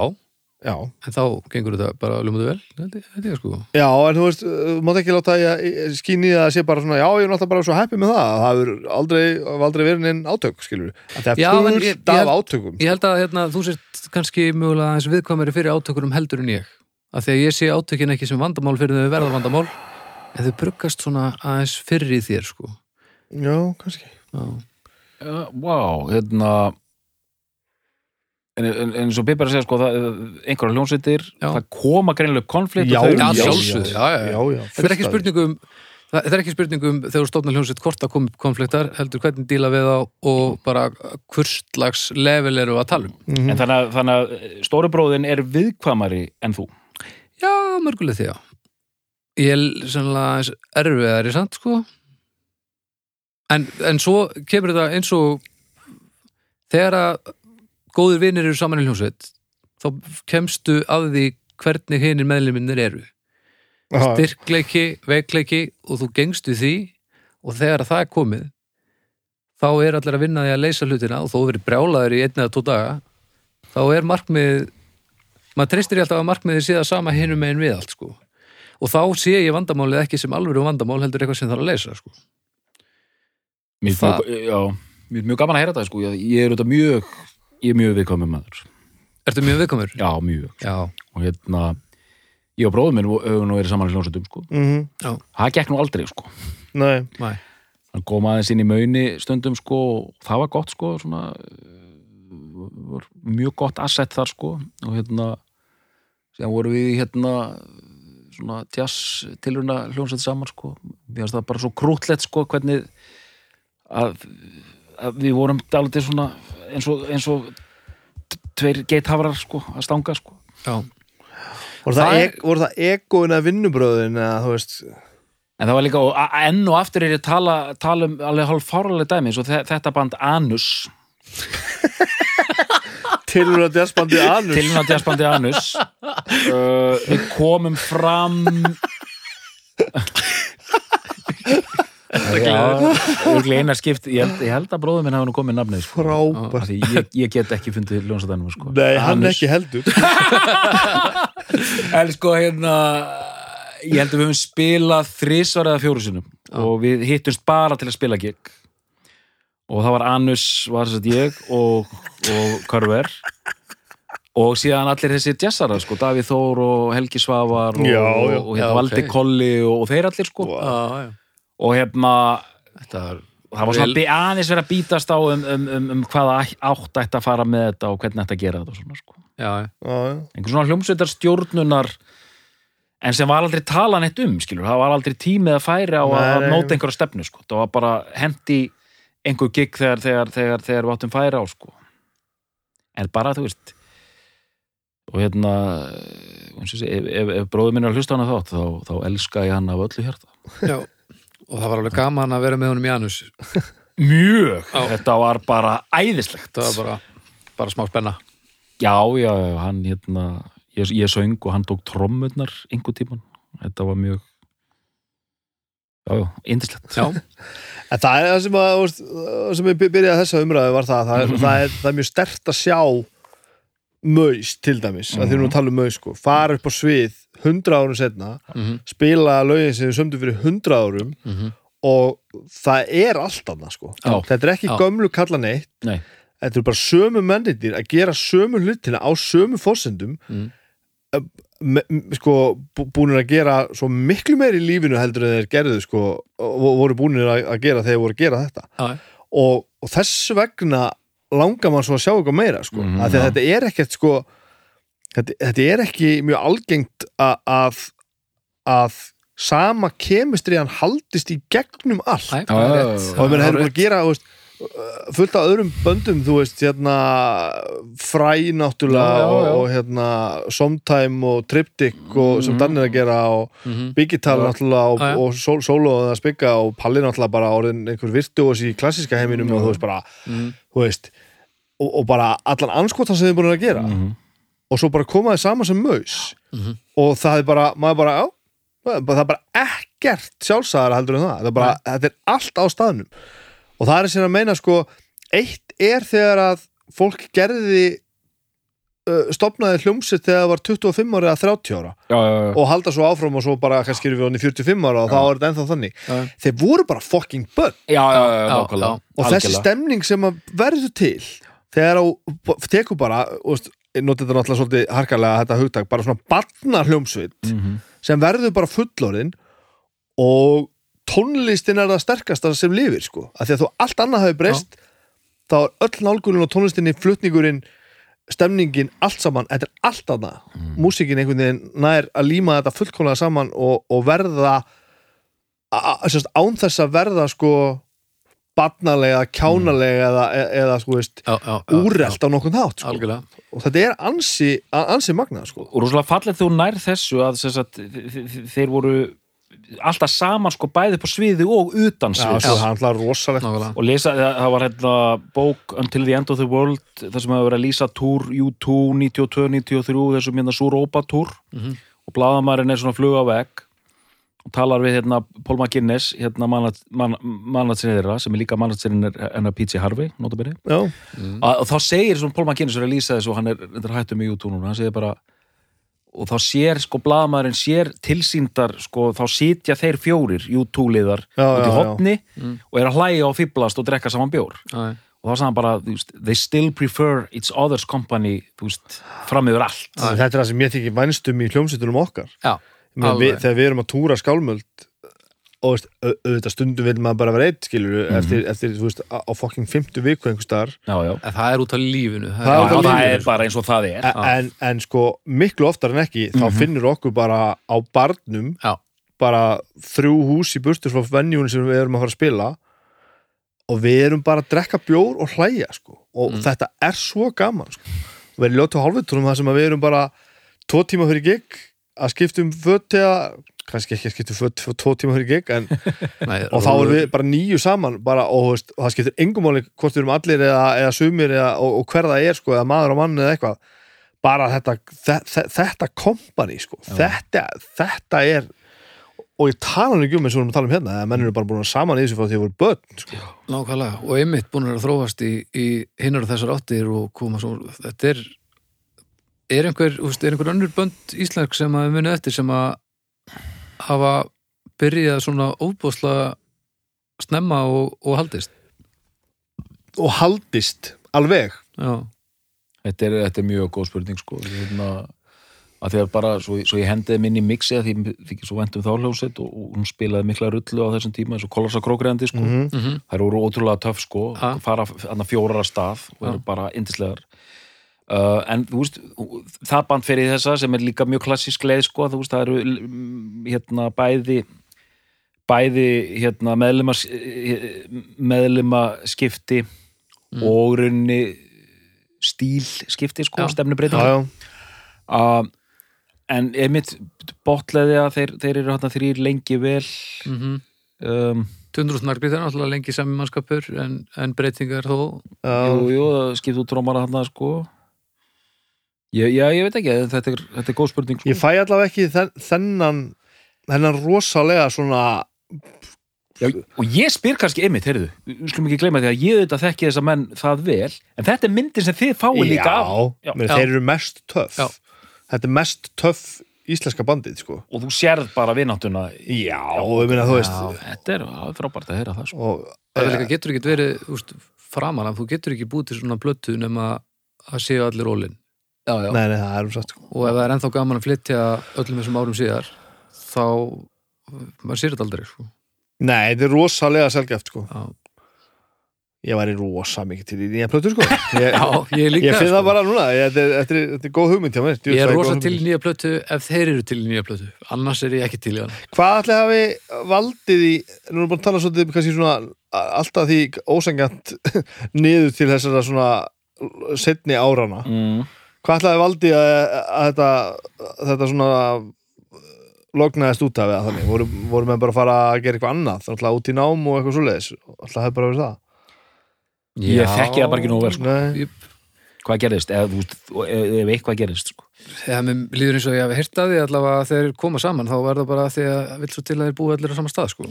Speaker 3: já,
Speaker 1: en þá gengur þetta bara ljómaðu vel Þetta þetta er sko
Speaker 3: já en þú veist þú mátt ekki láta að skýni að sé bara svona já ég er alltaf bara svo happy með það það hefur aldrei, hafa aldrei verið neinn átök skilur við, þetta
Speaker 1: Já,
Speaker 3: er
Speaker 1: en ég-
Speaker 3: fullt
Speaker 1: ég held-
Speaker 3: af átökum
Speaker 1: Ég held að hérna, þú sért kannski mögulega aðeins viðkvæmari fyrir átökunum heldur en ég af því að ég sé átökin ekki sem vandamál fyrir þau verða vandamál en þau bruggast svona aðeins fyrir í þér sko
Speaker 3: já, kannski
Speaker 1: Já,
Speaker 2: Uh, wow, hérna en, en, en svo Bibar að segja sko það, einhverja hljónsveitir,
Speaker 1: Já.
Speaker 2: það koma greinilega upp konflikt
Speaker 3: Já,
Speaker 2: og þau eru
Speaker 1: já,
Speaker 2: í-
Speaker 1: sjálfsögðu, já, já,
Speaker 3: já,
Speaker 1: já.
Speaker 3: já,
Speaker 1: Þetta er ekki
Speaker 3: fullt af því.
Speaker 1: spurningum Þetta er ekki spurningum þegar þú stofnar hljómsveit hvort að koma upp konfliktar, heldur hvernig díla við þá og bara hvers slags level eru að tala um.
Speaker 2: en
Speaker 3: Mhm.
Speaker 2: þannig að, þannig að eh, stóri bróðin er viðkvæmari en þú
Speaker 1: Já, mörguleg því, já. Ég er sannlega aðeins erfiðari, sant, sko. En, en svo kemur þetta eins og þegar að góðir vinir eru saman í hljómsveit, þá kemstu að því hvernig hinir meðluminnir eru.
Speaker 3: Já, já.
Speaker 1: Styrkleiki, veikleiki og þú gengstu því og þegar að það er komið, þá er allir að vinna því að leysa hlutina og þó verið brjálaður í einn eða tvo daga þá er markmið maður treystir ég alltaf að markmiðið sé það sama hinum megin við allt sko og þá sé ég vandamálið ekki sem alvöru vandamál heldur eitthvað sem þarf að leysa sko
Speaker 2: Mér er
Speaker 1: Það-
Speaker 2: mjög, já, mér er mjög gaman að heyra þetta sko. ég, ég er auðvitað mjög ég er mjög viðkvæmur maður
Speaker 1: Ertu mjög viðkomur?
Speaker 2: já, mjög
Speaker 1: Já,
Speaker 2: og hérna, ég og bróður minn höfum nú verið saman í hljónsutum sko.
Speaker 3: Mhm.
Speaker 2: það gekk nú aldrei sko.
Speaker 3: Nei,
Speaker 1: næ
Speaker 2: hann kom aðeins inn í mauni stundum sko, og það var gott sko, svona, eh, var mjög gott asset þar sko, og hérna síðan vorum við í, hérna svona jazz tilruna hljónsett saman sko, mér finnst það bara svo krútlegt sko, hvernig að, að við vorum dálítið svona eins og, eins og t- tveir geithafrar sko, að stanga sko
Speaker 1: Já,
Speaker 3: voru
Speaker 2: Það
Speaker 3: það, það,
Speaker 2: er-
Speaker 3: ek, voru það egoin að vinnubröðin eða þú veist
Speaker 2: En það var líka, og a- a- enn og aftur er ég að tala, tala um alveg hálf fárlega dæmi, svo þe- þetta band Anus,
Speaker 3: tilur að jazzbandi anus
Speaker 2: tilhuna jazzbandi Anus uh, við komum fram Já, örugglega eina skipt ég held, ég held að bróður minn hafa nú komið nafnið sko. Af
Speaker 3: frábært
Speaker 2: því ég, ég get ekki fundið ljónsatænum sko.
Speaker 3: Nei, hann
Speaker 2: Anus.
Speaker 3: ekki heldur
Speaker 2: en sko hérna ég held að við höfum spilað þrísvar eða fjóru sinum og við hittumst bara til að spila gig og það var Anus var þess að ég og, og Körver og síðan allir þessi jazzarar sko, Davíð Þór og Helgi Svavar og,
Speaker 3: Já, já.
Speaker 2: og, og hérna
Speaker 1: Já,
Speaker 2: Valdi
Speaker 1: ok.
Speaker 2: Kolli og, og þeir allir sko
Speaker 1: já, já
Speaker 2: og hérna
Speaker 1: Þetta er
Speaker 2: það var svona
Speaker 1: Vel-
Speaker 2: bi- aðeins verið að bítast á um, um, um, um hvaða ætt- átt ætti að fara með þetta og hvernig ætti að gera þetta og svona sko
Speaker 1: Já, já
Speaker 3: Já,
Speaker 2: einhver svona hljómsveitar stjórnunar en sem var aldrei tala neitt um skilur, það var aldrei tímið að færa og
Speaker 3: Nei,
Speaker 2: að
Speaker 3: nei.
Speaker 2: móta einhverja stefnu sko. það var bara hendi einhver gig þegar, þegar, þegar, þegar við áttum færa á sko. en bara þú veist og hérna og eins og sé, ef, ef, ef bróður minn er að hlusta á hana þátt þá, þá elska ég hann af öllu hjarta
Speaker 1: Já, og það var alveg gaman að vera með honum í Janus
Speaker 2: mjög,
Speaker 1: Já.
Speaker 2: þetta var bara æðislegt
Speaker 1: Það var bara, bara smá spenna
Speaker 2: Já, já, já, hann hérna ég, ég söng og hann tók trommurnar einhver tíman, þetta var mjög já, já, indislegt
Speaker 1: Já,
Speaker 3: En það er það sem, að, þú veist, það sem ég byrjaði þessa umræðu var það, það, er, það, er, það er mjög stert að sjá maus til dæmis, að því við erum að tala um maus sko, fara upp á svið 100 árum setna,
Speaker 1: Mhm.
Speaker 3: spila lögin sem við sömdu fyrir 100 árum
Speaker 1: Mhm.
Speaker 3: og það er allt annað sko,
Speaker 2: Já.
Speaker 3: þetta er ekki
Speaker 1: Já.
Speaker 3: gömlu kalla neitt,
Speaker 2: [laughs] Nei,
Speaker 3: þetta eru bara sömu mennitir að gera sömu hlutina á sömu fórsendum
Speaker 1: Mhm.
Speaker 3: me, m- sko, bú- búnir að gera svo miklu meir í lífinu heldur en þeir gerðu sko, og voru búnir að að gera þegar þeir voru að gera þetta
Speaker 1: já,
Speaker 3: og, og þess vegna langar mann svo að sjá eitthvað meira sko. mm
Speaker 2: Mhm,
Speaker 3: að
Speaker 2: já.
Speaker 3: þetta er ekkert sko þetta, þetta er ekki mjög algengt að, að, að sama kemistriðan haldist í gegnum allt
Speaker 1: Æ,
Speaker 2: Já,
Speaker 1: það
Speaker 2: já, já,
Speaker 1: er rétt
Speaker 2: já.
Speaker 3: og ég
Speaker 1: Já,
Speaker 3: meina hefur bara að gera þú veist, uh, fullt af öðrum böndum þú veist hérna fræ náttúrulega
Speaker 2: Já, já, já.
Speaker 3: og hérna sometime og triptych og sem
Speaker 2: Mhm.
Speaker 3: Dan er að gera og
Speaker 1: Mhm.
Speaker 3: Biggital náttúrulega og,
Speaker 1: Já, já.
Speaker 3: og Sol- solo og það spikka og Palli náttúrulega bara orðin einhver virtuós í klassíska heiminum og þú veist bara
Speaker 1: Mhm.
Speaker 3: þú veist og, og bara allan anskotan sem þið er búin að gera
Speaker 2: Mhm.
Speaker 3: og svo bara koma þið saman sem maus
Speaker 1: Mhm.
Speaker 3: og það er bara, maður bara já, það er bara- það er bara ekkert sjálfsæðara heldur en það, það er bara, þetta er allt á staðnum og það er sér að meina sko, eitt er þegar að fólk gerði uh, stopnaði hljómsitt þegar það var 25 ára eða 30 ára
Speaker 2: já, já, já.
Speaker 3: og halda svo áfram og svo bara kannski erum við hann í 45 ára og þá er þetta ennþá þannig
Speaker 1: Já.
Speaker 3: þeir voru bara fucking börn
Speaker 2: já, já, já,
Speaker 1: Já,
Speaker 2: nákvæmlega.
Speaker 1: já.
Speaker 3: og þessi
Speaker 2: Algjörlega.
Speaker 3: stemning sem að verður til þegar á tekur bara og notið þetta náttúrulega svolítið harkalega þetta hugtak, bara svona barna hljómsveit
Speaker 2: Mhm.
Speaker 3: sem verður bara fullorinn og tónlistin er það sterkasta sem lifir sko af því að þú allt annað hafi breyst þá er öll nálgunin og tónlistinni, flutningurinn stemningin, allt saman þetta er allt annað, mm. músikin einhvern veginn nær að líma þetta fullkomlega saman og, og verða a- a- sem sagt, án þess að verða sko barnalega, kjánalega eða, e- eða sko veist
Speaker 1: já, já, já,
Speaker 3: úrelt á nokkurn
Speaker 1: já,
Speaker 3: hátt sko.
Speaker 1: Algjörlega
Speaker 3: og þetta er ansi, a- ansi magnað sko.
Speaker 2: og rosalega fallið þú nær þessu að sem sagt, þ- þ- þ- þeir voru alltaf saman sko bæði på sviði og utan
Speaker 3: Já,
Speaker 2: sviðs
Speaker 3: svo það er alltaf rosalegt
Speaker 1: Nákvæmlega
Speaker 2: og lesa, það það var hérna bók Until the End of the World þar sem hefur verið að lýsa túr U2 92, 93, þessum hérna Súrópa túr
Speaker 1: Mhm.
Speaker 2: og bladamærin er svona flug á vegg og og talar við hérna Paul McGuinness hérna mannatsinu þeirra sem er líka mannatsinu hennar P.T. Harvey notabene
Speaker 3: já,
Speaker 2: og og þá segir svona Paul McGuinness er að lýsa þessu og hann er þetta er hættur með YouTube núna hann segir bara og þá sér sko blaðmaðurinn sér tilsýndar sko þá sitja þeir fjórir YouTube-liðar
Speaker 3: Já,
Speaker 2: út
Speaker 3: já,
Speaker 2: í
Speaker 3: já.
Speaker 2: hotni
Speaker 1: Mm.
Speaker 2: og er að hlæja og fýblast og drekka saman bjór
Speaker 1: já,
Speaker 2: og þá sagði hann bara þú veist, they still prefer each other's company þú veist, fram yfir allt
Speaker 3: þetta er það sem ég þykir vænstum í hljómsveitunum okkar
Speaker 1: já,
Speaker 3: Ég meina, við,
Speaker 1: Alveg.
Speaker 3: þegar við erum að túra skálmöld og veist, au- auðvitað stundum vil maður bara vera eitt skilur eftir, eftir þú veist, á á fucking 50 viku einhver staðar
Speaker 2: já, já,
Speaker 1: en það er út af lífinu
Speaker 3: Það
Speaker 2: já,
Speaker 3: er
Speaker 2: það
Speaker 3: lífið,
Speaker 2: er bara eins og það er
Speaker 3: En- en, en sko miklu oftar en ekki þá finnur okkur bara á barnum
Speaker 1: Já.
Speaker 3: bara þrjú hús í burtu frá venjúni sem við erum að fara að spila og við erum bara að drekka bjór og hlæja sko og þetta er svo gaman sko við erum ljótt á hálfutunum það sem að við erum bara tvo tíma fyrir gig að skiptum fött eða kannski ekki að skiptum fött tvo tíma fyrir gig en
Speaker 1: Nei,
Speaker 3: og þá erum við bara nýju saman bara, og, þú veist, og það skiptir engum máli hvort við erum allir eða, eða sumir eða, og, og hver það er sko, eða maður á mann eða eitthvað bara þetta, þe þe þetta kompani sko. þetta, þetta er og ég tala nú ekki um eins og við erum að tala um hérna að menn eru bara búin að vera saman í þessu frá því að voru börn sko.
Speaker 1: Nákvæmlega, og einmitt búin að þróast í, í hinnar og þessar áttir og koma svo, þetta er er einhver, úst, er einhver önnur bönd íslensk sem að við munið eftir sem að hafa byrjað svona óbúsla snemma og, og haldist
Speaker 3: og haldist alveg
Speaker 1: Já,
Speaker 2: þetta er, þetta er mjög góð spurning sko hérna, að því að bara svo, svo ég hendiði minni í mixi að því ég þykir svo vendum þá hljóset og, og hún spilaði mikla rullu á þessum tíma eins og kollarsa krókreðandi sko
Speaker 3: Mhm.
Speaker 1: mm
Speaker 2: þær voru ótrúlega töff sko
Speaker 1: Ha?
Speaker 2: fara annar fjórar að stað og eru
Speaker 1: Já.
Speaker 2: bara yndislegar uh, en þú veist, það band fer í þessa sem er líka mjög klassísk leið sko þú veist, það eru mm, hérna bæði bæði hérna meðlima meðlima skipti
Speaker 1: Mm.
Speaker 2: og runni stíl skipti sko,
Speaker 1: Já.
Speaker 2: stefnubreiting
Speaker 3: já, já,
Speaker 2: uh, en einmitt botleði að þeir, þeir eru hérna þrýr lengi vel
Speaker 1: Mhm.
Speaker 2: um,
Speaker 1: 200 snargrið er náttúrulega lengi sami mannskapur en, en breytingar þó
Speaker 3: já.
Speaker 2: Jú, jú, það skipt út trómara hann sko ég, Já, ég veit ekki, þetta er, þetta er góð spurning sko.
Speaker 3: ég fæ allavega ekki þen- þennan þennan rosalega svona
Speaker 2: já, Og ég spyr kannski einmitt, heyrðu Við skulum ekki gleyma því að ég auðvitað þekki þessa menn það vel En þetta er myndin sem þið fáið líka af Já.
Speaker 3: já, já. þeir eru mest töff
Speaker 1: Já.
Speaker 3: þetta er mest töff íslenska bandið sko
Speaker 2: Og þú sérð bara vináttuna
Speaker 3: Já, og ég meina þú veist
Speaker 2: Þetta er það er frábært að heyra það sko.
Speaker 3: og,
Speaker 1: það er líka getur ekki verið úst, framan af, þú getur ekki búið til svona blötu nema að séu allir ólinn Já, já,
Speaker 3: Nei, nei, það er um satt sko.
Speaker 1: og ef það er ennþá gaman að flytja öllum þessum árum síðar þá maður sér þetta aldrei sko.
Speaker 3: Nei, þetta er rosalega selgjaft sko.
Speaker 1: Já.
Speaker 3: Ég væri rosa mikið til í nýja
Speaker 1: [laughs]
Speaker 3: plötu sko. ég,
Speaker 1: já, ég líka
Speaker 3: ég finn
Speaker 1: sko.
Speaker 3: það bara núna Ég- Þetta er, þetta er, þetta er góð hugmynd hjá mér Djú,
Speaker 1: ég
Speaker 3: það
Speaker 1: er
Speaker 3: góð
Speaker 1: rosa
Speaker 3: hugmynd.
Speaker 1: til í nýja plötu ef þeir eru til í nýja plötu annars er ég ekki til í hana
Speaker 3: Hvað ætli hafi valdið í Nú erum búin að tala svolítið um kannski svona a- Alltaf því ósengjant [laughs] Niður til þessara svona Setni árana
Speaker 2: mm.
Speaker 3: Hvað ætli hafi valdið að, að þetta Þetta svona Lognaðist út af eða þannig Voru, voru menn bara að fara að gera eitthvað annað Þannig að út í nám og eitthvað svoleiðis Alltaf hefur bara verið það
Speaker 2: Ég þekki það bara ekki nógu vel sko.
Speaker 3: Nei,
Speaker 1: Ég-
Speaker 2: Hvað gerðist, ef, þú veist, ef, ef eitthvað gerðist sko.
Speaker 1: eða mér líður eins og ég hafi hirt að því allavega að þeir koma saman þá er það bara því að vill svo til að þeir búi allir á sama stað sko.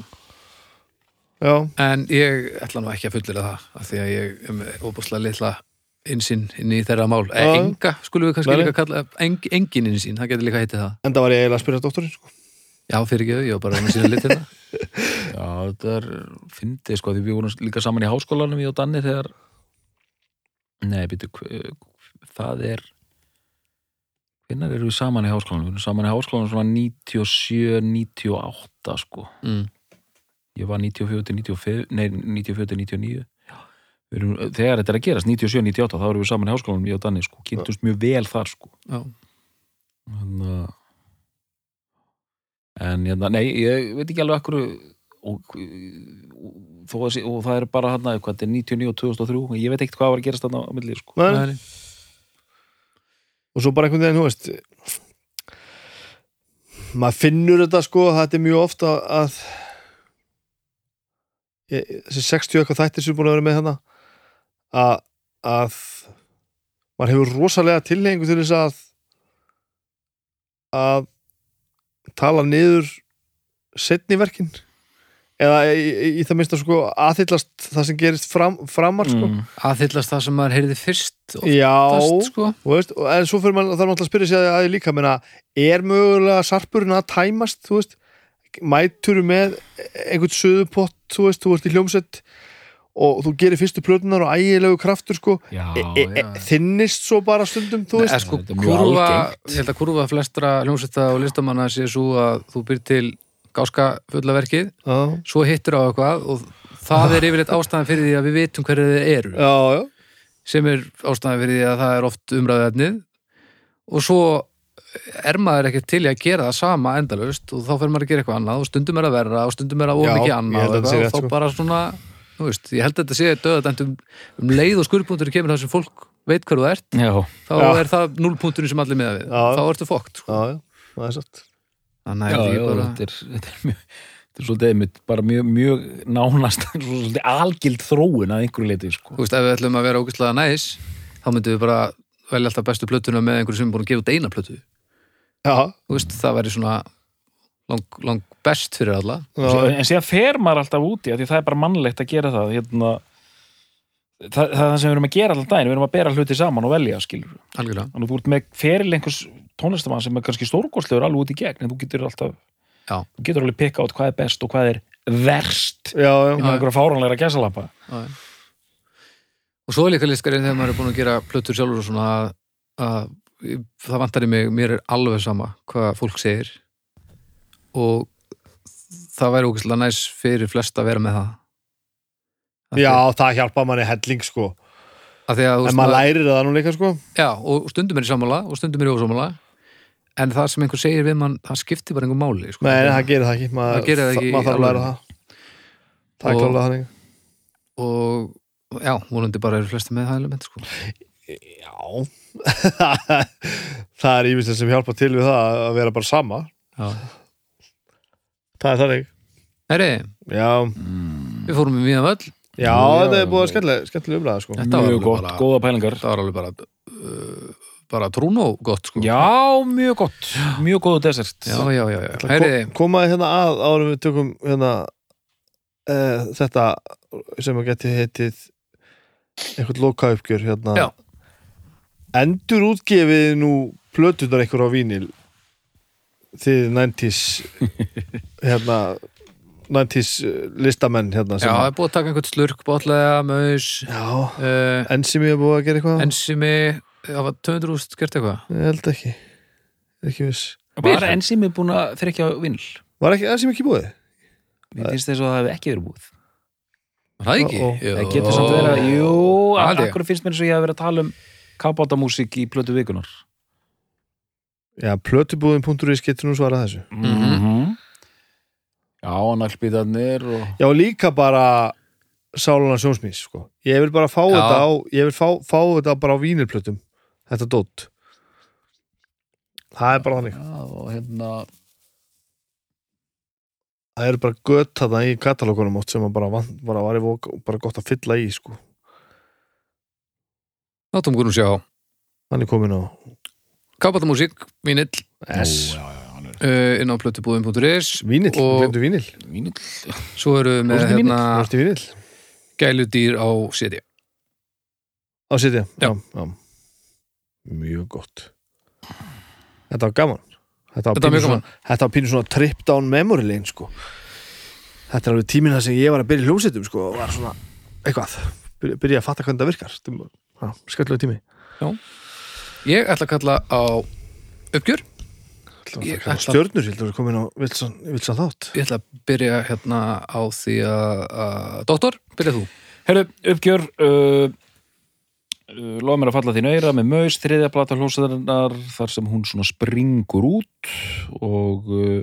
Speaker 3: já,
Speaker 1: en ég ætla nú ekki að fullir það af því að ég er með óbúslega litla einsinn inn í þeirra mál e,
Speaker 3: Já.
Speaker 1: enga skulum við kannski
Speaker 3: Nei, nei.
Speaker 1: líka kalla eng, engin einsinn, það getur líka heitið það
Speaker 3: enda var ég eiginlega að spyrja dótturinn sko.
Speaker 1: já, fyrir ekki, ég var bara að sína litið það
Speaker 2: Já, þetta er fyndið sko, því við vorum líka saman í háskólanum ég og Danni þegar Nei, býtu, hv- það er Hvenær erum við saman í háskólanum? Við erum saman í háskólanum svona 97, 98 sko
Speaker 1: mm.
Speaker 2: Ég var 94 til 95, nei, 94 til 99 Við erum, Þegar þetta er að gerast, 97, 98 þá erum við saman í háskólanum, ég og Danni sko kynntumst mjög vel þar sko
Speaker 1: já,
Speaker 2: Þannig að uh, En hérna, nei, ég veit ekki alveg akkur og, og, þó að sé- og það er bara hann hvað þetta er 99 og 2003 ég veit ekkert hvað var að gerast þarna á milli sko.
Speaker 3: Nei,
Speaker 1: Nei, nei.
Speaker 3: og svo bara einhvern veginn, þú veist maður finnur þetta sko, þetta er mjög ofta að ég, þessi 60 eitthvað þættir sem er búin að vera með hérna að, að maður hefur rosalega tilhengu til þess að að tala niður setni verkin eða í, í, í það minnst að sko aðhyllast það sem gerist fram, framar sko.
Speaker 2: Mm.
Speaker 1: aðhyllast það sem maður heyrði fyrst og
Speaker 3: já,
Speaker 1: fyrst sko
Speaker 3: og veist, og- en svo fyrir maður þarf maður að spyrja sig að því líka meina, er mögulega sarpurinn að tæmast þú veist, mætur með einhvern söðupott þú veist, þú ert í hljómsett og þú gerir fyrstu plötunar og ægilegu kraftur sko,
Speaker 2: Já,
Speaker 3: e, e, e,
Speaker 2: já.
Speaker 3: þinnist svo bara stundum þú
Speaker 1: Nei,
Speaker 3: veist,
Speaker 1: er sko,
Speaker 2: Þetta er mjög
Speaker 1: kurva,
Speaker 2: algengt.
Speaker 1: ég held að kurva flestra hljómsetta og listamanna sé svo að þú byr til gáska fullaverkið,
Speaker 3: já,
Speaker 1: svo hittur á eitthvað og það er yfirleitt ástæðan fyrir því að við vitum hverju þið eru
Speaker 3: já, já
Speaker 1: sem er ástæðan fyrir því að það er oft umræðuefnið og svo er maður ekkert til í að gera það sama endalaust og þá fer maður að gera eitthvað annað og stundum er að verra og stundum er að
Speaker 3: Já,
Speaker 1: of
Speaker 3: ég
Speaker 1: mikið
Speaker 3: held
Speaker 1: annað
Speaker 3: að
Speaker 1: og,
Speaker 3: þetta sé
Speaker 1: eitthvað, og
Speaker 3: rétt,
Speaker 1: þá
Speaker 3: sko.
Speaker 1: bara svona þú veist, ég held að þetta sé döðat um, um leið og skurðbúntur kemur það sem fólk veit hver þú ert
Speaker 2: Já,
Speaker 1: þá
Speaker 3: Já.
Speaker 1: er það núlpunkturinn sem allir miða við
Speaker 3: Já.
Speaker 1: þá ertu fókt sko.
Speaker 3: já, já, það er satt
Speaker 1: þannig
Speaker 2: já,
Speaker 1: að
Speaker 2: já
Speaker 1: ég bara
Speaker 2: þetta, er, þetta er mjög þetta er svolítið einmitt, bara mjög, mjög nánast [laughs] svo svolítið algild þróun að einhverju leiti sko.
Speaker 1: þú veist, ef við ætlum að vera ógæslega næs þá myndum við bara velja alltaf bestu plötuna með einhverju sem er búin að gefa út eina plötu
Speaker 3: já,
Speaker 1: þú veist, það væri svona lang, lang best fyrir alla
Speaker 3: já,
Speaker 2: Svo- en síðan fer maður alltaf úti af því það er bara mannlegt að gera það hérna, það, það er það sem við erum að gera alltaf daginn, við erum að bera hluti saman og velja skilur
Speaker 1: algjörlega,
Speaker 2: þannig að þú ert með feril einhvers tónlistamann sem er kannski stórgóðslegur alveg út í gegn en þú getur alltaf
Speaker 1: Já.
Speaker 2: þú getur alveg pikka át hvað er best og hvað er verst
Speaker 3: já, já,
Speaker 2: innan einhverja fáranlegra gæsalappa
Speaker 1: já já. og svo er líka liskarinn þegar maður er búin að gera plötur sjálfur og svona að, að það vantar í mig, mér er alveg sama hvað fólk segir og það væri ógæslega næs fyrir flest að vera með það Af því-
Speaker 3: já, það hjálpa manni helling sko,
Speaker 1: af því að, þú
Speaker 3: en
Speaker 1: veist,
Speaker 3: maður
Speaker 1: maður-
Speaker 3: lærir það nú líka sko,
Speaker 1: Já, og stundum er í sammála og stundum er í ósammála en það sem einhver segir við mann, það skiptir bara einhver máli sko.
Speaker 3: nei, það gerir það ekki maður,
Speaker 1: Það gerir það ekki í
Speaker 3: maður þarf að læra
Speaker 1: alvöru.
Speaker 3: það það er
Speaker 1: Og-
Speaker 3: klálega þannig
Speaker 1: og og já, vonandi bara eru flesti með það element sko.
Speaker 3: Já [laughs] Það er ímyndin sem hjálpa til við það að vera bara sama Það er þannig
Speaker 1: Heri,
Speaker 3: Já,
Speaker 1: við fórum í mjög völl
Speaker 3: já,
Speaker 2: Já,
Speaker 3: þetta er
Speaker 2: já.
Speaker 3: búið að skemmtilega, skemmtilega umræða sko.
Speaker 1: Þetta var
Speaker 2: mjög
Speaker 1: alveg
Speaker 2: gott,
Speaker 1: bara-
Speaker 2: góða pælingar
Speaker 1: það var alveg bara uh, bara trúnó gott sko.
Speaker 2: já, mjög gott, mjög góðu desert
Speaker 1: já, já, já, já.
Speaker 3: Ætla að
Speaker 1: Heri,
Speaker 3: ko- Komaði hérna að árum við tökum hérna, uh, þetta sem að geti heitið einhvern lokauppgjör hérna.
Speaker 1: Já.
Speaker 3: Endur útgefið nú plötunar einhver á vínil þið 90s hérna 90s listamenn hérna
Speaker 1: já,
Speaker 3: sem
Speaker 1: það
Speaker 3: að-
Speaker 1: er búið að taka einhvern slurk botlega, maus
Speaker 3: Já,
Speaker 1: uh,
Speaker 3: enn sem ég er búið að gera eitthvað
Speaker 1: ensimi það var 200 úst gert eitthvað
Speaker 3: Ég held ekki, ekki viss
Speaker 2: bara enn sem er búin að þeir ekki á vinnl
Speaker 3: Var ekki enn sem ekki búið?
Speaker 2: mér finnst þess að það hefði ekki verið búið
Speaker 1: var það ekki?
Speaker 3: Ó, ó.
Speaker 1: Jú.
Speaker 2: það getur samt verið að, jú,
Speaker 1: Það held ég.
Speaker 2: akkur finnst mér eins og ég hef verið að tala um kapátamúsík í plötu vikunar
Speaker 3: Já, plötubúðin.is getur nú svarað þessu
Speaker 1: Mhm.
Speaker 2: Mhm. já, naglbítarnir og
Speaker 3: Já, líka bara sálana sjónsmís, sko. Ég vil bara fá
Speaker 1: Já.
Speaker 3: þetta á, ég vil fá, fá þetta bara á vínirplötum, þetta dótt. Það er bara þannig.
Speaker 2: Já, og hérna
Speaker 3: Það eru bara gött þarna í katalógunum átt sem að bara, vant- bara var í vok, bara gott að fylla í, sko.
Speaker 1: þá tókum við nú sjá
Speaker 3: Hann er komin á
Speaker 1: Kápatamúsík, vínill
Speaker 3: S.
Speaker 2: Ó, já, já, hann er
Speaker 1: uh, inn á plötubúðum.is
Speaker 3: Vínill,
Speaker 1: Og-
Speaker 3: og... glemdu vínill.
Speaker 2: mínill
Speaker 1: Svo eru við með
Speaker 2: Fórstu í
Speaker 1: hérna,
Speaker 3: Þú ert í vínill.
Speaker 1: gæludýr á CD
Speaker 3: Á sitja.
Speaker 1: Já.
Speaker 3: Já. Mjög gott. Þetta var gaman.
Speaker 1: Þetta
Speaker 3: Þetta var,
Speaker 1: var
Speaker 3: pínu
Speaker 1: mjög gaman.
Speaker 3: Svona, þetta var pínu svona trip down memory lane sko. Þetta er alveg tíminn það sem ég var að byrja í hljómsveitum sko, og var svona eitthvað. Byrja, byrja að fatta hvernig það virkar. Þetta var- Já, skemmtilega tími.
Speaker 1: Ég ætla að kalla á uppgjör
Speaker 3: Ætla að
Speaker 1: Ég
Speaker 3: taka
Speaker 1: ætla-
Speaker 3: Stjörnur, ég heldur að koma inn á Vilsan, Vilsan þátt.
Speaker 1: Ég ætla að byrja hérna á því að, að Doktor, byrja þú
Speaker 2: Herru, uppgjör uh, uh, Lofa mér að falla þín auðra með maus, þriðja plata hlósaðarinnar þar sem hún svona springur út og uh,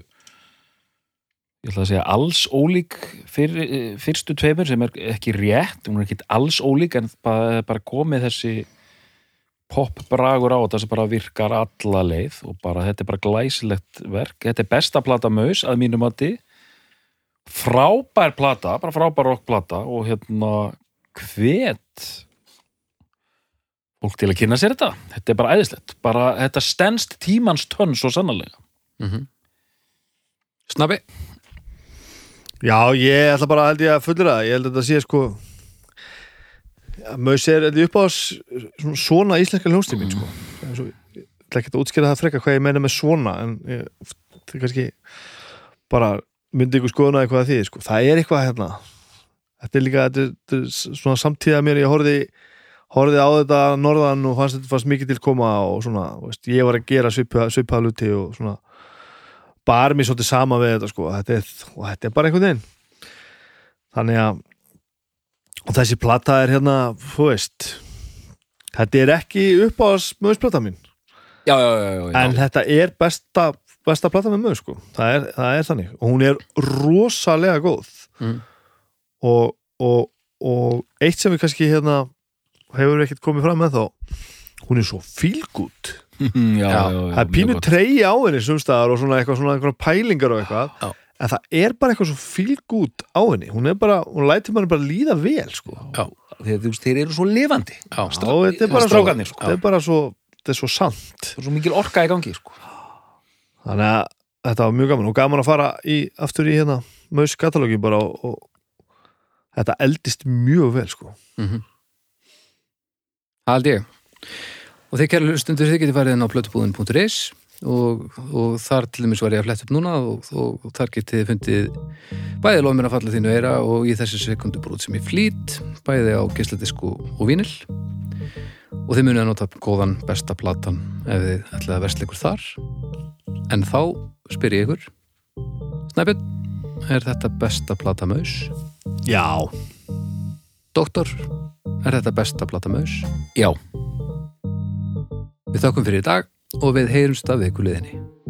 Speaker 2: ég ætla að segja alls ólík fyr, eh, fyrstu tveimur sem er ekki rétt, hún er ekki alls ólík en bara, bara komið þessi popbragur á þetta sem bara virkar alla leið og bara þetta er bara glæsilegt verk þetta er besta plata maus að mínum mati frábær plata, bara frábær rockplata og hérna hvet fólk til að kynna sér þetta þetta er bara æðislegt, bara þetta stendst tímans tönn svo sannarlega
Speaker 1: Mhm. Snabbi
Speaker 3: Já, ég ætla bara held ég að fullra það. Ég held að þetta sé sko Mösi er held ég, upp á svona, svona íslenska hljómsið mín sko. Svo, Ég ætla ekki að útskýra það freka hvað ég meina með svona en ég, það er kannski bara myndi ykkur skoðuna eitthvað að því sko. Það er eitthvað hérna Þetta er líka þetta er, þetta er svona samtíða mér ég horfði horfði á þetta að norðan og fannst þetta fannst mikið til koma og svona, þú veist, ég var að gera svipa, svipaða luti og svona bar mér svolítið sama við þetta sko þetta er, og þetta er bara einhvern veginn þannig að og þessi plata er hérna þú veist þetta er ekki uppáðas möðsplata mín
Speaker 2: já, já, já, já,
Speaker 3: en þetta er besta, besta plata með möð sko það er, það er þannig og hún er rosalega góð
Speaker 1: Mm.
Speaker 3: og, og, og eitt sem við kannski hérna hefur ekkert komið fram með þá hún er svo fílgút
Speaker 2: Mhm, já, já, já, já,
Speaker 3: það er
Speaker 2: mjög
Speaker 3: pínu
Speaker 2: gott.
Speaker 3: tregi á henni sumstaðar og svona eitthvað svona einhverjum pælingar og
Speaker 1: Já.
Speaker 3: eitthvað en það er bara eitthvað svo fílgút á henni hún er bara, hún lætur mann bara líða vel sko.
Speaker 2: Þeir, þú veist, þeir eru svo lifandi
Speaker 1: Já.
Speaker 3: Já, þetta er bara svo
Speaker 2: strákanir sko.
Speaker 3: þetta er bara svo, þetta er svo sant
Speaker 2: Það er svo mikil orka í gangi sko.
Speaker 3: þannig að þetta var mjög gaman og gaman að fara í, aftur í hérna maus katalógin bara og, og þetta eldist mjög vel sko.
Speaker 1: Það held ég. Og þeir kæra hlustundur, þeir getið farið inn á blötubúðin.is og, og þar til dæmis var ég að fletta upp núna og, og, þar getið þið fundið bæði lof mér að falla þínu eira og í þessi sekundu brot sem ég flýt, bæði á geisladisk og, og vínil. Og þið munið að nota góðan besta platan ef þið ætlaði að versla ykkur þar. En þá spyr ég ykkur, Snæbjörn, er þetta besta plata maus?
Speaker 3: já,
Speaker 1: Doktor, er þetta besta plata maus?
Speaker 2: Já
Speaker 1: Við þakkum fyrir í dag og við heyrumst af vikuleðinni.